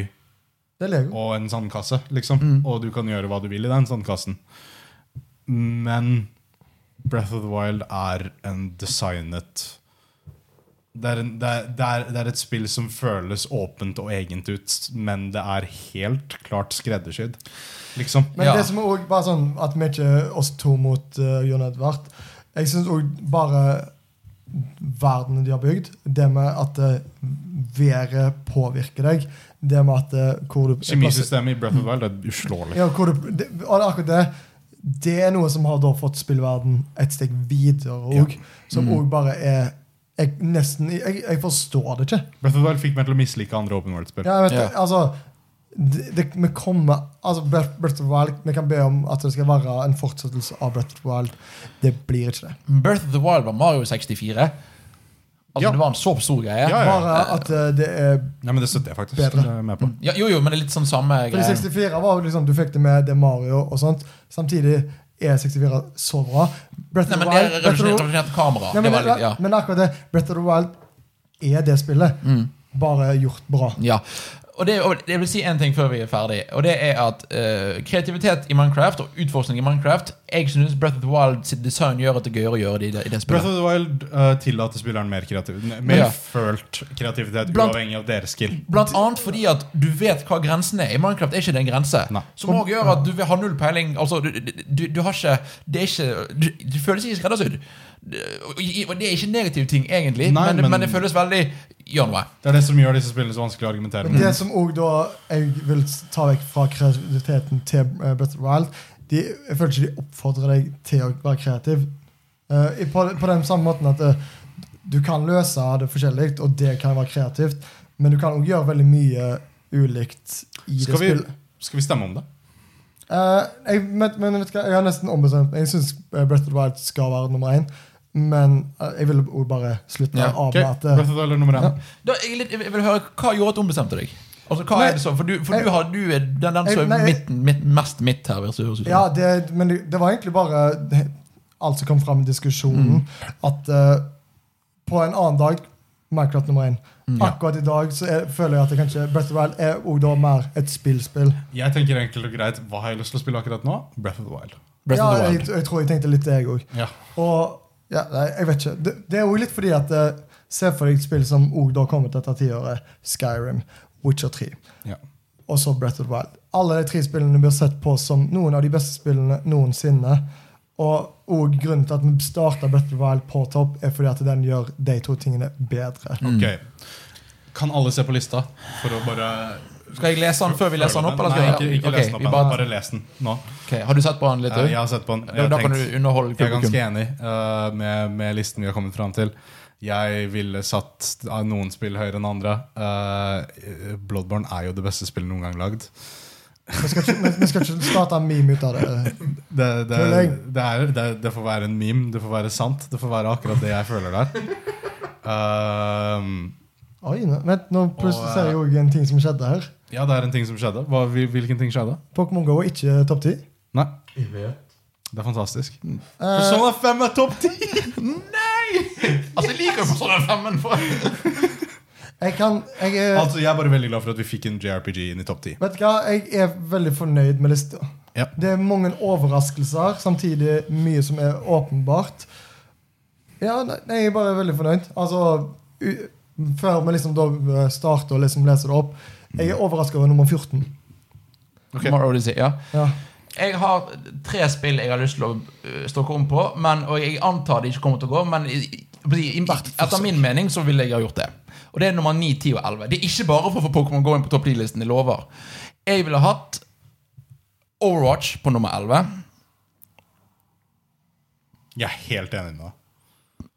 Speaker 2: Det er Lego.
Speaker 3: og en sandkasse, liksom.
Speaker 2: Mm.
Speaker 3: Og du kan gjøre hva du vil i den sandkassen. Men Breath of the Wild er en designet det er, en, det, er, det, er, det er et spill som føles åpent og egent ut, men det er helt klart skreddersydd. Liksom.
Speaker 2: Men
Speaker 1: Ja.
Speaker 2: det som er også bare sånn at vi ikke er oss to mot eh, Jon Edvard Jeg syns òg bare verden de har bygd, det med at eh, været påvirker deg, det med at eh, hvor du
Speaker 3: Kjemisystemet i Breath of the Wild er uslåelig.
Speaker 2: Ja, hvor du, det, og det er akkurat det. Det er noe som har da fått spillverden et steg videre òg. Som òg bare er jeg, nesten, jeg, jeg forstår det ikke.
Speaker 3: Breath of the Wild fikk meg til å mislike andre Open World-spill.
Speaker 2: Ja, jeg vet,
Speaker 1: Ja.
Speaker 2: det, Altså, det, det, vi kommer altså Breath, Breath of the Wild, Vi kan be om at det skal være en fortsettelse av Breath of the Wild. Det blir ikke det.
Speaker 1: Birth of the Wild var Mario 64. Altså,
Speaker 3: Ja.
Speaker 1: Det var en så stor greie.
Speaker 3: Ja, ja.
Speaker 2: Bare at eh, det er
Speaker 3: Nei, men det støtter jeg faktisk. Det
Speaker 2: Bedre. Mm.
Speaker 3: er jeg med på.
Speaker 1: Ja, jo, jo, men det er litt sånn samme
Speaker 2: Fordi
Speaker 1: greie.
Speaker 2: 64 var jo liksom, du fikk det med det Mario og sånt. Samtidig er 64 så bra. Breath
Speaker 1: Nei,
Speaker 2: of the
Speaker 1: men det er
Speaker 2: Wild Breath of the-
Speaker 1: revolusjonert kamera.
Speaker 2: Nei,
Speaker 1: Det
Speaker 2: men,
Speaker 1: var litt, ja. Mm.
Speaker 2: men akkurat det, Breath of the Wild er det spillet, bare gjort bra.
Speaker 1: Ja. og det, og jeg vil si en ting før vi er ferdig. Og det er at eh, kreativitet i Minecraft og utforskning i Minecraft Jeg synes Breath of the Wild sitt design gjør at det er gøyere å gjøre det i det, i det
Speaker 3: Breath
Speaker 1: spillet.
Speaker 3: of the Wild eh, tillater spilleren mer kreativ Mer
Speaker 1: Ja.
Speaker 3: følt kreativitet,
Speaker 1: Blant-
Speaker 3: uavhengig av deres skill.
Speaker 1: Blant annet fordi at du vet hva grensen er. I Minecraft er ikke det en grense.
Speaker 3: Nei.
Speaker 1: Som òg gjør at du vil ha null peiling. Altså, du, du, du, du har ikke Det er ikke Du, du føles ikke skreddersydd. Det- og- Og det er ikke en negativ ting, egentlig,
Speaker 3: Nei,
Speaker 1: men,
Speaker 3: men-
Speaker 1: men, det føles veldig Gjør noe.
Speaker 3: Det er det som gjør disse spillene så vanskelig å argumentere
Speaker 2: Men
Speaker 3: med.
Speaker 2: det som òg da jeg vil ta vekk fra kreativiteten til eh, Breath of the Wild de, Jeg føler ikke de oppfordrer deg til å være kreativ. Eh, i- på, på den samme måten at eh, du kan løse det forskjellig, og det kan være kreativt, men du kan òg gjøre veldig mye ulikt i det
Speaker 3: Skal vi,
Speaker 2: spillet.
Speaker 3: skal vi stemme om det?
Speaker 2: Eh, jeg, men, men vet du hva, jeg har nesten ombestemt meg. Jeg syns Breath of the Wild skal være nummer én. Men eh, jeg ville også bare slutte
Speaker 1: Ja,
Speaker 2: av
Speaker 3: Ok,
Speaker 2: med at eh,
Speaker 3: Breath of the Wild er nummer én.
Speaker 2: Ja.
Speaker 1: Da, jeg, er litt, jeg vil høre, Hva gjorde at du ombestemte deg? Altså, hva
Speaker 2: Nei,
Speaker 1: er det som, For du, for
Speaker 2: jeg-
Speaker 1: du, har, du er den, den som
Speaker 2: jeg-
Speaker 1: er
Speaker 2: nei, jeg-
Speaker 1: midten, midt, mest midt her. hvis det høres ut som.
Speaker 2: Ja, det, men det, det var egentlig bare det, alt som kom fram i diskusjonen.
Speaker 1: Mm.
Speaker 2: At eh, på en annen dag Minecraft nummer én.
Speaker 1: Mm. ja.
Speaker 2: Akkurat i dag så er, føler jeg at det kanskje Breath of the Wild er også da mer et spillspill.
Speaker 3: Jeg tenker enkelt og greit Hva har jeg lyst til å spille akkurat nå? Breath of the Wild.
Speaker 1: Breath
Speaker 2: ja,
Speaker 1: of the
Speaker 2: Jeg,
Speaker 1: Wild.
Speaker 2: jeg tror jeg tenkte litt det, jeg òg.
Speaker 3: Ja.
Speaker 2: Og ja, nei, jeg vet ikke. Det, det er jo litt fordi at eh, Se for deg et spill som også da kommer til dette tiåret. eh, Skyrim, Witcher 3
Speaker 3: Ja.
Speaker 2: og så Breath of the Wild. Alle de tre spillene blir sett på som noen av de beste spillene noensinne. Og, og grunnen til at vi starta Breath of the Wild på topp, er fordi at den gjør de to tingene bedre.
Speaker 3: Ok. Kan alle se på lista? For å bare
Speaker 1: Skal jeg lese den før vi leser den opp? Eller
Speaker 3: Nei,
Speaker 1: skal
Speaker 3: ikke,
Speaker 1: jeg?
Speaker 3: ikke
Speaker 1: Ok,
Speaker 3: les den opp.
Speaker 1: vi
Speaker 3: Bare,
Speaker 1: bare-
Speaker 3: bare les den nå.
Speaker 1: ok, Har du sett på den litt?
Speaker 3: Eh,
Speaker 1: du?
Speaker 3: Jeg har sett på den.
Speaker 1: da,
Speaker 3: Jeg,
Speaker 1: da
Speaker 3: har
Speaker 1: kan
Speaker 3: tenkt-
Speaker 1: du underholde
Speaker 3: jeg er
Speaker 1: publikum.
Speaker 3: ganske enig eh, med, med listen vi har kommet fram til. Jeg ville satt eh, noen spill høyere enn andre. Eh, Bloodborne er jo det beste spillet noen gang lagd.
Speaker 2: Vi skal ikke, vi- vi skal ikke starte en meme ut av det.
Speaker 3: Det, det,
Speaker 2: Tulling.
Speaker 3: det, er, det, det får være en meme, det får være sant. Det får være akkurat det jeg føler der. Ehm,
Speaker 2: Oi, nå, vent, nå plutselig
Speaker 3: Og,
Speaker 2: ser jeg òg en ting som skjedde her.
Speaker 3: ja, det er en ting som skjedde. Hva, hvil- hvilken ting skjedde?
Speaker 2: Pokémon GO er ikke topp ti.
Speaker 3: Nei. Det er fantastisk.
Speaker 1: Mm.
Speaker 2: Eh,
Speaker 3: 5 er topp 10!
Speaker 1: Altså, jeg liker jo Persona 5, men for...
Speaker 2: jeg kan jeg er,
Speaker 3: Altså, jeg er bare veldig glad for at vi fikk en JRPG inn i topp 10.
Speaker 2: Vet du hva, jeg er veldig fornøyd med lista.
Speaker 3: Ja.
Speaker 2: Det er mange overraskelser, samtidig mye som er åpenbart. Ja, nei, nei, jeg er bare veldig fornøyd. Altså, u før vi liksom da eh, starter og liksom leser det opp Jeg er overraska over nummer 14.
Speaker 3: Ok.
Speaker 1: Mario Odyssey, ja.
Speaker 2: Ja.
Speaker 1: Jeg har tre spill jeg har lyst til å øh, stokke om på, men, og jeg antar det ikke kommer til å gå, men i, i, i, etter min mening så ville jeg ha gjort det. Og det er nummer 9, 10 og 11. Det er ikke bare for å få Pokémon Go inn på topp 10-listen, jeg lover. Jeg ville hatt Overwatch på nummer 11.
Speaker 3: Jeg er helt enig med deg.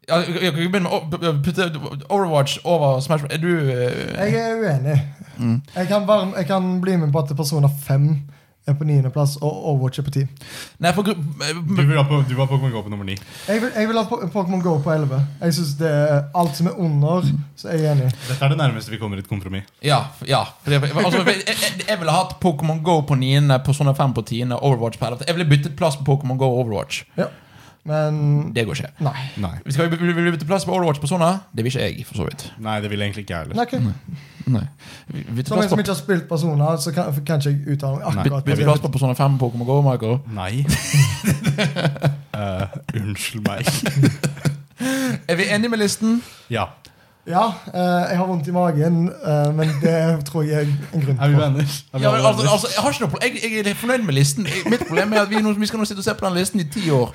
Speaker 1: Ja, Jeg jeg kan ikke begynne med å putte Overwatch over Smash Bros. Er du øh,
Speaker 2: Jeg er uenig. Jeg, kan bare, jeg kan bli med på at personer 5 er på niendeplass og Overwatch er på 10.
Speaker 1: Nei, for
Speaker 3: Du,
Speaker 1: gru- eh,
Speaker 3: vil ha på, du var Pokémon Go på nummer 9.
Speaker 2: Jeg vil, jeg vil ha Po- Pokémon Go på 11. Jeg synes det er alt som er under, så er jeg enig.
Speaker 3: Dette er det nærmeste vi kommer et kompromiss.
Speaker 1: Ja. ja For det- altså, jeg, jeg, jeg ville hatt Pokémon Go på 9., Persona 5 på 10., Overwatch på 11. Jeg ville byttet plass på Pokémon Go og Overwatch.
Speaker 2: Ja. Men
Speaker 1: Det går ikke.
Speaker 2: nei.
Speaker 3: Nei.
Speaker 1: Skal vi by- by- bytte plass på Overwatch på Sona? Det vil ikke jeg, for så vidt.
Speaker 3: Nei, det vil egentlig ikke jeg heller.
Speaker 2: Nei, ok.
Speaker 1: Vi- Bytte
Speaker 3: Sånn
Speaker 2: Som en
Speaker 1: plass på,
Speaker 2: som ikke har spilt personer, så kan, kan ikke jeg uttale meg
Speaker 1: bytte-
Speaker 2: akkurat.
Speaker 1: bytte plass på Persona 5 på Pokémon Go, Michael.
Speaker 3: Nei. Eh, unnskyld meg.
Speaker 1: Er vi enige med listen?
Speaker 3: Ja.
Speaker 2: Ja, eh, jeg har vondt i magen, eh, men det tror jeg er en grunn
Speaker 3: Er vi
Speaker 2: for.
Speaker 3: venner? Er vi
Speaker 1: Ja, men,
Speaker 3: alle
Speaker 1: altså,
Speaker 3: venner?
Speaker 1: altså, jeg, har ikke noe, pro- jeg, jeg er fornøyd med listen. Jeg- Mitt problem er at vi, nå, vi skal nå sitte og se på den listen i ti år.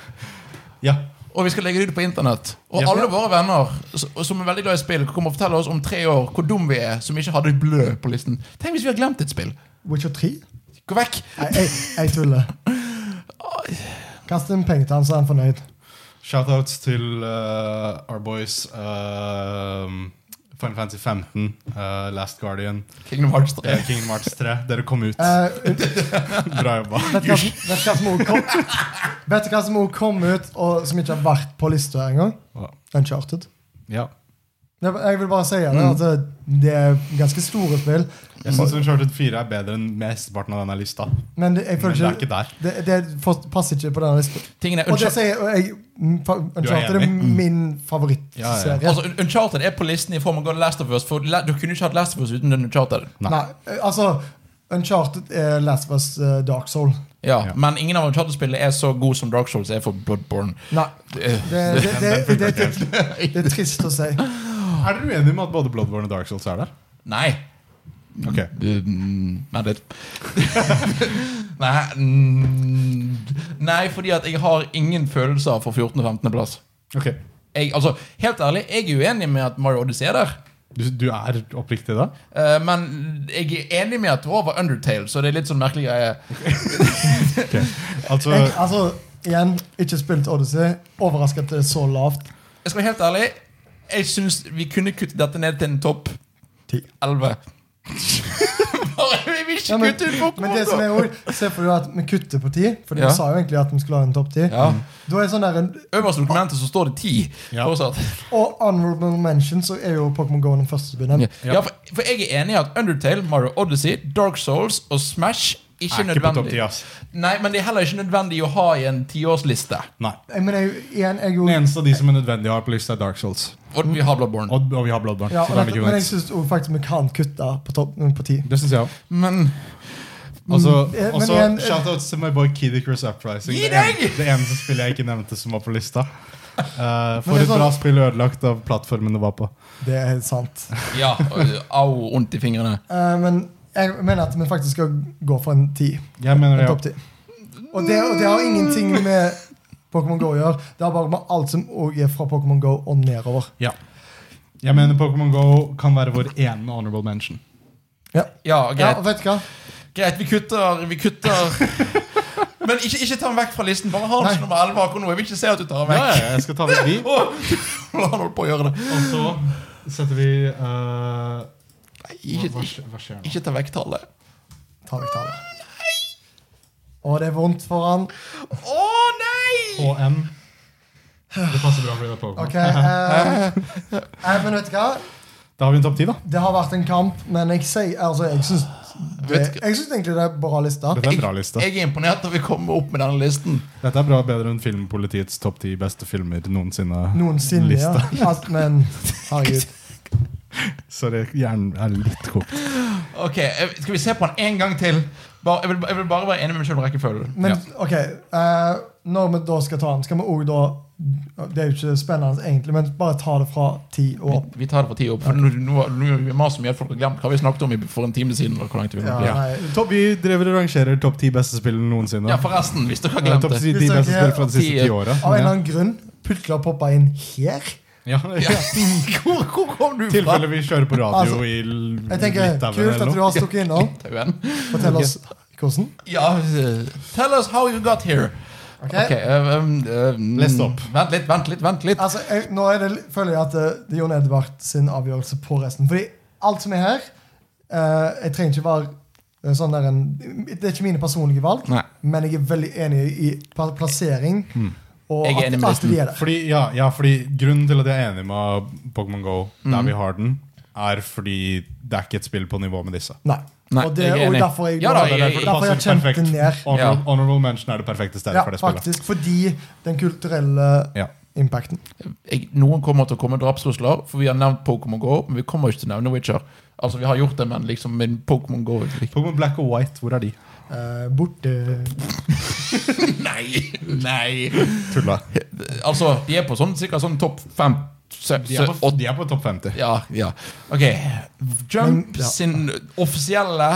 Speaker 3: Ja.
Speaker 1: Og vi skal legge det ut på internett. Og
Speaker 3: Ja.
Speaker 1: alle våre venner s- som er veldig glad i spill, kommer og forteller oss om tre år hvor dum vi er som ikke hadde blø på listen. Tenk hvis vi har glemt et spill.
Speaker 2: Witcher 3?
Speaker 1: Gå vekk!
Speaker 2: Nei, jeg, jeg tuller. Kast en penge til han, så er han fornøyd.
Speaker 3: Shoutouts til eh, our boys. Uh, Final Fantasy 15, eh, Last Guardian,
Speaker 1: Kingdom Hearts 3.
Speaker 3: eh, Kingdom Hearts 3. Dere kom ut.
Speaker 2: Eh, vet,
Speaker 3: Bra jobba.
Speaker 2: du hva, som- vet du hva som også kom, vet du hva som også kom ut, og som ikke har vært på lista engang? Uncharted.
Speaker 3: Ja.
Speaker 2: Jeg jeg vil bare si det,
Speaker 3: Mm.
Speaker 2: at det- det er ganske store spill.
Speaker 3: Jeg syns Uncharted 4 er bedre enn mesteparten av denne lista.
Speaker 2: Men det, jeg
Speaker 3: Men det
Speaker 2: føler
Speaker 3: er ikke
Speaker 2: ikke
Speaker 3: der.
Speaker 2: det, det for- passer ikke på denne listen.
Speaker 1: Tingene,
Speaker 2: Og det
Speaker 1: Uncharted,
Speaker 2: sier og jeg, mm, fa- Uncharted er
Speaker 3: enig?
Speaker 2: min
Speaker 3: Ja,
Speaker 2: favorittserie.
Speaker 1: altså, Un- Uncharted er på listen i form av God Last of Us. For la- du kunne ikke hatt Last of Us uten den Uncharted.
Speaker 3: Nei.
Speaker 2: Nei, altså Uncharted er Last of Us eh, Dark Soul.
Speaker 1: Ja,
Speaker 3: Ja.
Speaker 1: Men ingen av Uncharted-spillene er så gode som Dark Souls er for Bloodborne.
Speaker 2: Nei,
Speaker 1: Det-
Speaker 2: det, det, det, det, det, det, er trist å si.
Speaker 3: Er dere uenige med at både Bloodborne og Dark Souls er der?
Speaker 1: Nei.
Speaker 3: Ok,
Speaker 1: Mm, Nei, det Nei, mm, nei, fordi at jeg har ingen følelser for 14. og 15. plass.
Speaker 3: ok
Speaker 1: Jeg, altså, helt ærlig, jeg er uenig med at Mario Odyssey er der.
Speaker 3: Du, du er oppriktig da?
Speaker 1: Eh, men jeg er enig med at det også var Undertale, så det er litt sånn merkelig greie.
Speaker 3: Altså,
Speaker 2: Jeg, altså, igjen, ikke spilt Odyssey. Overrasket at det er så lavt.
Speaker 1: Jeg skal være helt ærlig. Jeg syns vi kunne kutte dette ned til en topp 11. Bare vi vil ikke
Speaker 2: Ja, men,
Speaker 1: kutte ut Pokémon!
Speaker 2: men det som er også, Se for deg at vi kutter på ti, for
Speaker 1: Ja.
Speaker 2: vi sa jo egentlig at vi skulle ha en topp ti.
Speaker 1: Ja.
Speaker 2: Da er det sånn der en,
Speaker 1: Øverst i dokumentet så står det 10.
Speaker 3: Ja.
Speaker 1: fortsatt.
Speaker 2: Og honorable mention, så er jo Pokémon GO den første som blir
Speaker 1: Ja.
Speaker 2: nevnt.
Speaker 1: for, for jeg er enig i at Undertale, Mario Odyssey, Dark Souls og Smash ikke er
Speaker 3: er ikke på topp
Speaker 1: nødvendig.
Speaker 3: 10, ass.
Speaker 1: Nei, men det er heller ikke nødvendig å ha i en tiårsliste.
Speaker 3: Nei.
Speaker 2: Jeg mener, jeg, igjen, jeg er jo
Speaker 3: Den eneste av de som er nødvendig å ha på lista, er Dark Souls.
Speaker 1: Og vi har Bloodborne.
Speaker 3: Og, og vi har Bloodborne.
Speaker 2: ja,
Speaker 3: så
Speaker 2: og
Speaker 3: da er det
Speaker 2: dette,
Speaker 3: ikke
Speaker 2: Men jeg
Speaker 3: uenighet.
Speaker 2: syns faktisk vi kan kutte på, topp, på ti.
Speaker 3: Det syns jeg òg.
Speaker 1: Men
Speaker 3: Altså,
Speaker 2: eh, men
Speaker 3: også
Speaker 2: igjen, eh,
Speaker 3: shoutouts til my boy Kid Icarus Uprising.
Speaker 1: Gi
Speaker 3: Det, en,
Speaker 1: deg!
Speaker 3: det eneste spillet jeg ikke nevnte som var på lista. Eh,
Speaker 2: Men
Speaker 3: for
Speaker 2: det er
Speaker 3: et bra
Speaker 2: sånn-
Speaker 3: spill ødelagt av plattformen det var på.
Speaker 2: Det er helt sant.
Speaker 1: ja, og- au, vondt i fingrene.
Speaker 2: Eh, men jeg mener at vi faktisk skal gå for en ti.
Speaker 3: Jeg mener
Speaker 2: En
Speaker 3: det,
Speaker 2: topp ti. Og det, og det har ingenting med Pokémon GO å gjøre. Det har bare med alt som også er fra Pokémon GO og nedover.
Speaker 3: ja. ja. Jeg mener Pokémon GO kan være vår ene honorable mention.
Speaker 2: Ja,
Speaker 1: Ja,
Speaker 2: ja
Speaker 1: greit.
Speaker 2: og vet du hva?
Speaker 1: Greit, vi kutter, vi kutter. Men ikke, ikke ta den vekk fra listen. Bare ha den
Speaker 2: Nei.
Speaker 1: som nummer 11 akkurat nå. Jeg vil ikke se at du tar den
Speaker 3: Ja,
Speaker 1: vekk.
Speaker 3: ja, jeg skal ta det vi.
Speaker 1: Åh, Han holdt på å gjøre det.
Speaker 3: Og så setter vi eh, hva, hva,
Speaker 1: Ikke,
Speaker 3: skje- hva skjer nå?
Speaker 1: ikke ta vekk tallet.
Speaker 2: Ta vekk tallet. Og det er vondt for han.
Speaker 1: Å nei!
Speaker 3: HM. Det passer bra fordi det er Pokémon.
Speaker 2: Ok, eh, eh, Men vet du hva?
Speaker 3: Da har vi en topp ti, da.
Speaker 2: Det har vært en kamp, men jeg sier altså, jeg syns det-
Speaker 1: Vet ikke.
Speaker 2: Jeg syns egentlig det er bra lista.
Speaker 3: Dette er en bra liste.
Speaker 1: Jeg er imponert når vi kommer opp med denne listen.
Speaker 3: Dette er bra bedre enn Filmpolitiets topp ti beste filmer noensinne.
Speaker 2: Noensinne, ja.
Speaker 3: liste.
Speaker 2: Alt, men herregud.
Speaker 3: Sorry, hjernen er litt kokt.
Speaker 1: Ok, eh, Skal vi se på den en gang til? Bare, jeg, vil, jeg vil bare være enig med meg selv om rekkefølgen.
Speaker 2: Men
Speaker 1: ja.
Speaker 2: ok, eh, når vi da skal ta den, skal vi òg da Det er jo ikke spennende egentlig, men bare ta det fra ti
Speaker 1: vi,
Speaker 2: år.
Speaker 1: vi tar det for ti opp. For nå, nå, nå vi maser så mye at folk har glemt hva vi snakket om i- for en time siden. Eller hvor langt vi
Speaker 2: Ja,
Speaker 1: ja.
Speaker 3: Ja.
Speaker 2: nei.
Speaker 3: Topp, vi driver og rangerer topp ti beste spill noensinne.
Speaker 1: ja, forresten. Hvis dere har
Speaker 3: Eh,
Speaker 1: glemt
Speaker 3: topp
Speaker 1: det.
Speaker 3: ti
Speaker 2: Hvis dere-
Speaker 3: beste spill fra de
Speaker 1: Ti,
Speaker 3: siste
Speaker 1: eh,
Speaker 3: ti åra.
Speaker 2: Av en eller annen grunn plutselig har poppa inn her.
Speaker 1: Ja.
Speaker 3: Ja.
Speaker 1: Hvor, hvor kom du fra?
Speaker 3: tilfelle vi kjører på radio
Speaker 2: Altså,
Speaker 3: i l-
Speaker 2: Jeg tenker,
Speaker 3: Litauen
Speaker 2: Kult
Speaker 3: eller
Speaker 2: at du
Speaker 3: noe.
Speaker 2: har stukket innom.
Speaker 1: Tauen.
Speaker 2: Fortell oss hvordan.
Speaker 1: Ja, eh, tell us how you got here.
Speaker 2: Ok,
Speaker 1: Ok, eh, um, eh,
Speaker 3: Les det opp.
Speaker 1: Vent litt, vent litt. vent litt
Speaker 2: Altså, jeg, Nå er det, føler jeg at eh, det er Jon Edvard sin avgjørelse på resten. Fordi alt som er her eh, Jeg trenger ikke være eh, sånn der en Det er ikke mine personlige valg,
Speaker 1: Nei. Hmm.
Speaker 2: men jeg er veldig enig i pla- plassering. Og
Speaker 1: Jeg er enig
Speaker 2: at,
Speaker 1: med
Speaker 2: at de er der.
Speaker 3: Fordi, ja, ja, fordi grunnen til at jeg er enig med Pokémon Go
Speaker 1: Mm.
Speaker 3: der vi har den, er fordi det er ikke et spill på nivå med disse.
Speaker 2: Nei.
Speaker 1: Nei,
Speaker 2: og det
Speaker 1: jeg
Speaker 2: er
Speaker 1: er
Speaker 2: jo
Speaker 1: enig.
Speaker 2: derfor jeg,
Speaker 1: Ja da, jeg- jeg-
Speaker 2: derfor
Speaker 3: passer
Speaker 2: jeg kjempet
Speaker 3: perfekt.
Speaker 2: ned.
Speaker 3: Honor,
Speaker 1: Ja.
Speaker 3: Honorable mention er det perfekte stedet
Speaker 2: Ja,
Speaker 3: for det spillet.
Speaker 2: faktisk. Fordi den kulturelle
Speaker 3: Ja.
Speaker 2: impacten.
Speaker 1: jeg, Noen kommer til å komme drapstrusler, for vi har nevnt Pokémon Go. Men vi kommer ikke til å nevne Witcher. Altså, vi har gjort det, men liksom men Pokémon Go
Speaker 3: Pokémon Black og White, hvor er de?
Speaker 2: Eh, borte
Speaker 1: Nei! Nei!
Speaker 3: Tulla.
Speaker 1: Altså, de er på sånn sikkert sånn topp fem se,
Speaker 3: De er
Speaker 1: se,
Speaker 3: på, de er på topp 50.
Speaker 1: Ja, ja. Ok. Jump
Speaker 2: Men, ja.
Speaker 1: sin offisielle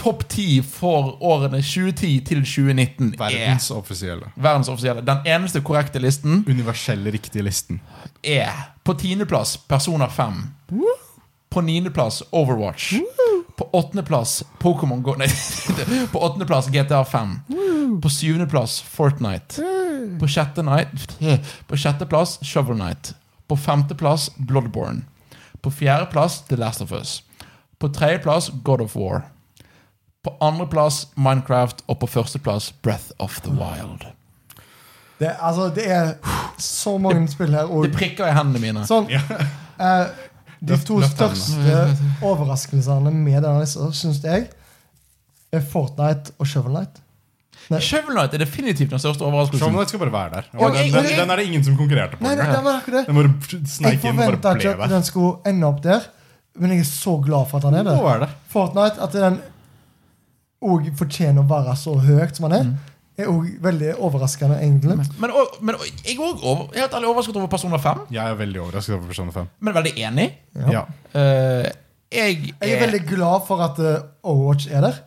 Speaker 1: topp ti for årene 2010 til 2019 er
Speaker 3: Verdens offisielle.
Speaker 1: Verdens offisielle. Den eneste korrekte listen
Speaker 3: Universelle riktige listen.
Speaker 1: er på tiendeplass Persona 5. På niendeplass Overwatch. På åttendeplass Pokémon Go Nei, på åttendeplass GTA 5. På syvendeplass Fortnite. På sjette night- På sjetteplass Shovel Night. På femteplass Bloodborne. På fjerdeplass The Last of Us. På tredjeplass God of War. På andreplass Minecraft, og på førsteplass Breath of the Wild.
Speaker 2: det, altså, det er så mange spill her. Og,
Speaker 1: Det prikker i hendene mine.
Speaker 2: sånn, Eh, de
Speaker 3: Løft-
Speaker 2: to
Speaker 3: løft
Speaker 2: største overraskelsene med denne lista, syns jeg, er Fortnite og Shovel Knight. Nei.
Speaker 1: Shovel Knight er definitivt den største
Speaker 3: Shovel
Speaker 1: overraskelsen.
Speaker 3: Knight skal bare være der.
Speaker 2: Og-
Speaker 3: Og den, den,
Speaker 2: og-
Speaker 3: den er det ingen som konkurrerte på.
Speaker 2: Nei, det,
Speaker 3: engang.
Speaker 2: det var akkurat det.
Speaker 3: Den bare
Speaker 2: Jeg
Speaker 3: sneik inn og
Speaker 2: forventa
Speaker 3: bare
Speaker 2: ikke
Speaker 3: ble
Speaker 2: at
Speaker 3: der.
Speaker 2: den skulle ende opp der, men jeg er så glad for at han er
Speaker 3: Nå
Speaker 2: der.
Speaker 3: er det.
Speaker 2: Fortnite, at den òg fortjener å være så høyt som han er, er òg veldig overraskende, egentlig.
Speaker 1: Men, og, men og, jeg er også over, helt ærlig overrasket over Persona 5,
Speaker 3: Jeg er veldig overrasket over Persona 5.
Speaker 1: men veldig enig.
Speaker 2: Ja.
Speaker 3: Ja.
Speaker 1: Eh, jeg
Speaker 2: Jeg er veldig glad for at eh, Overwatch er der,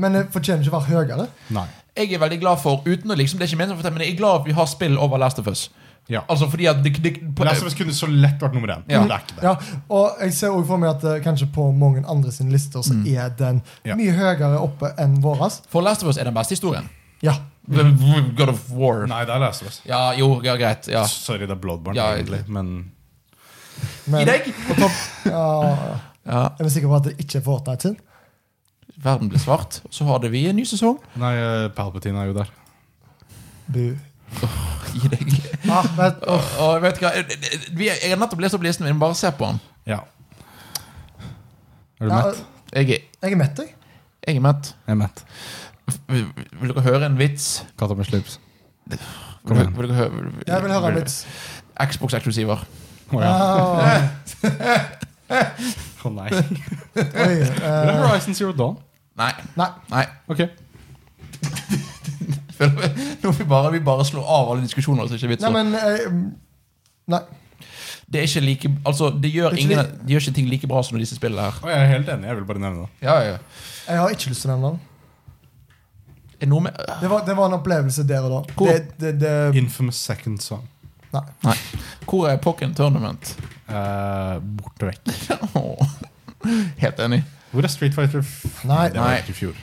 Speaker 2: men det fortjener ikke å være høyere.
Speaker 3: Nei.
Speaker 1: jeg er veldig glad for Uten å liksom, det er ikke meningen å fortelle Men jeg er glad for at vi har spill over Last of Us
Speaker 3: Ja.
Speaker 1: Altså fordi at det, det, på,
Speaker 3: Last of Us kunne så lett vært nummer én.
Speaker 1: Ja.
Speaker 3: Men Det er ikke det.
Speaker 2: Ja, og jeg ser også for meg at eh, kanskje på mange andre sine lister så er den
Speaker 3: Mm. Ja.
Speaker 2: mye høyere oppe enn våres.
Speaker 1: For Last of Us er den beste historien
Speaker 2: Ja.
Speaker 1: God of War
Speaker 3: Nei, det er Last of Us.
Speaker 1: Ja, jo, ja, greit ja.
Speaker 3: Sorry, det er Bloodborne,
Speaker 1: Ja,
Speaker 3: egentlig. Men
Speaker 1: I
Speaker 2: Men
Speaker 1: deg
Speaker 2: på topp ja,
Speaker 1: ja,
Speaker 2: Jeg er sikker på at det ikke er Fortnite sin.
Speaker 1: Verden ble svart Så hadde vi en ny sesong
Speaker 3: Nei, eh, Palpatine er jo der.
Speaker 2: Bu.
Speaker 1: I deg
Speaker 2: Ah, men,
Speaker 1: Og, og vet du hva vi, Jeg har nettopp lest opp listen Vi må bare se på den
Speaker 3: Ja. Er du
Speaker 2: ja,
Speaker 3: mett?
Speaker 1: Jeg, er-
Speaker 2: jeg er mett, jeg.
Speaker 1: jeg er mett
Speaker 3: Jeg er mett.
Speaker 1: vil, vil dere høre en vits?
Speaker 3: Katta med slips. Kom
Speaker 1: Vil,
Speaker 3: igjen.
Speaker 1: vil dere høre vil,
Speaker 2: Jeg vil høre en vits.
Speaker 1: Xbox-eksklusiver
Speaker 3: Å ja.
Speaker 2: Ah,
Speaker 3: Å nei. Er
Speaker 2: oi, eh,
Speaker 3: det Horizon Zero Dawn?
Speaker 1: Nei,
Speaker 2: nei.
Speaker 1: nei
Speaker 3: Ok.
Speaker 1: Nå vil vi bare, vi bare slå av alle diskusjoner Så det er ikke vits
Speaker 2: Nei,
Speaker 1: å-
Speaker 2: men eh, Nei.
Speaker 1: Det er ikke like Altså, det gjør,
Speaker 2: Ikke
Speaker 1: ingen,
Speaker 2: like-
Speaker 1: de gjør ikke ting like bra som disse spillene her.
Speaker 3: Å, jeg er helt enig. Jeg vil bare nevne det.
Speaker 1: Ja, ja, ja.
Speaker 2: Jeg har ikke lyst til å nevne den.
Speaker 1: Er noe med øh,
Speaker 2: Det var, det var en opplevelse der og da.
Speaker 1: Hvor-
Speaker 2: Det, det, det,
Speaker 3: Infamous Second Song.
Speaker 2: nei.
Speaker 1: Nei. Hvor er Pokken Tournament?
Speaker 3: Eh, borte vekk.
Speaker 1: Åh. Helt enig.
Speaker 3: Hvor er Street Fighter? f-
Speaker 2: Nei.
Speaker 3: Det var ikke i fjor.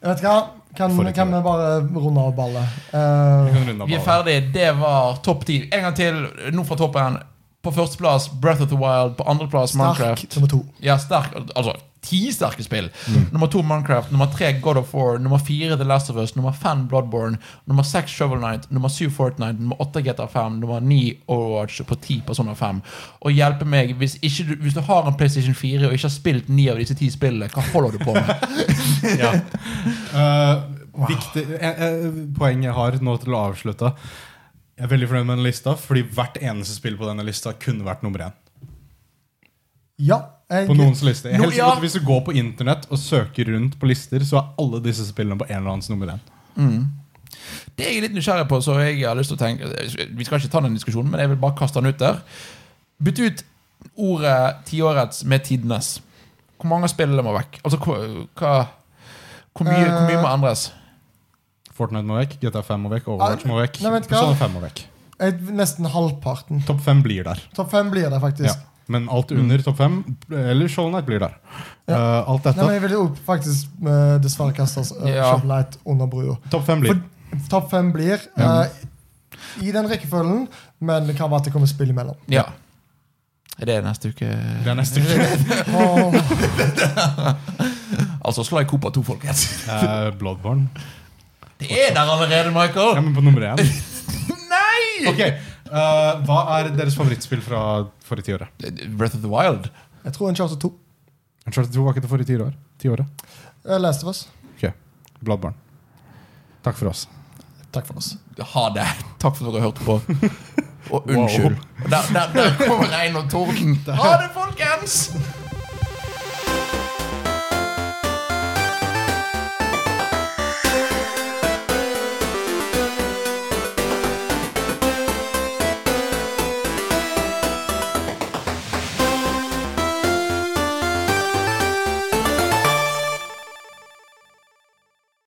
Speaker 2: Jeg vet hva, kan,
Speaker 3: Får ikke
Speaker 2: kan vi
Speaker 3: det.
Speaker 2: bare runde av ballet? Eh,
Speaker 3: Vi kan runde av
Speaker 1: Vi er
Speaker 3: ballen.
Speaker 1: ferdige. Det var topp ti. En gang til, nå fra toppen. På førsteplass Breath of the Wild. På andreplass Minecraft.
Speaker 2: Stark nummer to.
Speaker 1: Ja, sterk Altså, ti sterke spill. Nummer to Minecraft. Nummer tre God of War. Nummer fire The Last of Us. Nummer fem Bloodborne. Nummer seks Shovel Knight. Nummer syv Fortnite. Nummer åtte GTA5. Nummer ni Overwatch. På ti personer fem. Og hjelpe meg, hvis, ikke du, hvis du har en PlayStation 4 og ikke har spilt ni av disse ti spillene, hva holder du på med?
Speaker 3: Ja. Eh, viktig, eh, eh, poeng jeg har nå til å avslutte. Jeg er veldig fornøyd med denne lista, fordi hvert eneste spill på denne lista kunne vært nummer én.
Speaker 2: Ja. Jeg,
Speaker 3: På noens liste. Jeg er helt
Speaker 1: No, ja.
Speaker 3: sikker på at Hvis du går på internett og søker rundt på lister, så er alle disse spillene på en eller annens nummer én.
Speaker 1: Det er jeg litt nysgjerrig på, så jeg har lyst til å tenke Vi skal ikke ta den diskusjonen, men jeg vil bare kaste den ut der. Bytte ut ordet tiårets med tidenes. Hvor mange av spillene må vekk? Altså, hva, hva hvor, mye, hvor mye må endres?
Speaker 3: Fortnite må vekk, GTA5 må vekk, Overwatch må vekk.
Speaker 2: Nei, vet du hva?
Speaker 3: Persona 5 må vekk.
Speaker 2: jeg, nesten halvparten.
Speaker 3: Topp fem blir der.
Speaker 2: Topp fem blir det, faktisk.
Speaker 3: Ja. Men alt
Speaker 2: Mm.
Speaker 3: under topp fem, eller Shoal Night, blir der. Eh, alt
Speaker 2: Nei, men
Speaker 3: dette.
Speaker 2: jeg ville jo faktisk eh, dessverre kaste oss eh,
Speaker 1: Ja.
Speaker 2: Shovel Knight under brua.
Speaker 3: Topp fem blir.
Speaker 2: For Topp fem blir eh, i den rekkefølgen, men det kan være at det kommer spill imellom.
Speaker 1: Ja. Er det neste uke?
Speaker 3: Det er neste uke.
Speaker 2: Åh,
Speaker 1: Altså, slå i Copa 2, folkens.
Speaker 3: Eh, Bloodborne.
Speaker 1: Det er der allerede,
Speaker 3: Ja,
Speaker 1: Michael!
Speaker 3: men på nummer én.
Speaker 1: Nei!
Speaker 3: Ok, eh, Hva er deres favorittspill fra forrige tiåret?
Speaker 1: Breath of the Wild.
Speaker 2: jeg tror en charter 2.
Speaker 3: Uncharted 2 var ikke det forrige tiår- tiåret.
Speaker 2: Eh, Last of Us.
Speaker 3: Ok, Bloodborne. Takk for oss.
Speaker 2: Takk for oss.
Speaker 1: Ha det. Takk for at dere hørte på. Og unnskyld. Der, der, der kommer regn og torden. Ha det, folkens!